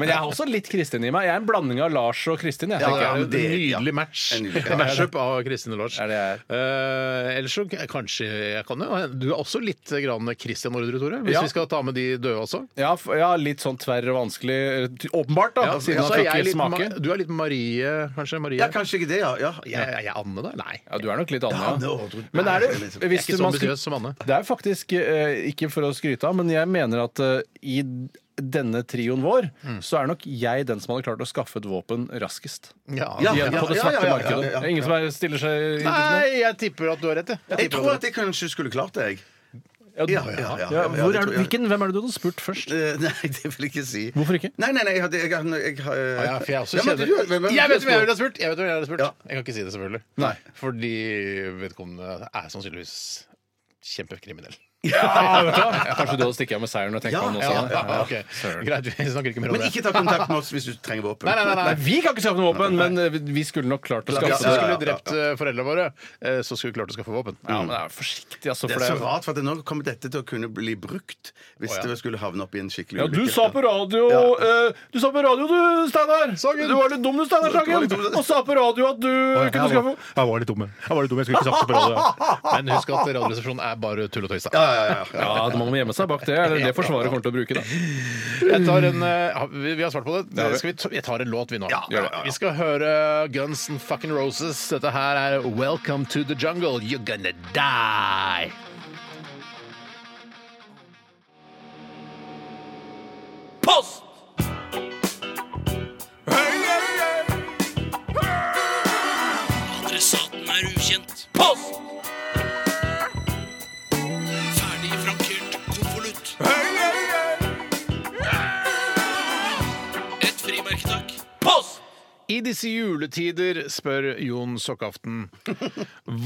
[SPEAKER 5] Men jeg er også litt Kristin i meg. Jeg er en blanding av Lars og Kristin. Jeg,
[SPEAKER 6] Ja,
[SPEAKER 5] tenker jeg.
[SPEAKER 6] ja, men det-
[SPEAKER 4] Nydelig
[SPEAKER 6] ja.
[SPEAKER 4] match.
[SPEAKER 6] En nydelig- ja.
[SPEAKER 4] Matchup av Kristin og Lars.
[SPEAKER 5] Er det jeg er?
[SPEAKER 4] Eh, ellers så k- kanskje jeg kan jo Du er også litt grann Christian Orderud, Tore. Hvis
[SPEAKER 5] Ja.
[SPEAKER 4] vi skal ta med de døde også.
[SPEAKER 5] Ja, f- ja, litt sånn tverr og vanskelig. eh, ty- Åpenbart, da,
[SPEAKER 4] Ja,
[SPEAKER 5] siden han
[SPEAKER 4] så er
[SPEAKER 5] fikk
[SPEAKER 4] jeg
[SPEAKER 5] litt
[SPEAKER 4] litt
[SPEAKER 5] smake.
[SPEAKER 4] Ma- Du er litt Marie, kanskje? Marie?
[SPEAKER 6] Ja, kanskje ikke det, ja. ja.
[SPEAKER 4] Jeg- jeg- jeg er Anne, da? Nei.
[SPEAKER 5] Ja, du er nok litt annen,
[SPEAKER 6] det
[SPEAKER 5] ja.
[SPEAKER 6] ordrer-
[SPEAKER 5] Men er det,
[SPEAKER 6] Nei,
[SPEAKER 5] hvis
[SPEAKER 4] Jeg er ikke
[SPEAKER 5] man
[SPEAKER 4] så
[SPEAKER 5] skulle-
[SPEAKER 4] ambisiøs som Anne.
[SPEAKER 5] Det er faktisk eh, ikke for å skryte av, men jeg mener at eh, i denne trioen vår,
[SPEAKER 4] Mm.
[SPEAKER 5] så er nok jeg den som hadde klart å skaffe et våpen raskest.
[SPEAKER 6] Ja,
[SPEAKER 5] Igjen på det
[SPEAKER 6] ja, ja,
[SPEAKER 5] svarte
[SPEAKER 6] ja, ja,
[SPEAKER 5] markedet.
[SPEAKER 6] ja, ja.
[SPEAKER 5] Det er Ingen som er, stiller seg
[SPEAKER 4] Nei, jeg tipper at du har rett, jeg.
[SPEAKER 6] Jeg tror at jeg kanskje skulle klart det, jeg.
[SPEAKER 5] Ja,
[SPEAKER 6] Ja, ja, ja, ja,
[SPEAKER 5] ja, hvor
[SPEAKER 6] det
[SPEAKER 5] er du,
[SPEAKER 6] tror jeg.
[SPEAKER 5] hvilken, hvem er det du hadde spurt først?
[SPEAKER 6] Eh, Nei, det vil jeg ikke si.
[SPEAKER 5] Hvorfor ikke?
[SPEAKER 6] Nei, nei, nei, jeg hadde jeg, hadde- jeg, jeg,
[SPEAKER 4] Ah, Ja, ja, for jeg også
[SPEAKER 6] Ja, men
[SPEAKER 4] kjenner
[SPEAKER 6] du- hvem- hvem-
[SPEAKER 4] Jeg vet hvem jeg ville ha spurt! Jeg, vet hvem jeg, ville ha spurt.
[SPEAKER 6] Ja.
[SPEAKER 4] jeg kan ikke si det, selvfølgelig.
[SPEAKER 6] Nei.
[SPEAKER 4] Fordi vedkommende er sannsynligvis kjempekriminell.
[SPEAKER 5] Ja, vet du hva? Kanskje du hadde stikket av med seieren og tenkt
[SPEAKER 6] Ja,
[SPEAKER 5] på den
[SPEAKER 4] Ja,
[SPEAKER 5] også?
[SPEAKER 4] ja, ja, ok. Greit, vi snakker ikke mer om
[SPEAKER 6] Men
[SPEAKER 4] det.
[SPEAKER 6] ikke ta kontakt med oss hvis du trenger våpen.
[SPEAKER 4] Nei, nei, nei,
[SPEAKER 5] Nei,
[SPEAKER 4] nei.
[SPEAKER 5] vi kan ikke skaffe noe våpen, men eh, vi skulle nok klart å
[SPEAKER 4] Hvis vi
[SPEAKER 5] skaffe det.
[SPEAKER 6] ja,
[SPEAKER 4] skulle
[SPEAKER 6] ja.
[SPEAKER 4] drept eh, foreldrene våre, eh, så skulle vi klart å skaffe våpen.
[SPEAKER 5] Ja, men det er forsiktig, altså.
[SPEAKER 6] Det
[SPEAKER 5] For
[SPEAKER 6] er så
[SPEAKER 5] Mm. det er
[SPEAKER 6] rart, for at nå kommer dette til å kunne bli brukt hvis
[SPEAKER 4] Å, ja.
[SPEAKER 6] det skulle havne opp i en skikkelig
[SPEAKER 5] ja,
[SPEAKER 6] ulykke.
[SPEAKER 5] du sa på radio eh, Du sa på radio, du, Steinar!
[SPEAKER 4] Sagen.
[SPEAKER 5] Du var litt dum, du, Steinar Sagen! Og sa på radio at du kunne skaffe
[SPEAKER 4] var litt dum. Jeg var litt dum, jeg skulle ikke sagt det på radio. Men husk at Radioresepsjonen er bare tull og tøys. da.
[SPEAKER 6] Ja, ja, ja, ja.
[SPEAKER 5] Ja, man må gjemme seg bak det. Er det det Forsvaret kommer til å bruke, da?
[SPEAKER 4] Jeg tar en, eh, ha- vi vi har svart på det.
[SPEAKER 5] har vi.
[SPEAKER 4] Skal vi, ta, jeg tar en låt, vi nå.
[SPEAKER 6] Ja, ja, ja.
[SPEAKER 4] Vi skal høre Guns N' Fucking Roses. Dette her er Welcome to the Jungle. You're gonna die.
[SPEAKER 10] Post! Adressaten er ukjent. Post! Ferdig frankert konvolutt. Et frimerke, takk. Post!
[SPEAKER 4] I disse juletider spør Jon Sokkaften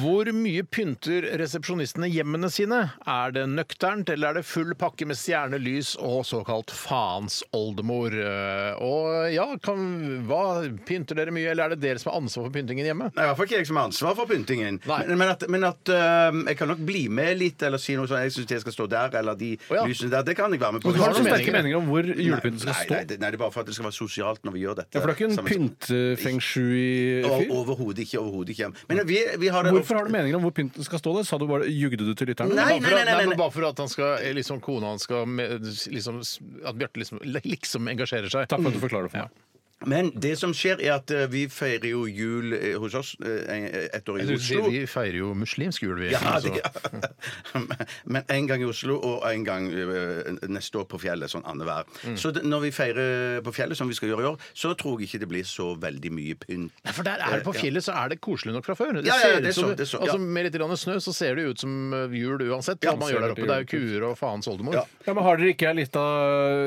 [SPEAKER 4] hvor mye pynter resepsjonistene hjemmene sine? Er det nøkternt, eller er det full pakke med stjernelys og såkalt faens oldemor? Eh, Og ja, kan, hva pynter dere mye, eller er det dere som har ansvar for pyntingen hjemme?
[SPEAKER 6] Nei, I hvert fall ikke jeg som har ansvar for pyntingen.
[SPEAKER 4] Nei.
[SPEAKER 6] Men, men at, men at øhm, jeg kan nok bli med litt, eller si noe sånn Jeg syns jeg skal stå der, eller de
[SPEAKER 4] Å, ja.
[SPEAKER 6] lysene der. Det kan jeg være med på.
[SPEAKER 5] Du har noen
[SPEAKER 4] meninger.
[SPEAKER 5] sterke meninger om hvor julepynten skal
[SPEAKER 6] Nei,
[SPEAKER 5] stå.
[SPEAKER 6] nei, det, nei, det er bare for at det skal være sosialt når vi gjør dette.
[SPEAKER 5] Ja, for det er ikke en
[SPEAKER 6] Sammen-
[SPEAKER 5] pynt, spiser feng shui-fyr?
[SPEAKER 6] Og- Overhodet ikke. overhodet ikke. Men vi, vi har det
[SPEAKER 5] Hvorfor har du meninger om hvor pynten skal stå? der? Sa du bare, Jugde du til lytterne?
[SPEAKER 6] Nei,
[SPEAKER 4] Bare for at- nei, men Bare for at han skal, eh, liksom, kona hans skal med- liksom, At Bjarte liksom, liksom engasjerer seg.
[SPEAKER 5] Takk for at du forklarer det for meg.
[SPEAKER 6] Men det som skjer, er at eh, vi feirer jo jul eh, hos oss eh, ett år i
[SPEAKER 4] Vi,
[SPEAKER 6] Oslo.
[SPEAKER 4] vi feirer jo muslimsk jul, vi. Altså,
[SPEAKER 6] Ja,
[SPEAKER 4] så-
[SPEAKER 6] det, Men en gang i Oslo og en gang eh, neste år på fjellet. Sånn annenhver.
[SPEAKER 5] Mm.
[SPEAKER 6] Så det, når vi feirer på fjellet, som vi skal gjøre i år, så tror jeg ikke det blir så veldig mye pynt.
[SPEAKER 4] Nei, for der er det På
[SPEAKER 6] Ja.
[SPEAKER 4] fjellet så er det koselig nok fra før. Det
[SPEAKER 6] Ja, ja,
[SPEAKER 4] ser
[SPEAKER 6] ja,
[SPEAKER 4] ut
[SPEAKER 6] det er
[SPEAKER 4] som,
[SPEAKER 6] sånn, det er sånn,
[SPEAKER 4] altså,
[SPEAKER 6] ja.
[SPEAKER 4] Med litt grann snø så ser det jo ut som eh, jul uansett. hva man
[SPEAKER 5] ser
[SPEAKER 4] gjør der
[SPEAKER 5] det
[SPEAKER 4] oppe. Det er jo kuer og faens oldemor.
[SPEAKER 6] Ja.
[SPEAKER 5] Ja, men Har dere ikke ei lita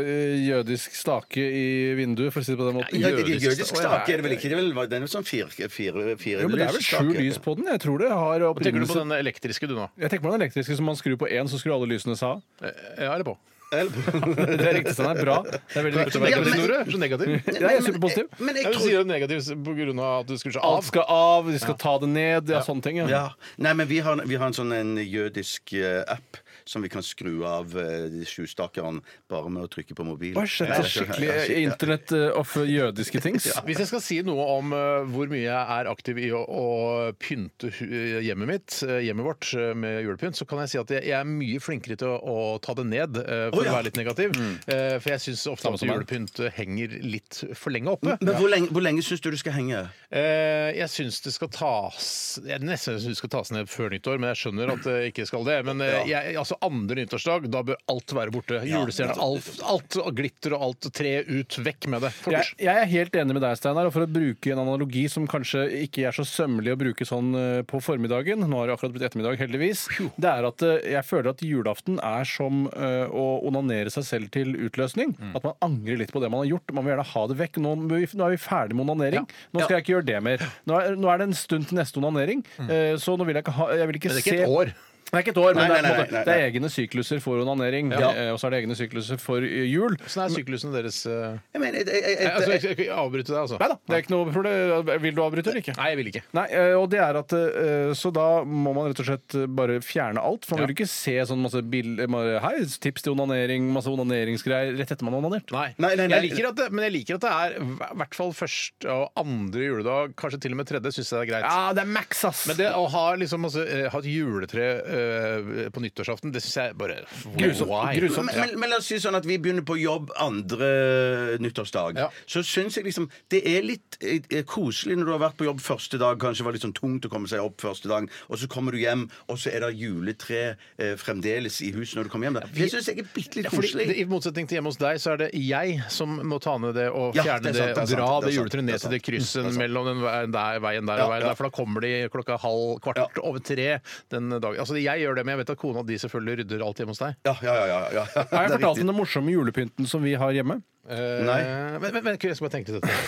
[SPEAKER 5] eh, jødisk stake i vinduet, for å si det på den måten?
[SPEAKER 6] Ja, det- det-
[SPEAKER 4] Jødisk
[SPEAKER 6] Jødisk
[SPEAKER 4] stake.
[SPEAKER 6] stake er det vel ikke? Det er vel, den er vel sånn fire, fire, fire
[SPEAKER 5] Jo, men Det er vel sju lys på den? Jeg tror det har
[SPEAKER 4] Hva tenker du på
[SPEAKER 5] opprinnelse
[SPEAKER 4] den elektriske du nå?
[SPEAKER 5] Jeg tenker på den elektriske som man skrur på én, så skrur alle lysene seg av.
[SPEAKER 4] Eh, Ja, eller på?
[SPEAKER 5] Det er riktig, den er bra. Det er veldig viktig å
[SPEAKER 4] Ja,
[SPEAKER 5] være
[SPEAKER 4] men,
[SPEAKER 5] kritisk.
[SPEAKER 4] Tore, så negativ.
[SPEAKER 5] Ja, jeg er superpositiv.
[SPEAKER 6] Men
[SPEAKER 4] Ja,
[SPEAKER 6] jeg
[SPEAKER 4] Du
[SPEAKER 6] tror
[SPEAKER 4] sier det negativt pga. at du skulle seg
[SPEAKER 5] Alt
[SPEAKER 4] av.
[SPEAKER 5] skal av, de skal ta det ned, ja, sånne ting. Ja.
[SPEAKER 6] Ja. Nei, men vi har, vi har en sånn en jødisk eh, app som vi kan skru av eh, de sju stakerne bare med å trykke på mobilen.
[SPEAKER 5] Oi, shit,
[SPEAKER 6] Ja,
[SPEAKER 5] så skikkelig eh, Internett eh, of jødiske things.
[SPEAKER 4] Hvis jeg skal si noe om eh, hvor mye jeg er aktiv i å, å pynte hu- hjemmet mitt, eh, hjemmet vårt, eh, med julepynt, så kan jeg si at jeg, jeg er mye flinkere til å, å ta det ned, eh, for
[SPEAKER 6] Å, ja.
[SPEAKER 4] å være litt negativ. Eh, for jeg syns ofte at
[SPEAKER 5] Mm. som meg. Mm.
[SPEAKER 4] julepynt eh, henger litt for lenge oppe.
[SPEAKER 6] Men hvor lenge, hvor lenge syns du det skal henge?
[SPEAKER 4] Eh, jeg syns det skal tas Jeg nesten synes det skal tas ned før nyttår, men jeg skjønner at det ikke skal det. Men eh, jeg, altså andre nyttårsdag, da bør alt være borte. Julestjerner, alt, alt og glitter og alt. Tre ut, vekk med det. Fort.
[SPEAKER 5] Jeg, jeg er helt enig med deg, Steinar. Og for å bruke en analogi som kanskje ikke er så sømmelig å bruke sånn eh, på formiddagen Nå har det akkurat blitt ettermiddag, heldigvis. Det er at eh, jeg føler at julaften er som eh, å onanere seg selv til utløsning. At man angrer litt på det man har gjort. Man vil gjerne ha det vekk. Nå, må vi- nå er vi ferdig med onanering. Nå skal jeg ikke gjøre det mer. Nå er, nå er det en stund til neste onanering, eh, så nå vil jeg ikke ha Jeg vil ikke,
[SPEAKER 4] Men det er ikke
[SPEAKER 5] se
[SPEAKER 4] et år.
[SPEAKER 5] Det er ikke et år, men
[SPEAKER 6] Nei,
[SPEAKER 5] det, er, på en
[SPEAKER 6] nei,
[SPEAKER 5] måte-
[SPEAKER 6] nei, nei,
[SPEAKER 5] det er egne sykluser for onanering.
[SPEAKER 4] Ja.
[SPEAKER 5] eh, Og så er det egne sykluser for eh, jul.
[SPEAKER 4] Åssen er syklusene deres eh?
[SPEAKER 6] Jeg mener, jeg, jeg,
[SPEAKER 4] Nei,
[SPEAKER 6] jeg,
[SPEAKER 4] altså, jeg skal ikke avbryte deg, altså.
[SPEAKER 5] Nei da, det er ikke noe problem. Vil du avbryte eller ikke?
[SPEAKER 4] Nei, jeg vil ikke.
[SPEAKER 5] Nei, eh, og det er at eh, Så da må man rett og slett bare fjerne alt. For man vil ikke se sånn masse bill- bare, Hei, tips til onanering, masse onaneringsgreier rett etter man har onanert.
[SPEAKER 4] Nei.
[SPEAKER 6] Nei, nei, nei.
[SPEAKER 4] Jeg liker at det, men jeg liker at det er i hvert fall første og andre juledag, kanskje til og med tredje, syns jeg det er greit.
[SPEAKER 5] Ja, det er max, ass!
[SPEAKER 4] Men det å ha, liksom, altså, eh, ha et juletre eh, på nyttårsaften, det syns jeg bare
[SPEAKER 5] Grusomt.
[SPEAKER 4] Why?
[SPEAKER 5] Grusomt.
[SPEAKER 6] men, men, men la oss si sånn at vi begynner på jobb andre eh, nyttårsdag.
[SPEAKER 4] Ja.
[SPEAKER 6] Så syns jeg liksom det er litt eh, koselig når du har vært på jobb første dag, kanskje det var litt sånn tungt å komme seg opp første dag, og så kommer du hjem, og så er det juletre eh, fremdeles i huset når du kommer hjem. Da. Det syns jeg er bitte litt
[SPEAKER 4] Ja, fordi
[SPEAKER 6] koselig.
[SPEAKER 4] det, I motsetning til hjemme hos deg, så er det jeg som må ta ned det og
[SPEAKER 6] Ja,
[SPEAKER 4] fjerne
[SPEAKER 6] det
[SPEAKER 4] det,
[SPEAKER 6] er sant,
[SPEAKER 4] og
[SPEAKER 6] det
[SPEAKER 4] dra
[SPEAKER 6] er sant, det
[SPEAKER 4] det
[SPEAKER 6] er sant, Mm,
[SPEAKER 4] juletreet ned
[SPEAKER 6] det er
[SPEAKER 4] til det krysset mellom den veien der, veien der
[SPEAKER 6] Ja,
[SPEAKER 4] og veien
[SPEAKER 6] ja.
[SPEAKER 4] der, for da kommer de klokka halv kvart over tre den dagen. Altså, jeg gjør det, men jeg vet at kona di selvfølgelig rydder alt hjemme hos deg.
[SPEAKER 6] Ja, ja, ja, ja, ja.
[SPEAKER 5] Har jeg
[SPEAKER 6] Det er
[SPEAKER 5] fortalt
[SPEAKER 6] riktig.
[SPEAKER 5] om den morsomme julepynten som vi har hjemme?
[SPEAKER 4] Eh,
[SPEAKER 6] Nei.
[SPEAKER 4] Men, men, men jeg skal bare tenke til dette.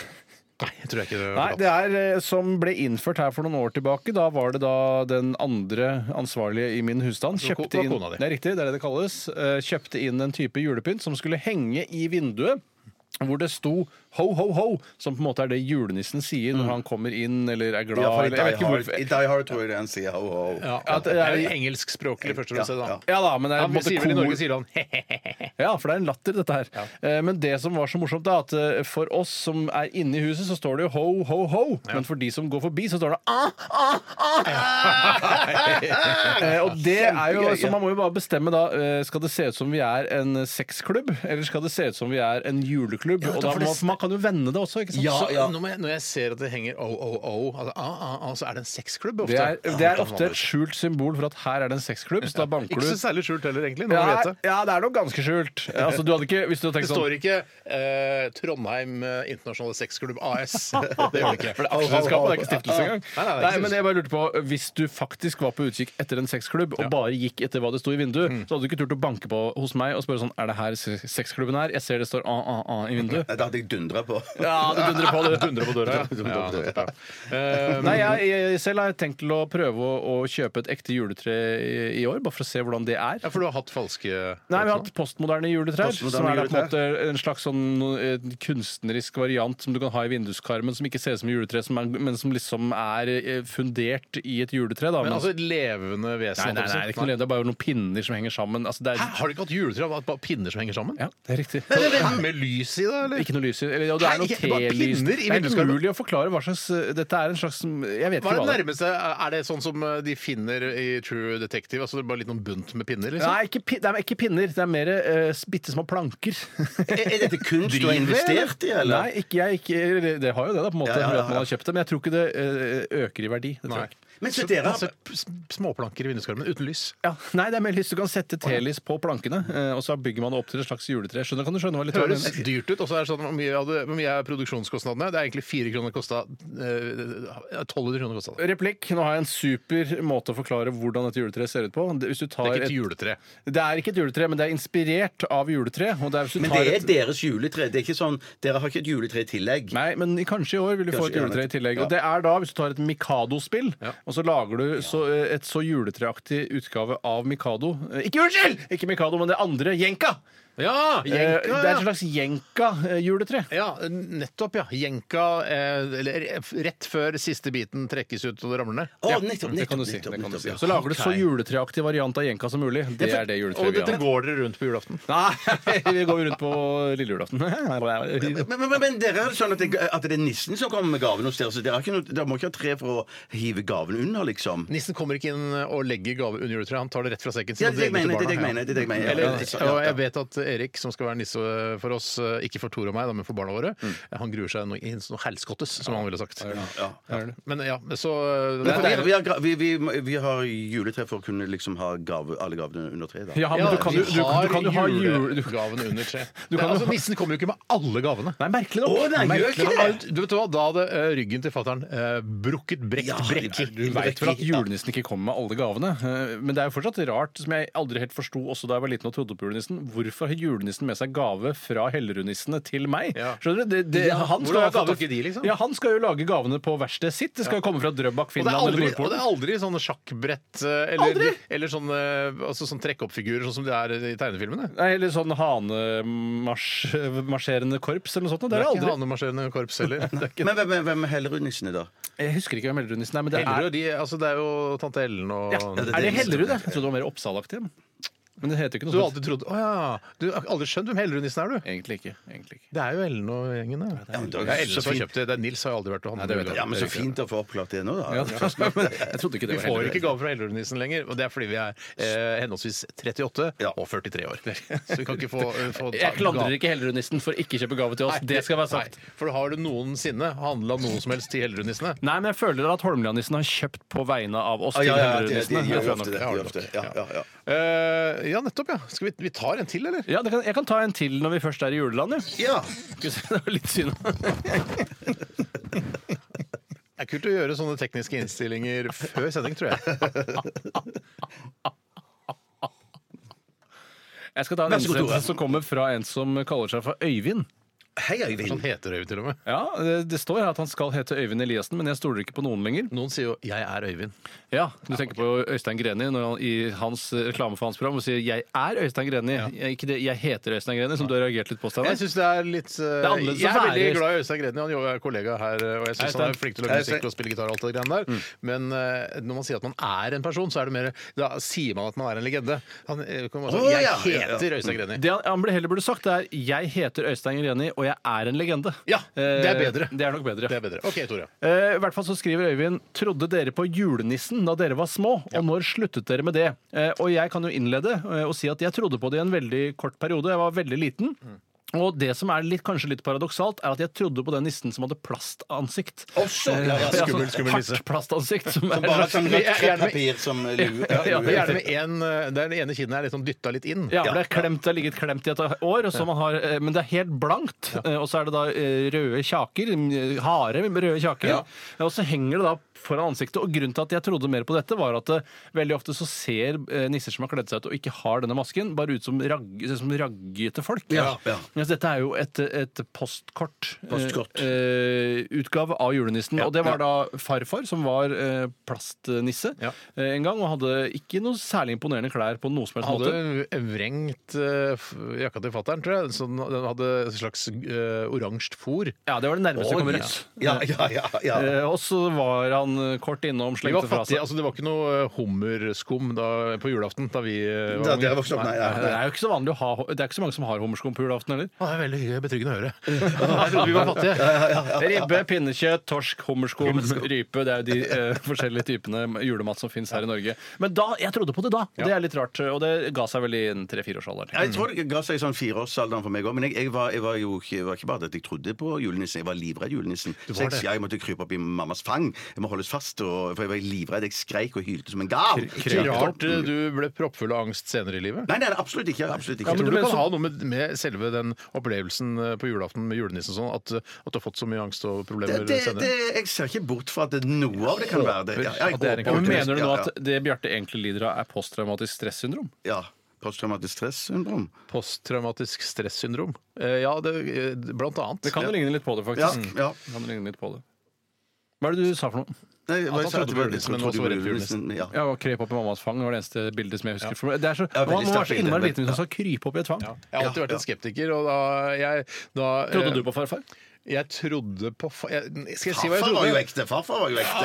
[SPEAKER 4] Nei, jeg tror jeg ikke det.
[SPEAKER 5] Nei, det er eh, som ble innført her for noen år tilbake. Da var det da den andre ansvarlige i min husstand
[SPEAKER 4] Altså, ko-
[SPEAKER 5] kjøpte inn,
[SPEAKER 4] var kona di.
[SPEAKER 5] det er riktig, det er det det kalles, eh, kjøpte inn en type julepynt som skulle henge i vinduet. Hvor det sto 'ho, ho, ho', som på en måte er det julenissen sier
[SPEAKER 4] Mm.
[SPEAKER 5] når han kommer inn eller er glad.
[SPEAKER 6] Ja, for i
[SPEAKER 5] eller, jeg
[SPEAKER 6] Die
[SPEAKER 5] vet ikke
[SPEAKER 6] Hard,
[SPEAKER 5] hvorfor.
[SPEAKER 6] i Die Hard tror jeg det er en sier ho, ho.
[SPEAKER 4] ja,
[SPEAKER 5] at det
[SPEAKER 4] det
[SPEAKER 5] er-
[SPEAKER 4] er jo engelskspråklig første du
[SPEAKER 6] Ja,
[SPEAKER 4] ser, da.
[SPEAKER 6] ja.
[SPEAKER 5] Ja da, men det er på en
[SPEAKER 4] Han
[SPEAKER 5] måte
[SPEAKER 4] sier vel i
[SPEAKER 5] kor-
[SPEAKER 4] Norge sier han he-he-he.
[SPEAKER 5] Ja, for det er en latter, dette her. Eh, Men det som var så morsomt, da, at eh, for oss som er inne i huset, så står det jo ho, ho, ho. Men for de som går forbi, så står det ah, ah, ah. Eh, Og det er jo
[SPEAKER 6] Kjempegøy,
[SPEAKER 5] Så
[SPEAKER 6] ja.
[SPEAKER 5] man må jo bare bestemme, da. eh, Skal det se ut som vi er en sexklubb, eller skal det se ut som vi er en juleklubb? Og da
[SPEAKER 4] for
[SPEAKER 5] må
[SPEAKER 4] det-
[SPEAKER 5] man, man kan jo vende det også, ikke sant?
[SPEAKER 4] Så
[SPEAKER 5] Så-
[SPEAKER 4] Når, jeg, når jeg ser at det henger o-o-o, altså, ah, ah, ah, så er det en sexklubb ofte.
[SPEAKER 5] Det er,
[SPEAKER 4] Ja,
[SPEAKER 5] det er
[SPEAKER 4] kan man
[SPEAKER 5] ofte et
[SPEAKER 4] vel-
[SPEAKER 5] skjult symbol for at her er det en sexklubb, så da banker
[SPEAKER 4] Ikke
[SPEAKER 5] du
[SPEAKER 4] så særlig skjult heller, egentlig. Når
[SPEAKER 5] ja,
[SPEAKER 4] man vet det.
[SPEAKER 5] ja, det er noe ganske skjult. Altså, du hadde ikke, hvis du hadde
[SPEAKER 4] Det
[SPEAKER 5] tenkt sånn
[SPEAKER 4] står ikke eh, Trondheim eh, Internasjonale Sexklubb AS. Det gjør det ikke. For det er
[SPEAKER 5] Aksjeselskapet, det er
[SPEAKER 4] aksjeselskapet,
[SPEAKER 5] ikke stiftelse engang.
[SPEAKER 4] Nei, nei, det er
[SPEAKER 5] Nei,
[SPEAKER 4] ikke
[SPEAKER 5] men jeg bare lurte på, Hvis du faktisk var på utkikk etter en sexklubb, og bare gikk etter hva det sto i vinduet, så hadde du ikke turt å banke på hos meg og spørre sånn Er det her se- sexklubben er? Jeg ser det står a-a-a i vinduet.
[SPEAKER 6] Nei, Det hadde jeg dundra på.
[SPEAKER 5] Ja, du dundrer på, du. Dundrer på døra, Um, ja.
[SPEAKER 4] Ja, nettopp, ja. Eh,
[SPEAKER 5] Nei, jeg, jeg selv har jeg tenkt til å prøve å, å kjøpe et ekte juletre i, i år, bare for å se hvordan det er.
[SPEAKER 4] ja, for du har hatt falske
[SPEAKER 5] Nei, vi har hatt postmoderne juletrær.
[SPEAKER 6] Postmoderne
[SPEAKER 5] som er da på en, måte
[SPEAKER 6] juletrær.
[SPEAKER 5] en slags sånn eh, kunstnerisk variant som du kan ha i vinduskarmen, som ikke ser ut som juletre, som er, men som liksom er eh, fundert i et juletre. Da.
[SPEAKER 4] Men
[SPEAKER 5] Men- altså,
[SPEAKER 4] altså et levende
[SPEAKER 5] nei,
[SPEAKER 4] vesen?
[SPEAKER 5] nei, nei, det er ikke noe levende, det er bare noen pinner som henger sammen. Altså, det er,
[SPEAKER 4] Hæ, Har du ikke hatt juletre av bare pinner som henger sammen?
[SPEAKER 5] Ja, det er riktig.
[SPEAKER 4] Med lys i det, eller?
[SPEAKER 5] Ikke noe lys i. eller, og det
[SPEAKER 4] Hei,
[SPEAKER 5] er noe
[SPEAKER 4] ikke bare
[SPEAKER 5] telys.
[SPEAKER 4] pinner i
[SPEAKER 5] Det er
[SPEAKER 4] vinduskarmen.
[SPEAKER 5] umulig å forklare hva slags eh, Dette er en slags Jeg vet
[SPEAKER 4] Hva
[SPEAKER 5] ikke
[SPEAKER 4] er
[SPEAKER 5] hva
[SPEAKER 4] det
[SPEAKER 5] det er.
[SPEAKER 4] nærmeste? Er det sånn som eh, de finner i True Detective? Altså det er bare litt noen bunt med pinner? liksom?
[SPEAKER 5] Nei, ikke, pin- det er ikke pinner. Det er mer uh, bitte små planker.
[SPEAKER 6] Er, er dette kunst du har
[SPEAKER 5] Driver,
[SPEAKER 6] investert i, eller?
[SPEAKER 5] Nei, ikke jeg. Ikke, eller det har jo det, da, på en måte,
[SPEAKER 6] Ja, ja, ja,
[SPEAKER 5] ved at man har
[SPEAKER 6] ja.
[SPEAKER 5] kjøpt det. Men jeg tror ikke det eh, øker i verdi. Det tror
[SPEAKER 4] Nei.
[SPEAKER 5] jeg. ikke.
[SPEAKER 6] Men så
[SPEAKER 4] Så
[SPEAKER 6] dere
[SPEAKER 5] Altså,
[SPEAKER 4] masse
[SPEAKER 6] har
[SPEAKER 4] p- s- småplanker i vinduskarmen uten lys.
[SPEAKER 5] Ja, nei, det er mer lyst. Du kan sette telys på plankene, eh, og så bygger man det opp til et slags juletre. Skjønner, kan du skjønne hva litt
[SPEAKER 4] Det høres dyrt ut. og så er det sånn, Hvor mye, hadde, hvor mye er produksjonskostnadene? Det er egentlig 4 kroner kosta. eh, 1200 kroner kosta det.
[SPEAKER 5] Replikk. Nå har jeg en super måte å forklare hvordan et juletre ser ut på. Det- Hvis du tar
[SPEAKER 4] Det er ikke et
[SPEAKER 5] et,
[SPEAKER 4] juletre.
[SPEAKER 5] det er ikke et juletre, men det er inspirert av juletre. Og det er hvis du
[SPEAKER 6] Men
[SPEAKER 5] tar
[SPEAKER 6] det er
[SPEAKER 5] et,
[SPEAKER 6] deres juletre. Det er ikke sånn, Dere har ikke et juletre i tillegg.
[SPEAKER 5] Nei, men i- kanskje i år vil du få
[SPEAKER 6] Kanskje
[SPEAKER 5] et juletre i tillegg.
[SPEAKER 6] ja.
[SPEAKER 5] Og det er da, hvis du tar et Mikado-spill, og så lager du så, eh, et så juletreaktig utgave av Mikado Eh, Ikke unnskyld! Ikke Mikado, men det andre. Jenka!
[SPEAKER 4] Ja!
[SPEAKER 5] Eh, det er et slags Jenka-juletre.
[SPEAKER 4] Ja, nettopp, ja. Jenka eh, eller rett før siste biten trekkes ut og det ramler ned.
[SPEAKER 6] Å, nettopp, nettopp,
[SPEAKER 5] Det kan du si.
[SPEAKER 6] nettopp,
[SPEAKER 5] det kan du
[SPEAKER 6] nettopp,
[SPEAKER 5] si.
[SPEAKER 6] ja.
[SPEAKER 5] Så lager du så
[SPEAKER 4] Ok.
[SPEAKER 5] juletreaktig variant av Jenka som mulig. Det er det juletreet
[SPEAKER 4] Og
[SPEAKER 5] vi
[SPEAKER 4] dette
[SPEAKER 5] har.
[SPEAKER 4] går dere rundt på julaften.
[SPEAKER 5] Nei, vi går rundt på lille julaften.
[SPEAKER 6] Men, men, men dere har det sånn at det, at det er nissen som kommer med gaven hos dere, så dere, har ikke noe, dere må ikke ha tre for å hive gaven under, liksom.
[SPEAKER 4] Nissen kommer ikke inn og legger gave under juletreet. Han tar det rett fra sekken sin.
[SPEAKER 6] Ja,
[SPEAKER 4] og
[SPEAKER 6] det er det jeg
[SPEAKER 4] deler
[SPEAKER 6] mener.
[SPEAKER 4] til barna.
[SPEAKER 6] Det er det jeg mener. Det er det jeg mener.
[SPEAKER 4] Eller,
[SPEAKER 6] Ja, ja, ja,
[SPEAKER 4] og
[SPEAKER 6] ja.
[SPEAKER 4] jeg vet at Erik, som skal være nisse for oss, eh, ikke for Tor og meg, da, men for barna våre, han gruer seg noe, noe helskottes, som han ville sagt.
[SPEAKER 6] Mm. Ja.
[SPEAKER 4] Men ja, så
[SPEAKER 6] Men for dere, vi, har, gra- vi, vi, vi har juletre for å kunne liksom ha gave, alle gavene under treet. da.
[SPEAKER 5] Ja, men
[SPEAKER 4] Ja,
[SPEAKER 5] du kan jo
[SPEAKER 4] vi
[SPEAKER 5] du, kan- du kan jo ha
[SPEAKER 4] har
[SPEAKER 5] jule... Du,
[SPEAKER 4] julegaven under treet.
[SPEAKER 5] Du
[SPEAKER 4] Men
[SPEAKER 5] kan jo
[SPEAKER 4] altså,
[SPEAKER 5] ha-
[SPEAKER 4] Nissen kommer jo ikke med alle gavene.
[SPEAKER 5] nei, merkelig nok.
[SPEAKER 6] Å, nei, gjør
[SPEAKER 5] merkelig
[SPEAKER 6] ikke
[SPEAKER 5] nok.
[SPEAKER 6] det.
[SPEAKER 4] Han- Du vet hva, Da hadde eh, ryggen til fatter'n eh, brukket brekt
[SPEAKER 6] Ja,
[SPEAKER 4] brekke.
[SPEAKER 5] Du veit vel at julenissen ikke kommer med alle gavene. eh, Men det er jo fortsatt rart, som jeg aldri helt forsto også da jeg var liten og trodde på julenissen. Hvorfor har julenissen med seg gave fra Hellerudnissene til meg?
[SPEAKER 4] Ja.
[SPEAKER 5] Skjønner du? Det, det,
[SPEAKER 4] Ja,
[SPEAKER 5] han, skal
[SPEAKER 4] hvordan
[SPEAKER 5] ha
[SPEAKER 4] får
[SPEAKER 5] gave-
[SPEAKER 4] dere de, liksom?
[SPEAKER 5] ja, han skal jo lage gavene på verkstedet sitt. Det skal jo komme fra Drøbak,
[SPEAKER 4] Og det, er
[SPEAKER 5] Finland
[SPEAKER 4] aldri,
[SPEAKER 5] eller
[SPEAKER 4] og det
[SPEAKER 5] Nordpolen.
[SPEAKER 4] er aldri sånne sjakkbrett eh, eller,
[SPEAKER 5] Aldri!
[SPEAKER 4] eller sånne, eh, altså sånn trekkoppfigurer sånn som det er i tegnefilmene.
[SPEAKER 5] Nei, Eller sånn hanemarsjerende korps eller noe sånt. Det er det
[SPEAKER 4] ikke
[SPEAKER 5] aldri.
[SPEAKER 4] hanemarsjerende korps heller. Det er ikke
[SPEAKER 6] Men hvem, hvem- hvem er Hellerudnissene, da?
[SPEAKER 5] Jeg husker ikke hvem Hellerudnissen er, men det er
[SPEAKER 4] Hellerud, de, altså det er jo tante Ellen og
[SPEAKER 5] Ja,
[SPEAKER 6] det-
[SPEAKER 5] er det
[SPEAKER 6] det-
[SPEAKER 5] Hellerud? Jeg trodde det var mer Oppsal-aktig. men- Men det heter jo
[SPEAKER 4] Du
[SPEAKER 5] ikke noe
[SPEAKER 4] har
[SPEAKER 5] sånt.
[SPEAKER 4] alltid trodd Å ja! Du har aldri skjønt hvem Hellerudnissen er, du?
[SPEAKER 5] Egentlig ikke. Egentlig ikke.
[SPEAKER 4] Det er jo Ellen og gjengen, det.
[SPEAKER 6] Ja, men det er
[SPEAKER 4] det
[SPEAKER 6] jo
[SPEAKER 4] er Ellen
[SPEAKER 6] så
[SPEAKER 4] som har
[SPEAKER 6] fint.
[SPEAKER 4] kjøpt det. det er Nils har jo aldri vært å handle.
[SPEAKER 5] det vet jeg.
[SPEAKER 6] Ja, men Så fint å få oppklart det nå, da.
[SPEAKER 5] Ja, men jeg trodde ikke
[SPEAKER 4] Vi
[SPEAKER 5] det var
[SPEAKER 4] får
[SPEAKER 5] Hellerud.
[SPEAKER 4] ikke gave fra Hellerudnissen lenger, og det er fordi vi er eh, henholdsvis 38
[SPEAKER 6] Ja.
[SPEAKER 4] og 43 år. Så vi kan ikke få, eh, få ta-
[SPEAKER 5] Jeg klandrer
[SPEAKER 4] gave.
[SPEAKER 5] ikke Hellerudnissen for ikke å kjøpe gave til
[SPEAKER 4] Nei,
[SPEAKER 5] oss. Altså, Det skal være sagt.
[SPEAKER 4] Nei, for har du noensinne handla noe som helst til Hellerudnissene?
[SPEAKER 5] Nei, men jeg føler at Holmlianissen har kjøpt på vegne av oss
[SPEAKER 6] Ja,
[SPEAKER 5] til
[SPEAKER 6] ja, ja, de, de, de,
[SPEAKER 5] Hellerudnissene. Det tror
[SPEAKER 6] gjør jo
[SPEAKER 5] jeg
[SPEAKER 6] ofte
[SPEAKER 5] nok.
[SPEAKER 6] det. De gjør ofte det. Ja, ja, ja.
[SPEAKER 4] Eh, ja, nettopp, ja. Skal vi, vi tar en til, eller?
[SPEAKER 5] Ja, det kan, jeg kan ta en til når vi først er i juleland, jo. Skal vi se, Det var litt synd.
[SPEAKER 4] Det er kult å gjøre sånne tekniske innstillinger før sending, tror jeg.
[SPEAKER 5] Jeg skal ta en innsendelse som kommer fra en som kaller seg for Øyvind.
[SPEAKER 6] Hei, Øyvind.
[SPEAKER 4] Sånn heter Øyvind til og med.
[SPEAKER 5] Ja, Det, det står her at han skal hete Øyvind Eliassen, men jeg stoler ikke på noen lenger.
[SPEAKER 4] Noen sier jo 'jeg er Øyvind'.
[SPEAKER 5] Ja, Du tenker på Øystein Greni når han, i hans eh, reklame for hans program og sier 'Jeg er Øystein Greni', jeg, ikke det 'Jeg heter Øystein Greni', som du har reagert litt på, Steinar.
[SPEAKER 4] Jeg syns det er litt eh,
[SPEAKER 5] Det er annerledes å
[SPEAKER 4] Jeg er
[SPEAKER 5] være-
[SPEAKER 4] veldig glad i Øystein Greni, han jo er kollega her, eh, og jeg
[SPEAKER 5] Hei,
[SPEAKER 4] syns han er
[SPEAKER 5] Øystein. Mm.
[SPEAKER 4] flink til å lage musikk og spille gitar og alt det greiene der, men eh, når man sier at man er en person, så er det mer Da sier man at man er en legende. Han eh, kan bare si
[SPEAKER 6] Å,
[SPEAKER 4] 'jeg
[SPEAKER 6] ja, ja, ja.
[SPEAKER 4] heter Øystein Greni'.
[SPEAKER 5] Det han, han ble- heller burde sagt, det er 'Jeg heter Øystein Greni, og jeg er en legende'.
[SPEAKER 4] Ja, det er bedre.
[SPEAKER 5] Eh, Det er nok bedre.
[SPEAKER 4] Det er bedre. OK, Tore.
[SPEAKER 5] Eh, I hvert fall så skriver Øyvind 'Trodde dere på julenissen da dere var små, og når sluttet dere med det?' Eh, og jeg kan jo innlede eh, og si at jeg trodde på det i en veldig kort periode. Jeg var veldig liten.
[SPEAKER 6] Mm.
[SPEAKER 5] Og det som er litt, kanskje litt paradoksalt, er at jeg trodde på den nissen som hadde plastansikt.
[SPEAKER 6] Også, ja, ja,
[SPEAKER 5] Ja,
[SPEAKER 6] skummel,
[SPEAKER 5] sånn
[SPEAKER 6] skummel
[SPEAKER 5] hardt
[SPEAKER 6] nisse.
[SPEAKER 5] plastansikt. Som er,
[SPEAKER 6] Bare sånn rødt
[SPEAKER 4] Jeg- jeg er med-
[SPEAKER 6] kreppapir som lue.
[SPEAKER 5] Ja, ja,
[SPEAKER 6] lue.
[SPEAKER 4] Gjerne med en, eh, der det ene kinnet er litt sånn dytta litt inn.
[SPEAKER 5] ja, for det, er klemt, det har ligget klemt i et år, og så man har, eh, men det er helt blankt. Eh, Og så er det da eh, røde kjaker, mm, harde med røde kjaker. Eh, Og så henger det da foran ansiktet. Og grunnen til at jeg trodde mer på dette, var at eh, veldig ofte så ser eh, nisser som har kledd seg ut og ikke har denne masken, bare ut som, ragg, ser ut som raggete folk.
[SPEAKER 6] Ja, ja.
[SPEAKER 5] Mens dette er jo et, et postkort. eh,
[SPEAKER 6] Postkort.
[SPEAKER 5] Eh, utgave av julenissen. og det var da farfar, som var eh, plastnisse
[SPEAKER 4] Ja.
[SPEAKER 5] eh, en gang, og hadde ikke noe særlig imponerende klær på noe som helst
[SPEAKER 4] Han
[SPEAKER 5] måte.
[SPEAKER 4] hadde vrengt eh, f- jakka til fattern, tror jeg. Så den den hadde et slags uh, oransje fôr.
[SPEAKER 5] Ja, det var det nærmeste jeg kom rødt.
[SPEAKER 6] Ja, ja, ja, ja.
[SPEAKER 5] Eh, og så var han sånn eh, kort innom,
[SPEAKER 4] Vi
[SPEAKER 5] slengte
[SPEAKER 4] var
[SPEAKER 5] fra
[SPEAKER 4] fattige.
[SPEAKER 5] seg.
[SPEAKER 4] altså Det var ikke noe eh, hummerskum da, på julaften da vi eh,
[SPEAKER 6] Da
[SPEAKER 4] var
[SPEAKER 6] dere vokste opp, nei, ja.
[SPEAKER 5] Det er jo ikke så vanlig å ha Det er ikke så mange som har hummerskum på julaften heller.
[SPEAKER 4] Å, Det er veldig hyggelig, betryggende å høre. Jeg trodde vi var fattige.
[SPEAKER 5] Ribbe, pinnekjøtt, torsk, hummerskum, rype. Det er jo de eh, forskjellige typene julemat som fins her i Norge. Men da, jeg trodde på det da. og Det er litt rart. Og det ga seg vel i en tre-fireårsalderen.
[SPEAKER 6] Jeg tror det ga seg i sånn fireårsalderen for meg òg. Men jeg, jeg, var, jeg var jo ikke, var ikke bare det at jeg trodde på julenissen, jeg var livredd julenissen. Så jeg, jeg måtte krype opp i mammas fang. Jeg må holdes fast, og, for jeg var livredd. Jeg skreik og hylte som en gal.
[SPEAKER 4] Ikke rart eh, du ble proppfull av angst senere i livet.
[SPEAKER 6] Nei, nei, absolutt ikke. Absolutt ikke.
[SPEAKER 4] Jeg tror
[SPEAKER 5] du
[SPEAKER 4] du sånn-
[SPEAKER 5] ble
[SPEAKER 4] kan
[SPEAKER 5] så-
[SPEAKER 4] ha noe med, med selve den opplevelsen eh, på julaften med julenissen og sånn, at, eh, at du har fått så mye angst og
[SPEAKER 6] det,
[SPEAKER 4] problemer
[SPEAKER 6] det, det,
[SPEAKER 4] senere.
[SPEAKER 6] jeg ser ikke bort fra at det- noe av det kan være det. Ja, jeg
[SPEAKER 5] At det er en
[SPEAKER 6] håper
[SPEAKER 5] Men mener du nå
[SPEAKER 6] Ja,
[SPEAKER 5] at det Bjarte egentlig lider av, er posttraumatisk stressyndrom?
[SPEAKER 6] Ja. ja. Posttraumatisk stressyndrom.
[SPEAKER 4] Posttraumatisk stressyndrom. Eh, Ja, det, eh, blant annet.
[SPEAKER 5] Det kan jo ligne litt på det,
[SPEAKER 6] Ja,
[SPEAKER 5] faktisk.
[SPEAKER 6] ja.
[SPEAKER 5] Det kan ligne litt på det. Hva er det du sa for noe?
[SPEAKER 6] Nei, hva
[SPEAKER 4] han
[SPEAKER 6] jeg sa,
[SPEAKER 4] trodde
[SPEAKER 6] at det
[SPEAKER 4] på
[SPEAKER 6] var-
[SPEAKER 4] julenissen, men
[SPEAKER 6] trodde
[SPEAKER 4] også var
[SPEAKER 6] på
[SPEAKER 4] redd for julenissen.
[SPEAKER 6] julenissen, ja.
[SPEAKER 5] Ja, og Krep opp i mammas fang var det eneste bildet som jeg husker. For Det er så,
[SPEAKER 6] Ja,
[SPEAKER 5] man
[SPEAKER 6] veldig
[SPEAKER 5] må være
[SPEAKER 6] sterkt
[SPEAKER 5] så innmari
[SPEAKER 6] bilde,
[SPEAKER 5] liten hvis man skal krype opp i et fang.
[SPEAKER 4] Jeg har alltid vært en skeptiker, og da jeg da, eh,
[SPEAKER 5] Trodde du på farfar?
[SPEAKER 4] Jeg trodde på fa jeg, Skal jeg si hva jeg
[SPEAKER 6] Farfar var jo
[SPEAKER 4] trodde?
[SPEAKER 6] ekte. Farfar var jo ekte.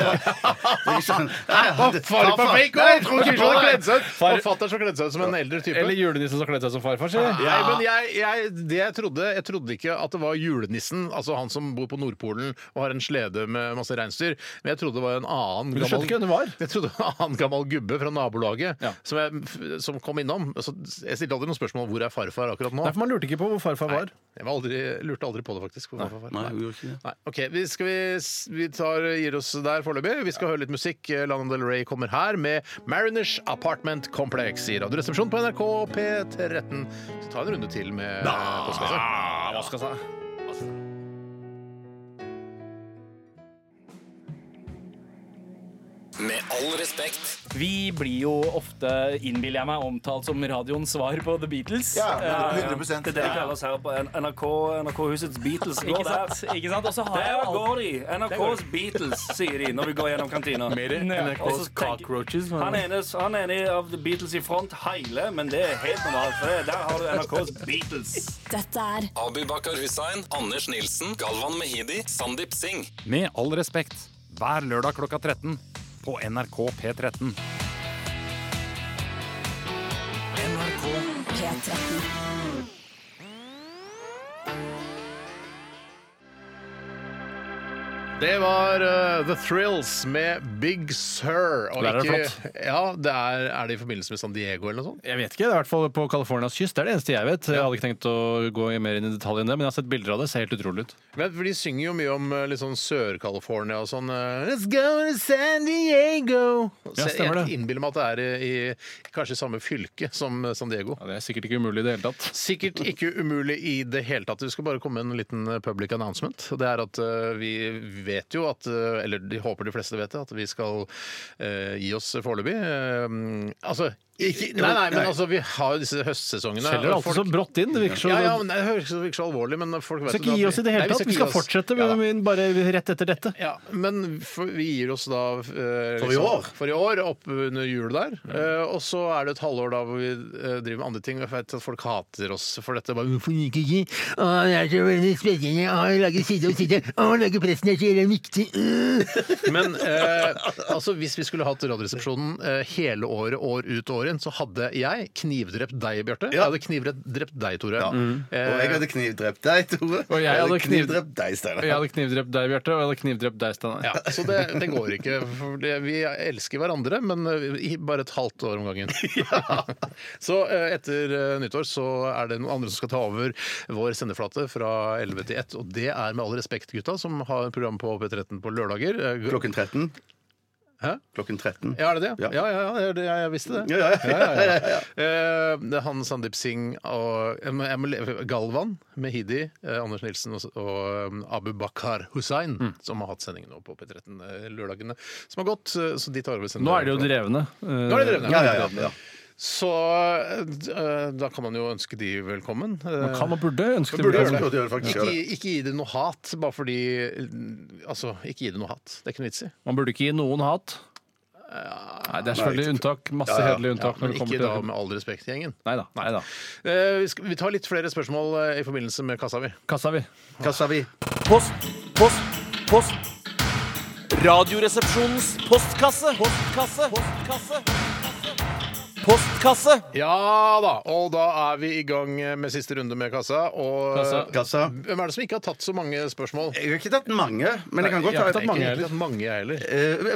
[SPEAKER 6] Det er ikke sånn- Nei,
[SPEAKER 4] Å,
[SPEAKER 6] han-
[SPEAKER 4] Far på
[SPEAKER 6] farfar-
[SPEAKER 4] fake!
[SPEAKER 6] Nei, jeg tror
[SPEAKER 4] Trond
[SPEAKER 6] ikke
[SPEAKER 4] Kirsten hadde
[SPEAKER 6] på det.
[SPEAKER 4] kledd seg ut!
[SPEAKER 5] Far-
[SPEAKER 4] Og fatter'n som kledde seg ut som en eldre type.
[SPEAKER 5] Eller julenissen som kledde seg som farfar? sier jeg.
[SPEAKER 4] Nei, men jeg, jeg, det jeg trodde Jeg trodde ikke at det var julenissen, altså han som bor på Nordpolen og har en slede med masse reinsdyr. Men jeg trodde det var en annen
[SPEAKER 5] Men du skjønte ikke hvem det var?
[SPEAKER 4] Jeg trodde det var en annen gammel gubbe fra nabolaget
[SPEAKER 5] Ja.
[SPEAKER 4] som, jeg, som kom innom. Så jeg stilte aldri noen spørsmål om hvor er farfar akkurat nå.
[SPEAKER 5] Derfor man lurte ikke på hvor farfar var.
[SPEAKER 4] Jeg var aldri, lurte aldri på det, faktisk. Hvor farfar var.
[SPEAKER 6] Nei, hun gjorde ikke det.
[SPEAKER 4] Nei, ok, Vi, skal vi, vi tar, gir oss der foreløpig. Vi skal høre litt musikk. Eh, Lana Del Rey kommer her med Mariners Apartment Complex i Radioresepsjonen på NRK P13. Så ta en runde til med postkassa.
[SPEAKER 13] Med all respekt.
[SPEAKER 10] Vi blir jo ofte, innbiller jeg meg, omtalt som radioens svar på The Beatles.
[SPEAKER 14] Ja,
[SPEAKER 10] Eh,
[SPEAKER 14] 100
[SPEAKER 10] Det er det vi kaller
[SPEAKER 14] oss her på NRK, NRK-husets Beatles.
[SPEAKER 10] Ikke sant? Ikke sant? Og så har jeg jo
[SPEAKER 14] Der
[SPEAKER 10] alt-
[SPEAKER 14] går de!
[SPEAKER 10] Der går
[SPEAKER 14] NRKs
[SPEAKER 10] de.
[SPEAKER 14] Beatles, sier de når vi går gjennom kantina.
[SPEAKER 10] NRKs
[SPEAKER 14] Og så tenker-
[SPEAKER 10] cockroaches, men-
[SPEAKER 14] Han ene, han ene av The Beatles i front heile, men det er helt normalt. For det- der har du NRKs Beatles.
[SPEAKER 8] Dette er
[SPEAKER 13] Abu Bakar Hussein, Anders Nilsen, Galvan Mehidi, Sandeep Singh.
[SPEAKER 15] Med all respekt, hver lørdag klokka 13 på NRK P13.
[SPEAKER 8] P13.
[SPEAKER 4] Det var eh, The Thrills med Big Sur. Og
[SPEAKER 5] Der er det
[SPEAKER 4] ikke- Ja, det er, er det i forbindelse med San Diego eller noe sånt?
[SPEAKER 5] Jeg vet ikke, det er i hvert fall på Californias kyst. Det er det eneste jeg vet. Jeg hadde ikke tenkt å gå mer inn i detalj enn det, men jeg har sett bilder av det. Det ser helt utrolig ut.
[SPEAKER 4] Men for De synger jo mye om eh, litt sånn Sør-California og sånn eh, Let's go to San Diego!
[SPEAKER 5] Ja,
[SPEAKER 4] Så jeg
[SPEAKER 5] stemmer det.
[SPEAKER 4] innbiller meg at det er i, i kanskje samme fylke som eh, San Diego.
[SPEAKER 5] Ja, det er sikkert ikke umulig i det hele tatt.
[SPEAKER 4] Sikkert ikke umulig i det hele tatt. Vi skal bare komme med en liten eh, public announcement. Og Det er at eh, vi vet jo at eh, Eller de håper de fleste vet det, at vi skal eh, gi oss foreløpig. Eh, altså ikke, nei, nei, men altså, vi har jo disse høstsesongene. og
[SPEAKER 5] Skjeller alltid så brått inn. Det virker så
[SPEAKER 4] ja, ja, men Det høres jo ikke så alvorlig men folk
[SPEAKER 5] Vi
[SPEAKER 4] vet jo
[SPEAKER 5] skal ikke
[SPEAKER 4] at
[SPEAKER 5] gi oss i det
[SPEAKER 4] Nei,
[SPEAKER 5] hele tatt. Vi skal
[SPEAKER 4] ikke gi oss.
[SPEAKER 5] fortsette
[SPEAKER 4] Ja da.
[SPEAKER 5] men bare rett etter dette.
[SPEAKER 4] Ja, men for, vi gir oss da eh,
[SPEAKER 6] For i år?
[SPEAKER 4] For i år, opp under jul der. Eh, og så er det et halvår da hvor vi eh, driver med andre ting. Jeg vet at folk hater oss for dette. Bare, Hvorfor gikk ikke? Å, det er så veldig spennende. Å, jeg lager side om side. Å, jeg lager pressen er så jævlig viktig. Øh. Men eh, altså, hvis vi skulle hatt Radioresepsjonen eh, hele året, år ut og år inn, så hadde jeg knivdrept deg, Bjarte. Jeg hadde knivdrept deg, Tore.
[SPEAKER 6] Ja.
[SPEAKER 4] Eh,
[SPEAKER 6] Og jeg hadde knivdrept deg, Tore.
[SPEAKER 5] Og jeg hadde kniv-
[SPEAKER 6] knivdrept deg, Steinar.
[SPEAKER 5] Jeg hadde knivdrept deg, Bjarte, og jeg hadde knivdrept deg, Steinar.
[SPEAKER 4] Ja, så det, det går ikke. For det, vi elsker hverandre, men eh, i bare et halvt år om gangen. Så eh, etter eh, nyttår så er det noen andre som skal ta over vår sendeflate fra 11 til 1. Og det er med all respekt gutta, som har program på P13 på lørdager. Eh, gu-
[SPEAKER 6] Klokken 13.
[SPEAKER 4] Hæ?
[SPEAKER 6] Klokken 13.
[SPEAKER 4] Ja, er det det?
[SPEAKER 6] Ja.
[SPEAKER 4] Ja, ja, ja, det er det, ja jeg visste det.
[SPEAKER 6] Ja, ja, ja,
[SPEAKER 4] Eh, det er han Sandeep Singh og jeg må, jeg må, le- Galvan Mehidi, eh, Anders Nilsen og, og eh, Abu Bakar Hussein,
[SPEAKER 6] Mm.
[SPEAKER 4] som har hatt sendingen nå på P13 eh, lørdagene som har gått. eh, Så de tar over sendingen.
[SPEAKER 5] Nå er det jo drevne.
[SPEAKER 4] Nå er de drevne.
[SPEAKER 6] Ja, ja, ja, ja.
[SPEAKER 4] Så eh, da kan man jo ønske de velkommen.
[SPEAKER 5] Man Eh, kan og burde ønske
[SPEAKER 4] Burde
[SPEAKER 5] det.
[SPEAKER 4] gjøre det.
[SPEAKER 6] Burde gjøre det, faktisk.
[SPEAKER 4] Ikke, gi- ikke gi det noe hat, bare fordi eh, Altså, ikke gi det noe hat. Det er ikke noe vits i.
[SPEAKER 5] Man burde ikke gi noen hat. Nei, det er selvfølgelig unntak. Masse hederlige
[SPEAKER 4] Ja,
[SPEAKER 5] unntak.
[SPEAKER 4] men
[SPEAKER 5] når det
[SPEAKER 4] ikke
[SPEAKER 5] kommer
[SPEAKER 4] da
[SPEAKER 5] til
[SPEAKER 4] med all respekt, gjengen.
[SPEAKER 5] Nei da. Nei da.
[SPEAKER 4] Eh, vi, skal, vi tar litt flere spørsmål eh, i forbindelse
[SPEAKER 6] Eh,
[SPEAKER 4] med kassa, vi.
[SPEAKER 5] Kassa, vi.
[SPEAKER 6] Hva sa vi?
[SPEAKER 14] Post, post, post.
[SPEAKER 16] Radioresepsjonens postkasse. Postkasse. Postkasse. Postkasse.
[SPEAKER 4] Ja da, og da er vi i gang eh, med siste runde med kassa. Og
[SPEAKER 6] Kassa. Kassa.
[SPEAKER 4] hvem er det som ikke har tatt så mange spørsmål?
[SPEAKER 6] Jeg har ikke tatt mange, men jeg kan
[SPEAKER 4] Nei,
[SPEAKER 6] godt
[SPEAKER 4] jeg har
[SPEAKER 6] ta
[SPEAKER 4] ikke tatt mange,
[SPEAKER 6] Jeg har ikke
[SPEAKER 4] tatt mange, jeg heller.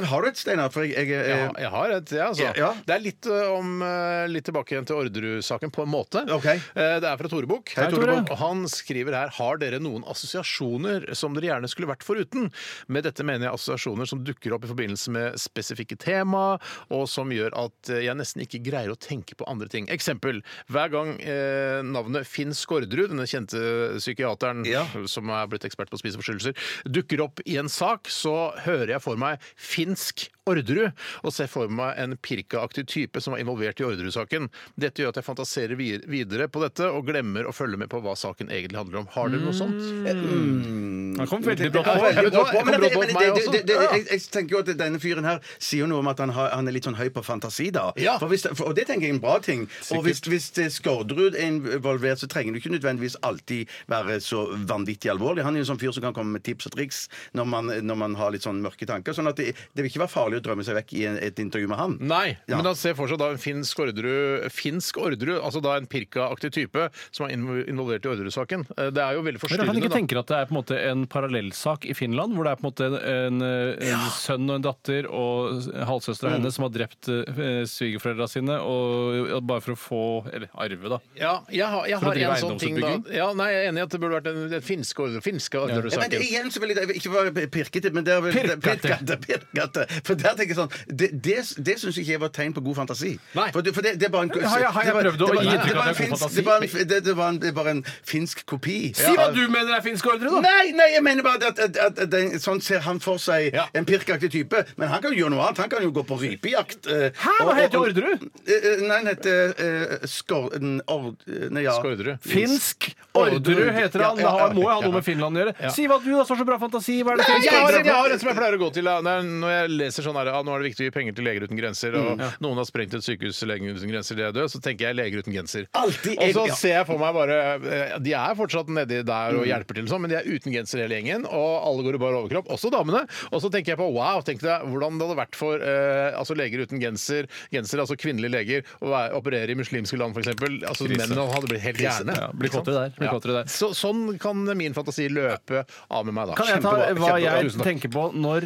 [SPEAKER 6] Eh, har du et, Steinar? For jeg, jeg,
[SPEAKER 4] Ja, jeg har et, jeg, altså.
[SPEAKER 6] Eh, Ja.
[SPEAKER 4] Det er litt, ø, om, ø, litt tilbake igjen til Orderud-saken, på en måte. Eh, Det er fra Tore Bukk.
[SPEAKER 6] Hei, Tore Bukk.
[SPEAKER 4] Og han skriver her Har dere noen assosiasjoner som dere gjerne skulle vært foruten? Med dette mener jeg assosiasjoner som dukker opp i forbindelse med spesifikke tema, og som gjør at eh, jeg nesten ikke greier å tenke på andre ting. Eksempel. Hver gang eh, navnet Finn Skårderud, denne kjente psykiateren som er blitt ekspert på spiseforstyrrelser, dukker opp i en sak, så hører jeg for meg finsk Orderud, og ser for meg en pirkaaktig type som var involvert i Orderud-saken. Dette gjør at jeg fantaserer vi- videre på dette og glemmer å følge med på hva saken egentlig handler om. Har dere noe
[SPEAKER 5] Mm.
[SPEAKER 4] sånt?
[SPEAKER 5] Han kom veldig
[SPEAKER 6] Ja,
[SPEAKER 5] brått på.
[SPEAKER 6] veldig bra. Men det- men det-
[SPEAKER 4] meg
[SPEAKER 6] det-
[SPEAKER 4] også.
[SPEAKER 6] det- det- Jeg jeg tenker jo at denne fyren her sier jo noe om at han, har, han er litt sånn høy på fantasi, da. For hvis, for, og det tenker jeg er en bra ting. Og hvis, hvis det Skårderud er involvert, så trenger det ikke nødvendigvis alltid være så vanvittig alvorlig. Han er jo en sånn fyr som kan komme med tips og triks når man, når man har litt sånn mørke tanker. Sånn at det, det vil ikke være farlig å drømme seg vekk i en, et intervju med han.
[SPEAKER 4] Nei,
[SPEAKER 6] Ja.
[SPEAKER 4] men han ser for seg da en finsk Orderud, finsk Orderud, altså da en pirkaaktig type som er invo- involvert i Orderud-saken. Eh, Det er jo veldig
[SPEAKER 5] Men han
[SPEAKER 4] forstyrrende.
[SPEAKER 5] ikke
[SPEAKER 4] da.
[SPEAKER 5] tenker at det er på en måte en parallellsak i Finland, hvor det er på en måte en, en, en sønn og en datter og halvsøstera
[SPEAKER 4] Mm.
[SPEAKER 5] hennes som har drept eh, svigerforeldra sine, og, og bare for å få Eller arve, da.
[SPEAKER 4] Ja, jeg har, jeg
[SPEAKER 5] For å
[SPEAKER 4] har
[SPEAKER 5] drive
[SPEAKER 4] en sånn ting da.
[SPEAKER 5] eiendomsutbygging?
[SPEAKER 4] Ja, nei, jeg er enig i at det burde vært den, den finske Orderud- finske
[SPEAKER 6] Ja, men
[SPEAKER 4] Orderud-saken.
[SPEAKER 6] igjen så vil jeg ikke være pirkete, men det er vel
[SPEAKER 4] Pirkete.
[SPEAKER 6] pirkete, pirkete. For der tenker jeg sånn Det, det, det syns ikke jeg var et tegn på god fantasi. For, det, for det, det er bare en
[SPEAKER 5] Ja, har jeg- har jeg
[SPEAKER 6] det var-
[SPEAKER 5] prøvd å
[SPEAKER 6] det var-
[SPEAKER 5] gi
[SPEAKER 6] det
[SPEAKER 5] inntrykk av
[SPEAKER 6] var
[SPEAKER 5] at jeg
[SPEAKER 6] en
[SPEAKER 5] har god
[SPEAKER 6] finsk- Det var en- det- det var en- det var en finsk kopi.
[SPEAKER 5] Si hva
[SPEAKER 6] av-
[SPEAKER 5] du mener er finsk ordre, da!
[SPEAKER 6] Nei, nei, jeg mener bare at, at, at, at den, sånn ser han for seg en pirkaktig type. Men han kan jo gjøre noe annet. Han kan jo gå på rypejakt. eh,
[SPEAKER 5] Hæ, hva
[SPEAKER 6] og- og-
[SPEAKER 5] heter
[SPEAKER 6] og-
[SPEAKER 5] Orderud?
[SPEAKER 6] Eh, eh, Nei, han heter eh, Skor... n- Ord... eh, Nei, ja.
[SPEAKER 4] Skårderud.
[SPEAKER 5] Finsk Orderud heter han.
[SPEAKER 6] Ja, ja, ja.
[SPEAKER 5] Da må jo ha noe med Finland å gjøre.
[SPEAKER 4] Ja.
[SPEAKER 5] Si hva du da, som har så bra fantasi. Hva er det
[SPEAKER 4] Nei,
[SPEAKER 5] finsk
[SPEAKER 4] jeg, har,
[SPEAKER 5] ordre
[SPEAKER 4] en- jeg har en som jeg pleier å gå til. da. Det er Når jeg leser sånn her, ah, nå er det viktig å gi penger til Leger uten grenser, og
[SPEAKER 5] Mm. Ja.
[SPEAKER 4] noen har sprengt et sykehus, Leger uten grenser, de er døde, så tenker jeg Leger uten genser.
[SPEAKER 6] Altid
[SPEAKER 4] og så
[SPEAKER 6] jeg- ja.
[SPEAKER 4] ser jeg for meg bare eh, De er fortsatt nedi der
[SPEAKER 5] Mm.
[SPEAKER 4] og hjelper til, og sånn, men de er uten genser hele gjengen, og alle går i bar overkropp, også damene. Og så tenker jeg på wow, tenk deg hvordan det hadde vært for eh, altså leger uten genser, genser, altså kvinnelige leger, å være, operere i muslimske land, f.eks. Altså,
[SPEAKER 5] Krise.
[SPEAKER 4] mennene hadde blitt helt
[SPEAKER 5] Krise.
[SPEAKER 4] gærne.
[SPEAKER 5] Ja, blir
[SPEAKER 4] Ikke sant?
[SPEAKER 5] kåtere der, blir kåtere der.
[SPEAKER 4] Så, sånn kan min fantasi løpe av med meg, da.
[SPEAKER 5] Kan jeg ta
[SPEAKER 4] Kjempebra,
[SPEAKER 5] hva
[SPEAKER 4] kjempebra.
[SPEAKER 5] jeg
[SPEAKER 4] Tusen takk.
[SPEAKER 5] tenker på når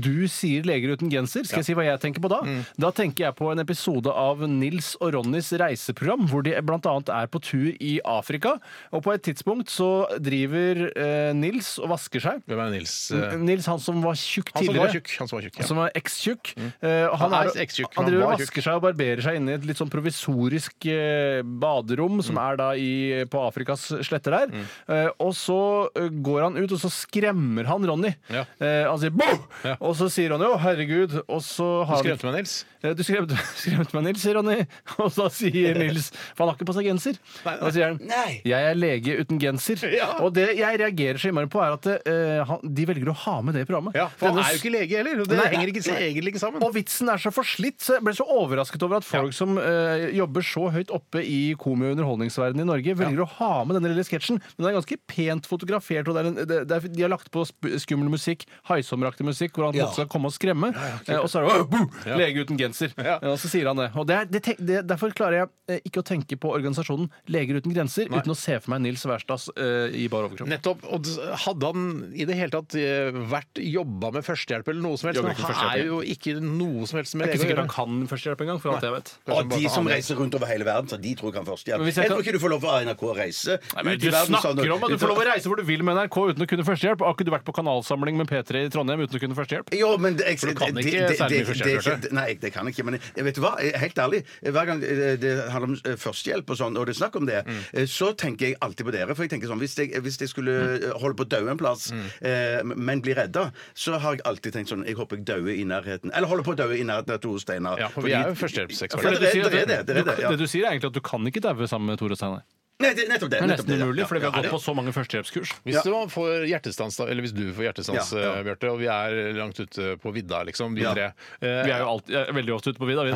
[SPEAKER 5] du sier 'Leger uten genser'? Skal jeg si hva jeg tenker på da?
[SPEAKER 4] Mm.
[SPEAKER 5] Da tenker jeg på en episode av Nils og Ronnys reiseprogram, hvor de bl.a. er på tur i Afrika. Og på et tidspunkt så driver eh, Nils og vasker seg.
[SPEAKER 4] Hvem er Nils?
[SPEAKER 5] N- Nils, han som var tjukk
[SPEAKER 4] Mm. Han som
[SPEAKER 5] tidligere.
[SPEAKER 4] var tjukk, han som var tjukk, ja. Mm.
[SPEAKER 5] ekstjukk. Eh, og
[SPEAKER 4] Han
[SPEAKER 5] er-
[SPEAKER 4] er ekstjukk, han
[SPEAKER 5] Han driver
[SPEAKER 4] var
[SPEAKER 5] og vasker
[SPEAKER 4] tjukk.
[SPEAKER 5] seg og barberer seg inne i et litt sånn provisorisk eh, baderom, som
[SPEAKER 4] Mm.
[SPEAKER 5] er da i, på Afrikas sletter der. Eh, og så eh, går han ut, og så skremmer han Ronny.
[SPEAKER 4] Ja.
[SPEAKER 5] Eh, han sier 'boom!', og så sier Ronny 'å, herregud', og så har
[SPEAKER 4] Du skremte meg, Nils.
[SPEAKER 5] Eh, Du skremte, skremte meg, Nils, sier Ronny. Og da sier Nils For han har ikke på seg genser. Da sier han
[SPEAKER 6] Nei.
[SPEAKER 5] 'Jeg er lege uten genser'. Og det jeg reagerer så innmari på, er at eh, han, de velger å ha med det i programmet.
[SPEAKER 4] Ja, for han
[SPEAKER 5] Denne
[SPEAKER 4] er jo ikke lege heller. og Det
[SPEAKER 5] Nei.
[SPEAKER 4] henger ikke,
[SPEAKER 5] Nei.
[SPEAKER 4] egentlig ikke sammen.
[SPEAKER 5] og vitsen er så forslitt, så jeg ble så overrasket over at folk som eh, jobber så høyt oppe i komi- og underholdningsverdenen i Norge, velger å ha med denne lille sketsjen. Men den er ganske pent fotografert, og det er en, det, det er, de har lagt på sp skummel musikk, haisommeraktig musikk, hvor han
[SPEAKER 4] Ja.
[SPEAKER 5] ja. skal komme og skremme. Eh, og så er det «Åh, boo!
[SPEAKER 4] Ja.
[SPEAKER 5] lege uten genser. Eh, Og så sier han det. Og det er, det tenk, det, derfor klarer jeg eh, ikke å tenke på organisasjonen Leger uten grenser
[SPEAKER 4] Nei.
[SPEAKER 5] uten å se for meg Nils Wærstads eh, i bar overkropp.
[SPEAKER 4] Nettopp. Og d- hadde han i det hele tatt eh, vært jobba med førstehjelp eller noe som helst?
[SPEAKER 5] Jobber
[SPEAKER 4] Men
[SPEAKER 5] ikke med
[SPEAKER 4] han er jo
[SPEAKER 5] førstehjelp.
[SPEAKER 4] ikke noe som helst med
[SPEAKER 5] Det er
[SPEAKER 4] lege
[SPEAKER 5] ikke
[SPEAKER 4] å
[SPEAKER 5] sikkert
[SPEAKER 4] gjøre.
[SPEAKER 5] han kan førstehjelp engang, for alt jeg vet.
[SPEAKER 6] Og de som reiser rundt over hele verden, så de tror jeg kan førstehjelp.
[SPEAKER 5] Men
[SPEAKER 6] Jeg,
[SPEAKER 5] hvis jeg
[SPEAKER 6] tror
[SPEAKER 5] kan-
[SPEAKER 6] ikke du får lov av NRK å reise.
[SPEAKER 5] Nei, men
[SPEAKER 6] ut i
[SPEAKER 5] du
[SPEAKER 6] verden,
[SPEAKER 5] snakker
[SPEAKER 6] sånn,
[SPEAKER 5] om at du
[SPEAKER 6] ut-
[SPEAKER 5] får lov å reise hvor du vil med NRK uten å kunne førstehjelp. Har ikke du vært på kanalsamling med P3 i Trondheim uten å kunne førstehjelp?
[SPEAKER 6] Jo, men det,
[SPEAKER 5] For du kan
[SPEAKER 6] det-
[SPEAKER 5] ikke
[SPEAKER 6] det-
[SPEAKER 5] særlig mye
[SPEAKER 6] det- det-
[SPEAKER 5] førstehjelp,
[SPEAKER 6] det- Nei, det kan jeg ikke. Men jeg- jeg vet du hva, Jeg- helt ærlig, hver gang eh, det handler om eh, førstehjelp og sånn, og det er snakk om det,
[SPEAKER 5] Mm.
[SPEAKER 6] eh, så tenker jeg alltid på dere. For jeg tenker sånn, hvis jeg, hvis jeg
[SPEAKER 5] Mm.
[SPEAKER 6] skulle eh, holde på å dø en plass, eh, men bli redda, så har jeg alltid tenkt sånn Jeg håper jeg dauer i nærheten. Eller holder på å daue i nærheten av Tore Steinar.
[SPEAKER 4] Ja, for vi
[SPEAKER 6] Fordi-
[SPEAKER 4] er jo førstehjelpseksperter.
[SPEAKER 6] For det, det, det, er det, det, er det,
[SPEAKER 5] du,
[SPEAKER 6] ja.
[SPEAKER 5] det du sier, er egentlig at du kan ikke daue sammen med Tore Steinar.
[SPEAKER 6] Nei, det, nettopp det.
[SPEAKER 5] Det er nesten
[SPEAKER 6] nettopp det, ja.
[SPEAKER 5] umulig, fordi vi
[SPEAKER 6] Ja,
[SPEAKER 5] har gått
[SPEAKER 6] ja.
[SPEAKER 5] på så mange førstehjelpskurs.
[SPEAKER 4] Hvis, du får hjertestans, da, eller hvis du får hjertestans,
[SPEAKER 5] Ja, ja.
[SPEAKER 4] eh, Bjarte, og vi er langt ute på vidda, liksom, vi
[SPEAKER 5] Ja.
[SPEAKER 4] tre
[SPEAKER 5] Vi er jo alltid, eh, veldig ofte ute på vidda, vi.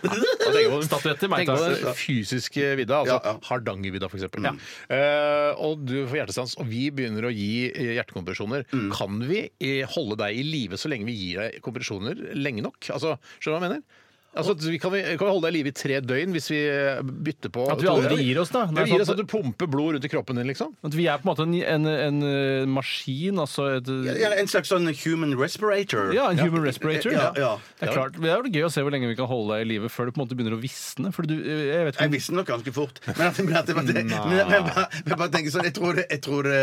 [SPEAKER 5] Statuetter, meg,
[SPEAKER 4] Tenk på
[SPEAKER 5] takk.
[SPEAKER 4] den fysiske vidda, altså Hardangervidda f.eks. Ja. Eh, og du får hjertestans, og vi begynner å gi eh, hjertekompresjoner. Kan vi eh, holde deg i live så lenge vi gir deg kompresjoner lenge nok? Altså, skjønner du hva jeg mener? Altså, vi kan, vi, kan vi holde deg i live i tre døgn hvis vi eh, bytter på
[SPEAKER 5] At vi aldri gir oss, da.
[SPEAKER 4] Ja,
[SPEAKER 5] Det er
[SPEAKER 4] Vi gir
[SPEAKER 5] sånn
[SPEAKER 4] oss at du pumper blod rundt i kroppen din, liksom.
[SPEAKER 5] At vi er på en måte en, en, en eh, maskin, altså et
[SPEAKER 6] Ja, En slags sånn human respirator.
[SPEAKER 5] Ja, en human respirator.
[SPEAKER 6] Ja, ja.
[SPEAKER 5] Det er klart, det er vel gøy å se hvor lenge vi kan holde deg i live før du på en måte begynner å visne. For du, jeg vet ikke
[SPEAKER 6] Jeg visste nok ganske fort. Men, at, men, at, men, at, men, men, men, men bare tenker sånn jeg tror, det, jeg, tror det,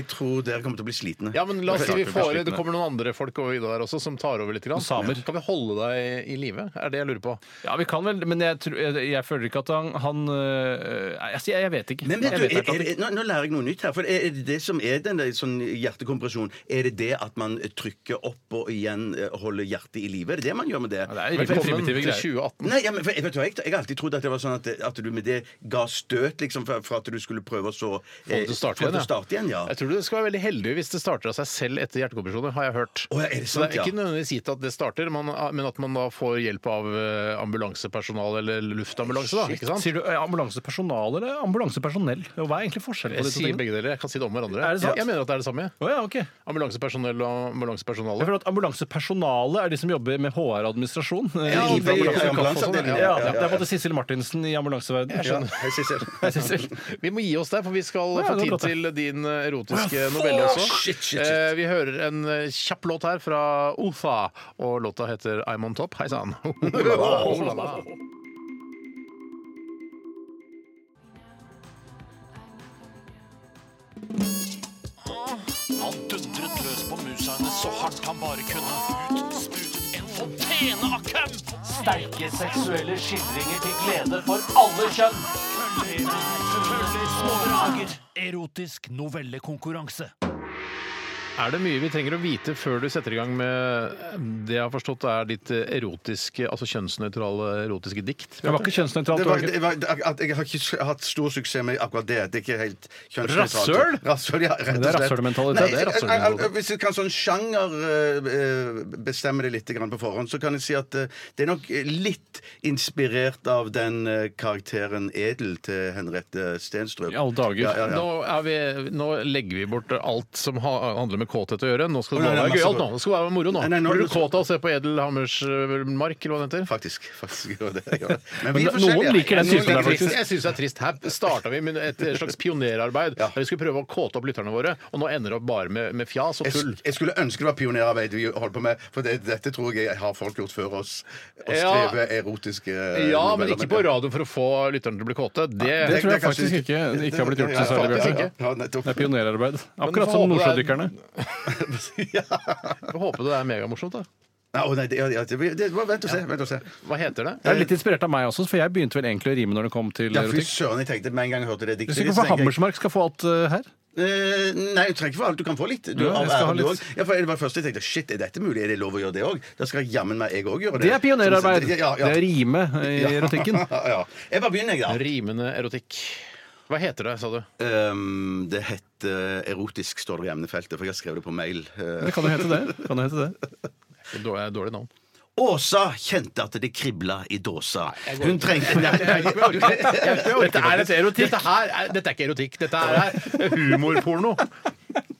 [SPEAKER 6] jeg tror dere kommer til å bli slitne.
[SPEAKER 4] Ja, men la oss si vi
[SPEAKER 6] Klart dere blir
[SPEAKER 4] får, Det
[SPEAKER 6] slitne.
[SPEAKER 4] kommer noen andre folk over vidda der også som tar over litt. Grann.
[SPEAKER 5] Samer.
[SPEAKER 4] Kan vi holde deg i live? Er det jeg lurer på.
[SPEAKER 5] Ja, vi kan vel, men jeg, tror- jeg, jeg føler ikke at han, han øh, jeg, jeg, jeg vet ikke.
[SPEAKER 6] Men vet
[SPEAKER 5] jeg
[SPEAKER 6] du,
[SPEAKER 5] vet
[SPEAKER 6] er,
[SPEAKER 5] ikke.
[SPEAKER 6] er, er, nå, nå lærer jeg noe nytt her. For er, er det det som er den der sånn hjertekompresjon, er det det at man trykker opp og igjen eh, holder hjertet i live? Er det det man gjør med det?
[SPEAKER 5] er veldig
[SPEAKER 6] Velkommen
[SPEAKER 5] primitive
[SPEAKER 6] til
[SPEAKER 5] greier.
[SPEAKER 6] 2018. Nei, ja, men, for, jeg, vet du, hva, jeg, jeg har alltid trodd at det var sånn at, at du med det ga støt, liksom, for, for at du skulle prøve å så
[SPEAKER 4] Få det
[SPEAKER 6] eh,
[SPEAKER 4] til å starte igjen,
[SPEAKER 6] til å starte igjen, ja.
[SPEAKER 4] Jeg tror du skal være veldig heldig hvis det starter av seg selv etter hjertekompresjoner, har jeg hørt.
[SPEAKER 6] Å, ja, er det
[SPEAKER 4] så
[SPEAKER 6] sant,
[SPEAKER 4] det er
[SPEAKER 6] ja?
[SPEAKER 4] ikke nødvendigvis gitt at det starter, man, men at man da får hjelp av eh, ambulansepersonal eller luftambulanse, da. Ikke sant?
[SPEAKER 5] Sier du eh, ambulansepersonal eller ambulansepersonell? Og Hva er egentlig forskjellen på
[SPEAKER 4] Jeg
[SPEAKER 5] de to
[SPEAKER 4] sier
[SPEAKER 5] tingene?
[SPEAKER 4] begge deler. Jeg kan si det om hverandre.
[SPEAKER 5] Er det sant?
[SPEAKER 4] Jeg mener at det er det samme.
[SPEAKER 5] Å ja, ok.
[SPEAKER 4] Ambulansepersonell og ambulansepersonale.
[SPEAKER 5] Jeg føler at Ambulansepersonale er de som jobber med HR-administrasjon. eh,
[SPEAKER 4] Ja,
[SPEAKER 5] i
[SPEAKER 4] det-
[SPEAKER 5] ambulanse-
[SPEAKER 4] ja,
[SPEAKER 5] ambulanseavdelingen.
[SPEAKER 4] ambulanseavdelingen.
[SPEAKER 5] ja,
[SPEAKER 4] Ja, ja, ja.
[SPEAKER 5] Det er på en måte Sissel Martinsen i ambulanseverdenen.
[SPEAKER 4] Jeg skjønner.
[SPEAKER 5] Hei, Sissel.
[SPEAKER 4] Vi må gi oss der, for vi skal
[SPEAKER 5] Ja, det
[SPEAKER 4] få
[SPEAKER 5] var
[SPEAKER 4] tid
[SPEAKER 5] godt, det.
[SPEAKER 4] til din eh, erotiske
[SPEAKER 5] Å, ja,
[SPEAKER 4] novelle
[SPEAKER 5] fuck!
[SPEAKER 4] også.
[SPEAKER 5] Shit, shit, shit.
[SPEAKER 4] Eh, Vi hører en eh, kjapp låt her fra Otha, og låta heter I'm on top. Hei sann.
[SPEAKER 3] Han dundret løs på musene så hardt han bare kunne. Ut sprutet en fontene av køm! Sterke seksuelle skildringer til glede for alle kjønn. Køller, køller, små drager. Erotisk novellekonkurranse.
[SPEAKER 4] Er det mye vi trenger å vite før du setter i gang med det jeg har forstått er ditt erotiske, altså kjønnsnøytrale erotiske dikt?
[SPEAKER 5] Det var ikke kjønnsnøytralt.
[SPEAKER 6] Det var, det var, at jeg har ikke hatt stor suksess med akkurat det. Det er ikke helt kjønnsnøytralt.
[SPEAKER 4] Rasshøl?
[SPEAKER 6] Rasshøl, ja, rett og
[SPEAKER 5] Det er
[SPEAKER 6] slett.
[SPEAKER 5] rasshølmentalitet,
[SPEAKER 6] Nei,
[SPEAKER 5] det er
[SPEAKER 6] jeg-
[SPEAKER 5] rasshølmentalitet.
[SPEAKER 6] jeg- jeg- Hvis du kan sånn sjanger eh, eh, bestemme det litt grann på forhånd, så kan jeg si at eh, det er nok litt inspirert av den eh, karakteren Edel til Henriette Stenstrøm.
[SPEAKER 5] I alle dager.
[SPEAKER 6] Ja, ja, ja.
[SPEAKER 4] Nå, er vi, nå legger vi bort alt som ha, handler med kåthet å gjøre. Nå skal det
[SPEAKER 6] Å, nei,
[SPEAKER 4] bare
[SPEAKER 6] nei,
[SPEAKER 4] være
[SPEAKER 6] masse
[SPEAKER 4] gøyalt. nå. Det skal være moro nå.
[SPEAKER 6] Nei, nei, nå er
[SPEAKER 4] Blir
[SPEAKER 6] det
[SPEAKER 4] du
[SPEAKER 6] så-
[SPEAKER 4] kåt av å se på Edel Hammers eh, Mark, eller hva det heter?
[SPEAKER 6] Faktisk. faktisk gjør det, gjør det.
[SPEAKER 4] Men
[SPEAKER 6] vi er
[SPEAKER 4] noen
[SPEAKER 6] forskjellige.
[SPEAKER 5] liker den
[SPEAKER 6] Noen
[SPEAKER 5] typen der,
[SPEAKER 6] liker-
[SPEAKER 5] faktisk.
[SPEAKER 4] Jeg syns det er trist. Her starta vi med et slags pionerarbeid der vi skulle prøve å kåte opp lytterne våre, og nå ender det opp bare med, med fjas og
[SPEAKER 6] Jeg,
[SPEAKER 4] tull.
[SPEAKER 6] jeg skulle ønske det var pionerarbeid vi holdt på med, for det, dette tror jeg har folk gjort før oss. Å
[SPEAKER 4] Ja.
[SPEAKER 6] skrive erotiske eh,
[SPEAKER 4] Ja, men
[SPEAKER 6] noveller.
[SPEAKER 4] ikke på radioen for å få lytterne til å bli kåte. Det,
[SPEAKER 5] Det tror jeg
[SPEAKER 6] kanskje
[SPEAKER 5] faktisk
[SPEAKER 6] ikke-
[SPEAKER 5] ikke, ikke har blitt gjort,
[SPEAKER 6] Ja, ja,
[SPEAKER 5] dessverre.
[SPEAKER 6] faktisk
[SPEAKER 5] Bjørte.
[SPEAKER 6] ikke. Ja, nettopp.
[SPEAKER 5] Det er pionerarbeid.
[SPEAKER 4] Men
[SPEAKER 5] Akkurat
[SPEAKER 4] får håpe det
[SPEAKER 5] som
[SPEAKER 4] er-
[SPEAKER 5] nordsjødykkerne.
[SPEAKER 4] Får håpe det er megamorsomt, da.
[SPEAKER 6] Nei, å nei, det, ja, det, det, det, vent og se. Vent og se.
[SPEAKER 4] Hva heter det?
[SPEAKER 5] Det er litt inspirert av meg også, for jeg begynte vel egentlig å rime når det kom til
[SPEAKER 6] Ja, fy
[SPEAKER 5] erotikk.
[SPEAKER 6] søren, jeg tenkte med en gang jeg hørte det
[SPEAKER 5] Du
[SPEAKER 6] diktet.
[SPEAKER 5] skal ikke
[SPEAKER 6] så
[SPEAKER 5] få
[SPEAKER 6] tenkte jeg,
[SPEAKER 5] Hammersmark skal få alt eh, her.
[SPEAKER 6] eh, Nei, du trenger ikke få alt. Du kan få litt. Du,
[SPEAKER 5] Ja, jeg
[SPEAKER 6] av
[SPEAKER 5] skal ha
[SPEAKER 6] æren du
[SPEAKER 5] litt.
[SPEAKER 6] også. Ja, for det var først jeg tenkte shit, er dette mulig? Er det lov å gjøre det òg? Da skal jeg jammen meg jeg òg gjøre det.
[SPEAKER 5] Det er pionerarbeid.
[SPEAKER 6] Ja, ja.
[SPEAKER 5] Det er rime i
[SPEAKER 6] Ja.
[SPEAKER 5] erotikken.
[SPEAKER 6] ja. Jeg bare begynner, jeg, da.
[SPEAKER 4] Rimende erotikk. Hva heter det, sa du?
[SPEAKER 6] Ehm, det heter erotisk, står det i emnefeltet, for jeg har skrevet det på mail. Eh,
[SPEAKER 5] Det kan jo hete det. Kan jo hete det.
[SPEAKER 4] Dårlig, dårlig navn.
[SPEAKER 6] Åsa kjente at det kribla i dåsa.
[SPEAKER 4] jeg går
[SPEAKER 6] Hun
[SPEAKER 4] ikke.
[SPEAKER 6] trengte Nei, nei,
[SPEAKER 4] Jeg orker ikke. Jeg orker ikke. Dette er et erotikk. Dette, her er, dette er ikke erotikk. Dette er, er humorporno.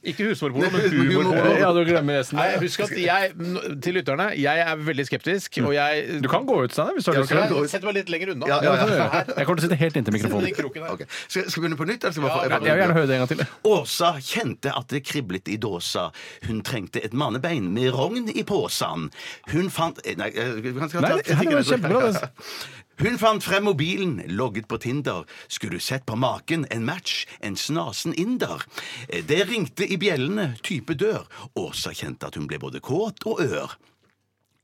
[SPEAKER 4] Ikke husmorporno, men humorporno.
[SPEAKER 5] Ja, du glemmer resten.
[SPEAKER 4] Nei, husk at jeg, n- til lytterne, jeg er veldig skeptisk, og jeg
[SPEAKER 5] Du kan gå ut, Steinar, hvis du har lyst til det.
[SPEAKER 4] Jeg setter meg litt lenger unna.
[SPEAKER 6] Ja, ja, ja.
[SPEAKER 4] Her.
[SPEAKER 5] Jeg kommer til å sitte helt inntil
[SPEAKER 4] Sitter i
[SPEAKER 5] mikrofonen.
[SPEAKER 4] kroken her.
[SPEAKER 6] Ok. Skal jeg skal jeg begynne på nytt? Eller skal jeg
[SPEAKER 4] Ja,
[SPEAKER 6] bare, jeg
[SPEAKER 5] Jeg
[SPEAKER 6] bare
[SPEAKER 5] vil gjerne høre det en gang til.
[SPEAKER 6] Åsa kjente at det kriblet i dåsa. Hun trengte et mannebein med rogn i posen. Hun fant eh, Nei, eh, vi kan- skal ta
[SPEAKER 5] Nei, det- her var det kjempebra, altså. det.
[SPEAKER 6] Hun fant frem mobilen, logget på Tinder. Skulle sett på maken, en match, en snasen inder. Eh, Det ringte i bjellene, type dør. Åsa kjente at hun ble både kåt og ør.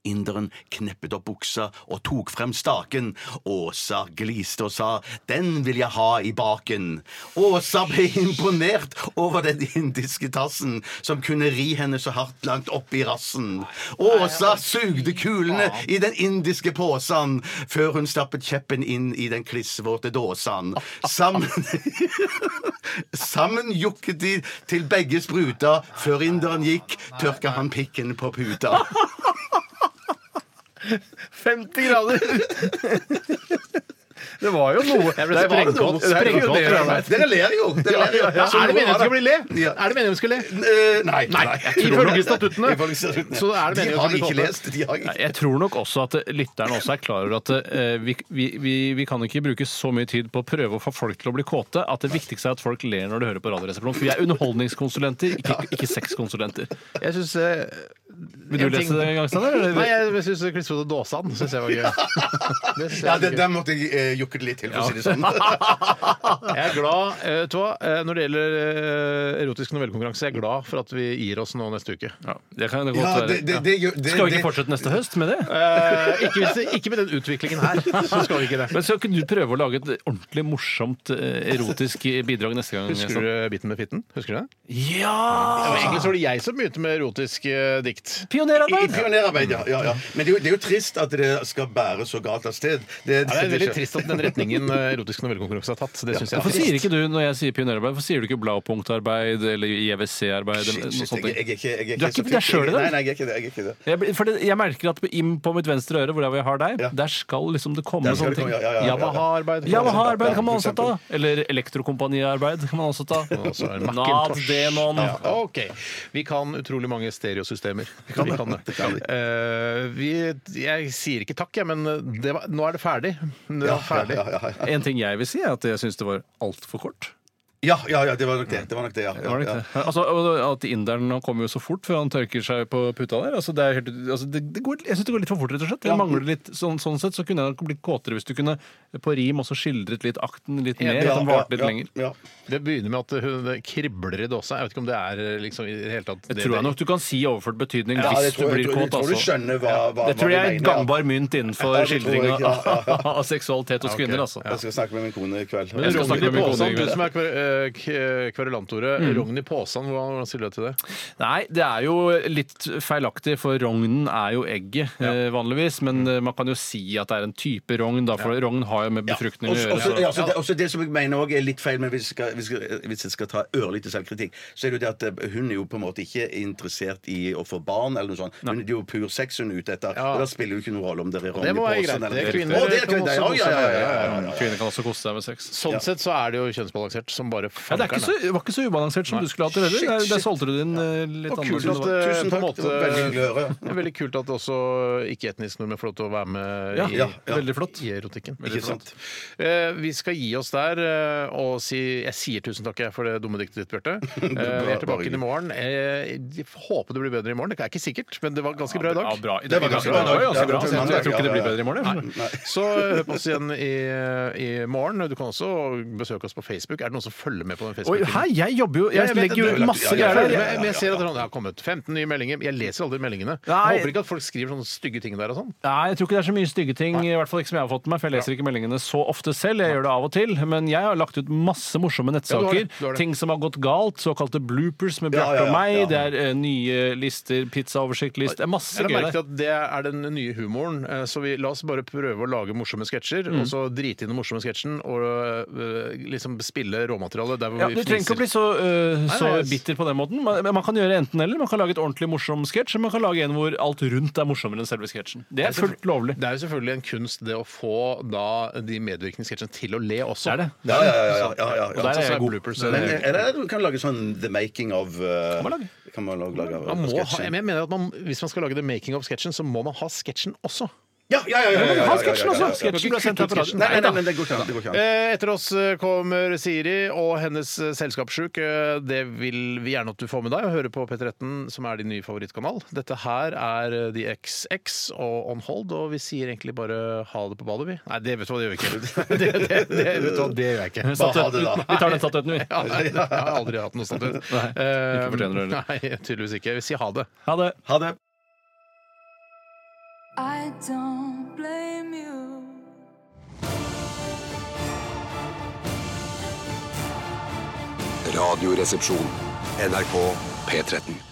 [SPEAKER 6] Inderen kneppet opp buksa og tok frem staken. Åsa gliste og sa 'Den vil jeg ha i baken'. Åsa ble imponert over den indiske tassen som kunne ri henne så hardt langt opp i rassen. Åsa sugde kulene i den indiske påsan før hun stappet kjeppen inn i den klissvåte dåsan. Sammen Sammen jukket de til begge spruta. Før inderen gikk, tørka han pikken på puta.
[SPEAKER 5] 50 grader! Det var jo noe
[SPEAKER 4] Jeg ble så
[SPEAKER 5] Det var jo
[SPEAKER 4] sprengkåt.
[SPEAKER 5] noe- det er jo det-
[SPEAKER 4] Sprengkåt.
[SPEAKER 6] Dere ler jo! Dere ler jo.
[SPEAKER 4] Ja, ja, ja.
[SPEAKER 6] Så
[SPEAKER 4] Er det
[SPEAKER 6] noe
[SPEAKER 4] meningen vi
[SPEAKER 6] var
[SPEAKER 4] skal bli le?
[SPEAKER 6] Ja.
[SPEAKER 4] Er det meningen vi skal le?
[SPEAKER 6] Eh, Nei.
[SPEAKER 4] Nei, ifølge statuttene.
[SPEAKER 6] Ifølge statuttene.
[SPEAKER 4] Så er det
[SPEAKER 6] de
[SPEAKER 4] meningen å
[SPEAKER 6] har
[SPEAKER 4] bli
[SPEAKER 6] ikke
[SPEAKER 4] kåte.
[SPEAKER 6] lest. De har ikke.
[SPEAKER 5] Nei, Jeg tror nok også at eh, lytteren også er klar over at eh, vi, vi, vi, vi kan ikke bruke så mye tid på å prøve å få folk til å bli kåte at det viktigste er at folk ler når de hører på Radioresepsjonen. For vi er underholdningskonsulenter, ikke, ikke sexkonsulenter. Jeg synes, Vil
[SPEAKER 4] en
[SPEAKER 5] du lese
[SPEAKER 4] ting-
[SPEAKER 5] det en gang, Steinar? eller?
[SPEAKER 4] eh, Nei, jeg eh, syns Klissvåte Dåsan syns jeg var gøy. Det synes jeg
[SPEAKER 6] Ja,
[SPEAKER 4] var
[SPEAKER 6] det,
[SPEAKER 4] gøy.
[SPEAKER 6] der måtte jeg eh, jukket litt til, for å si det sånn.
[SPEAKER 4] Jeg er glad eh, vet du hva, eh, Når det gjelder eh, erotisk novellekonkurranse, jeg er glad for at vi gir oss nå neste uke.
[SPEAKER 5] Det kan det
[SPEAKER 6] Ja,
[SPEAKER 5] godt
[SPEAKER 6] det- det-
[SPEAKER 5] være.
[SPEAKER 6] det gjør- det-
[SPEAKER 5] Skal vi
[SPEAKER 6] det-
[SPEAKER 5] ikke fortsette neste høst med det?
[SPEAKER 4] Eh, ikke, hvis det, ikke med den utviklingen her, så skal vi ikke det.
[SPEAKER 5] Men Skal ikke du prøve å lage et ordentlig morsomt eh, erotisk bidrag neste gang?
[SPEAKER 4] Husker du biten med fitten? Husker du det? Ah.
[SPEAKER 5] Ja!
[SPEAKER 4] Ja, men Egentlig så var det jeg som begynte med erotisk eh, dikt.
[SPEAKER 6] I, i pionerarbeid, ja, ja, ja. Men det er, jo, det er jo trist at det skal bære så galt av sted. Det,
[SPEAKER 4] Ja, det er veldig trist at den retningen eh, erotisk novellekonkurranse har tatt. Det synes jeg
[SPEAKER 5] Hvorfor sier ikke du når jeg sier pionerarbeid, hvorfor sier du ikke bladpunktarbeid eller IWC-arbeid?
[SPEAKER 6] Shit,
[SPEAKER 5] eller noe
[SPEAKER 6] shit,
[SPEAKER 5] sånt?
[SPEAKER 6] jeg, jeg, jeg, jeg, jeg,
[SPEAKER 5] Du er ikke deg sjøl i det?
[SPEAKER 6] Nei, nei, jeg er ikke det. Jeg er ikke det.
[SPEAKER 5] Jeg, blir- for det, jeg merker at inn på mitt venstre øre, hvor jeg har deg, der skal liksom det komme
[SPEAKER 6] Der skal
[SPEAKER 5] sånne
[SPEAKER 6] det
[SPEAKER 5] ting.
[SPEAKER 6] komme, ja, ja, ja, ja, ja.
[SPEAKER 5] Yamaha-arbeid
[SPEAKER 6] Ja,
[SPEAKER 5] Yamaha-arbeid kan man
[SPEAKER 6] for
[SPEAKER 5] også ta. Eller elektrokompaniarbeid kan man også ta.
[SPEAKER 4] Også er det altså,
[SPEAKER 5] Nad
[SPEAKER 4] Macintosh.
[SPEAKER 5] Denon.
[SPEAKER 4] Ja, ok. Vi kan utrolig mange stereosystemer. Vi kan, det. Eh, vi, jeg sier ikke takk, jeg, men eh, det var, nå er det ferdig. Det var ferdig.
[SPEAKER 5] En ting jeg vil si, er at jeg syns det var altfor kort.
[SPEAKER 6] Ja, ja, ja, det var nok det. Det var nok det, ja.
[SPEAKER 5] Var det ikke det? Altså, og at Inderen han kommer jo så fort før han tørker seg på puta der. Altså, det er helt, altså, det, det går, jeg syns det går litt for fort, rett og slett. Jeg mangler litt, sånn, sånn sett så kunne jeg nok blitt kåtere hvis du kunne på rim også skildret litt akten litt mer. at den varte litt lenger.
[SPEAKER 4] Det begynner med at hun det kribler i dåsa. Jeg vet ikke om det er liksom i det hele tatt
[SPEAKER 5] Det tror jeg nok du kan si i overført betydning
[SPEAKER 4] Ja,
[SPEAKER 5] hvis
[SPEAKER 4] det tror
[SPEAKER 5] du
[SPEAKER 4] jeg-
[SPEAKER 5] blir
[SPEAKER 4] jeg tror- jeg
[SPEAKER 5] kåt.
[SPEAKER 4] tror du
[SPEAKER 5] Altså.
[SPEAKER 4] skjønner hva- hva-
[SPEAKER 5] det tror
[SPEAKER 4] hva du
[SPEAKER 5] jeg er
[SPEAKER 4] mener, ja.
[SPEAKER 5] gangbar mynt innenfor
[SPEAKER 4] Ja, det tror jeg,
[SPEAKER 5] skildringa
[SPEAKER 4] ja,
[SPEAKER 5] av seksualitet hos
[SPEAKER 4] Ja, ok.
[SPEAKER 5] kvinner. Altså.
[SPEAKER 6] Jeg skal snakke med min kone i kveld.
[SPEAKER 4] Men Rogn i Påsan, du som
[SPEAKER 5] kveld.
[SPEAKER 4] er kver- eh, k- kverulantordet.
[SPEAKER 5] Mm.
[SPEAKER 4] Rogn i Påsan, hvordan, hvordan stiller du deg til det?
[SPEAKER 5] Nei, det er jo litt feilaktig, for rognen er jo egget eh, vanligvis. Men
[SPEAKER 4] Mm.
[SPEAKER 5] eh, man kan jo si at det er en type rogn, da, for rogn har jo med befruktning å
[SPEAKER 6] Også,
[SPEAKER 5] gjøre.
[SPEAKER 6] også,
[SPEAKER 5] så-
[SPEAKER 6] ja, også, det, også det som jeg mener også er litt feil, men hvis jeg skal, hvis jeg skal, hvis jeg skal ta ørlite selvkritikk, så er det jo det at eh, hun er jo på en måte ikke interessert i å få barn eller noe sånt. Hun det er jo pur sex hun er ute etter, og da spiller det jo ikke noen rolle om det er Ronny
[SPEAKER 4] Det må være
[SPEAKER 6] Påsen
[SPEAKER 4] greit.
[SPEAKER 6] eller-
[SPEAKER 4] Det er kvinner
[SPEAKER 6] Å, det er
[SPEAKER 4] kan
[SPEAKER 6] kvinner.
[SPEAKER 4] også
[SPEAKER 6] Ja, ja, ja, ja, ja, ja.
[SPEAKER 5] Mm, Kvinner kan også kose seg med sex.
[SPEAKER 4] Sånn sett så er det jo kjønnsbalansert som bare
[SPEAKER 5] Ja, det er ikke
[SPEAKER 4] fankeren.
[SPEAKER 5] så, det var ikke så ubalansert som
[SPEAKER 4] Nei.
[SPEAKER 5] du skulle hatt det heller.
[SPEAKER 4] Shit,
[SPEAKER 5] Der, der
[SPEAKER 4] shit.
[SPEAKER 5] solgte du din eh, litt
[SPEAKER 4] Og
[SPEAKER 5] annerledes.
[SPEAKER 4] kult
[SPEAKER 5] enn
[SPEAKER 4] at
[SPEAKER 5] det var.
[SPEAKER 4] det
[SPEAKER 6] Tusen
[SPEAKER 4] på en
[SPEAKER 6] takk, det var veldig hyggelig å høre.
[SPEAKER 4] måte Det er veldig kult at også ikke-etniske nordmenn får lov til å være med
[SPEAKER 5] Ja,
[SPEAKER 4] i,
[SPEAKER 5] ja, ja. Veldig flott.
[SPEAKER 4] i erotikken.
[SPEAKER 5] Veldig flott.
[SPEAKER 4] Eh, vi skal gi oss der, eh, og si, jeg sier tusen takk jeg, for det dumme diktet ditt, Bjarte. Eh, vi er tilbake inn i morgen. Eh, jeg håper det blir bedre i morgen. Det er ikke sikkert, men det var ganske bra i dag.
[SPEAKER 5] Ja, bra. Det
[SPEAKER 4] Det
[SPEAKER 5] var
[SPEAKER 4] var
[SPEAKER 5] ganske
[SPEAKER 4] ganske
[SPEAKER 5] bra.
[SPEAKER 4] bra i dag.
[SPEAKER 5] Det var ganske bra.
[SPEAKER 4] Ja, det var
[SPEAKER 5] Jeg tror ikke det
[SPEAKER 4] mandag,
[SPEAKER 5] blir bedre i morgen. jeg.
[SPEAKER 4] Så eh, hør på oss igjen i, i morgen. Du kan også besøke oss på Facebook. Er det noen som følger med på den
[SPEAKER 5] Oi,
[SPEAKER 4] Facebook-siden?
[SPEAKER 5] hei, jeg jobber jo
[SPEAKER 4] Ja,
[SPEAKER 5] Jeg
[SPEAKER 4] vet
[SPEAKER 5] legger
[SPEAKER 4] det.
[SPEAKER 5] jo ut masse
[SPEAKER 4] Ja, jeg
[SPEAKER 5] greier
[SPEAKER 4] følger
[SPEAKER 5] der.
[SPEAKER 4] med, Men jeg ser at det har kommet 15 nye meldinger. Jeg leser aldri meldingene.
[SPEAKER 5] Nei.
[SPEAKER 4] Jeg håper ikke at folk skriver sånne stygge ting der og sånn.
[SPEAKER 5] Nei, jeg tror ikke det er så mye stygge ting. I hvert fall ikke som jeg har fått med meg, for jeg leser ikke meldingene så ofte selv. Jeg gjør det av og til, men jeg har lagt ut masse morsomme
[SPEAKER 4] Ja, du har
[SPEAKER 5] nettsaker.
[SPEAKER 4] det, du har det.
[SPEAKER 5] Ting som har gått galt. Såkalte bloopers med Bjarte
[SPEAKER 6] Ja, ja,
[SPEAKER 5] og
[SPEAKER 6] ja,
[SPEAKER 5] meg.
[SPEAKER 6] ja.
[SPEAKER 5] Det er eh, nye lister, pizzaoversiktlist. Det er masse
[SPEAKER 4] Jeg har
[SPEAKER 5] gøy
[SPEAKER 4] merket at
[SPEAKER 5] der.
[SPEAKER 4] Det er den nye humoren, eh, så vi, la oss bare prøve å lage morsomme sketsjer.
[SPEAKER 5] Mm.
[SPEAKER 4] Og så drite i den morsomme sketsjen og eh, liksom spille råmaterialet der hvor
[SPEAKER 5] Ja,
[SPEAKER 4] vi
[SPEAKER 5] du trenger ikke å bli så, eh, så bitter på den måten. Man, men man kan gjøre enten eller. Man kan lage et ordentlig morsom sketsj, eller man kan lage en hvor alt rundt er morsommere enn selve sketsjen. Det er fullt lovlig.
[SPEAKER 4] Det er jo selvfølgelig en kunst det å få da de medvirkende sketsjene til å le også.
[SPEAKER 5] Det er det.
[SPEAKER 6] Ja, ja, ja, ja, ja, ja,
[SPEAKER 4] Og
[SPEAKER 6] ja.
[SPEAKER 4] der er altså jeg god.
[SPEAKER 6] Men eh, eller du kan lage sånn The Making of eh, Kan man lage, lage av
[SPEAKER 4] Man må ha,
[SPEAKER 6] sketsjen.
[SPEAKER 4] jeg mener at man, Hvis man skal lage the making of sketsjen, så må man ha sketsjen også.
[SPEAKER 6] Ja, ja, ja! ja, ja, ja, ja,
[SPEAKER 5] Ha
[SPEAKER 6] ja, ja,
[SPEAKER 5] sketsjen
[SPEAKER 6] ja,
[SPEAKER 5] også.
[SPEAKER 6] ja.
[SPEAKER 5] Sketsjen ble sendt her på radioen.
[SPEAKER 6] Nei, nei, nei, men det går ikke an. Det går ikke an.
[SPEAKER 4] Eh, Etter oss eh, kommer Siri og hennes eh, selskapssjuk. Eh, Det vil vi gjerne at du får med deg og hører på P13, som er din nye favorittkanal. Dette her er eh, The XX og On Hold, og vi sier egentlig bare ha det på badet, vi. Nei, det vet du hva, det gjør vi ikke. Det, det, det, vet du hva, det gjør jeg ikke.
[SPEAKER 5] Bare ha det, da. Vi tar den statuetten, vi.
[SPEAKER 4] Ja, nei, jeg har aldri hatt noe statuett.
[SPEAKER 5] Nei, ikke fortjener
[SPEAKER 4] Eh,
[SPEAKER 5] det
[SPEAKER 4] Nei, tydeligvis ikke. Vi sier ha det.
[SPEAKER 5] Ha det.
[SPEAKER 6] Ha det.
[SPEAKER 2] I don't blame you.
[SPEAKER 1] Radioresepsjon. NRK P13.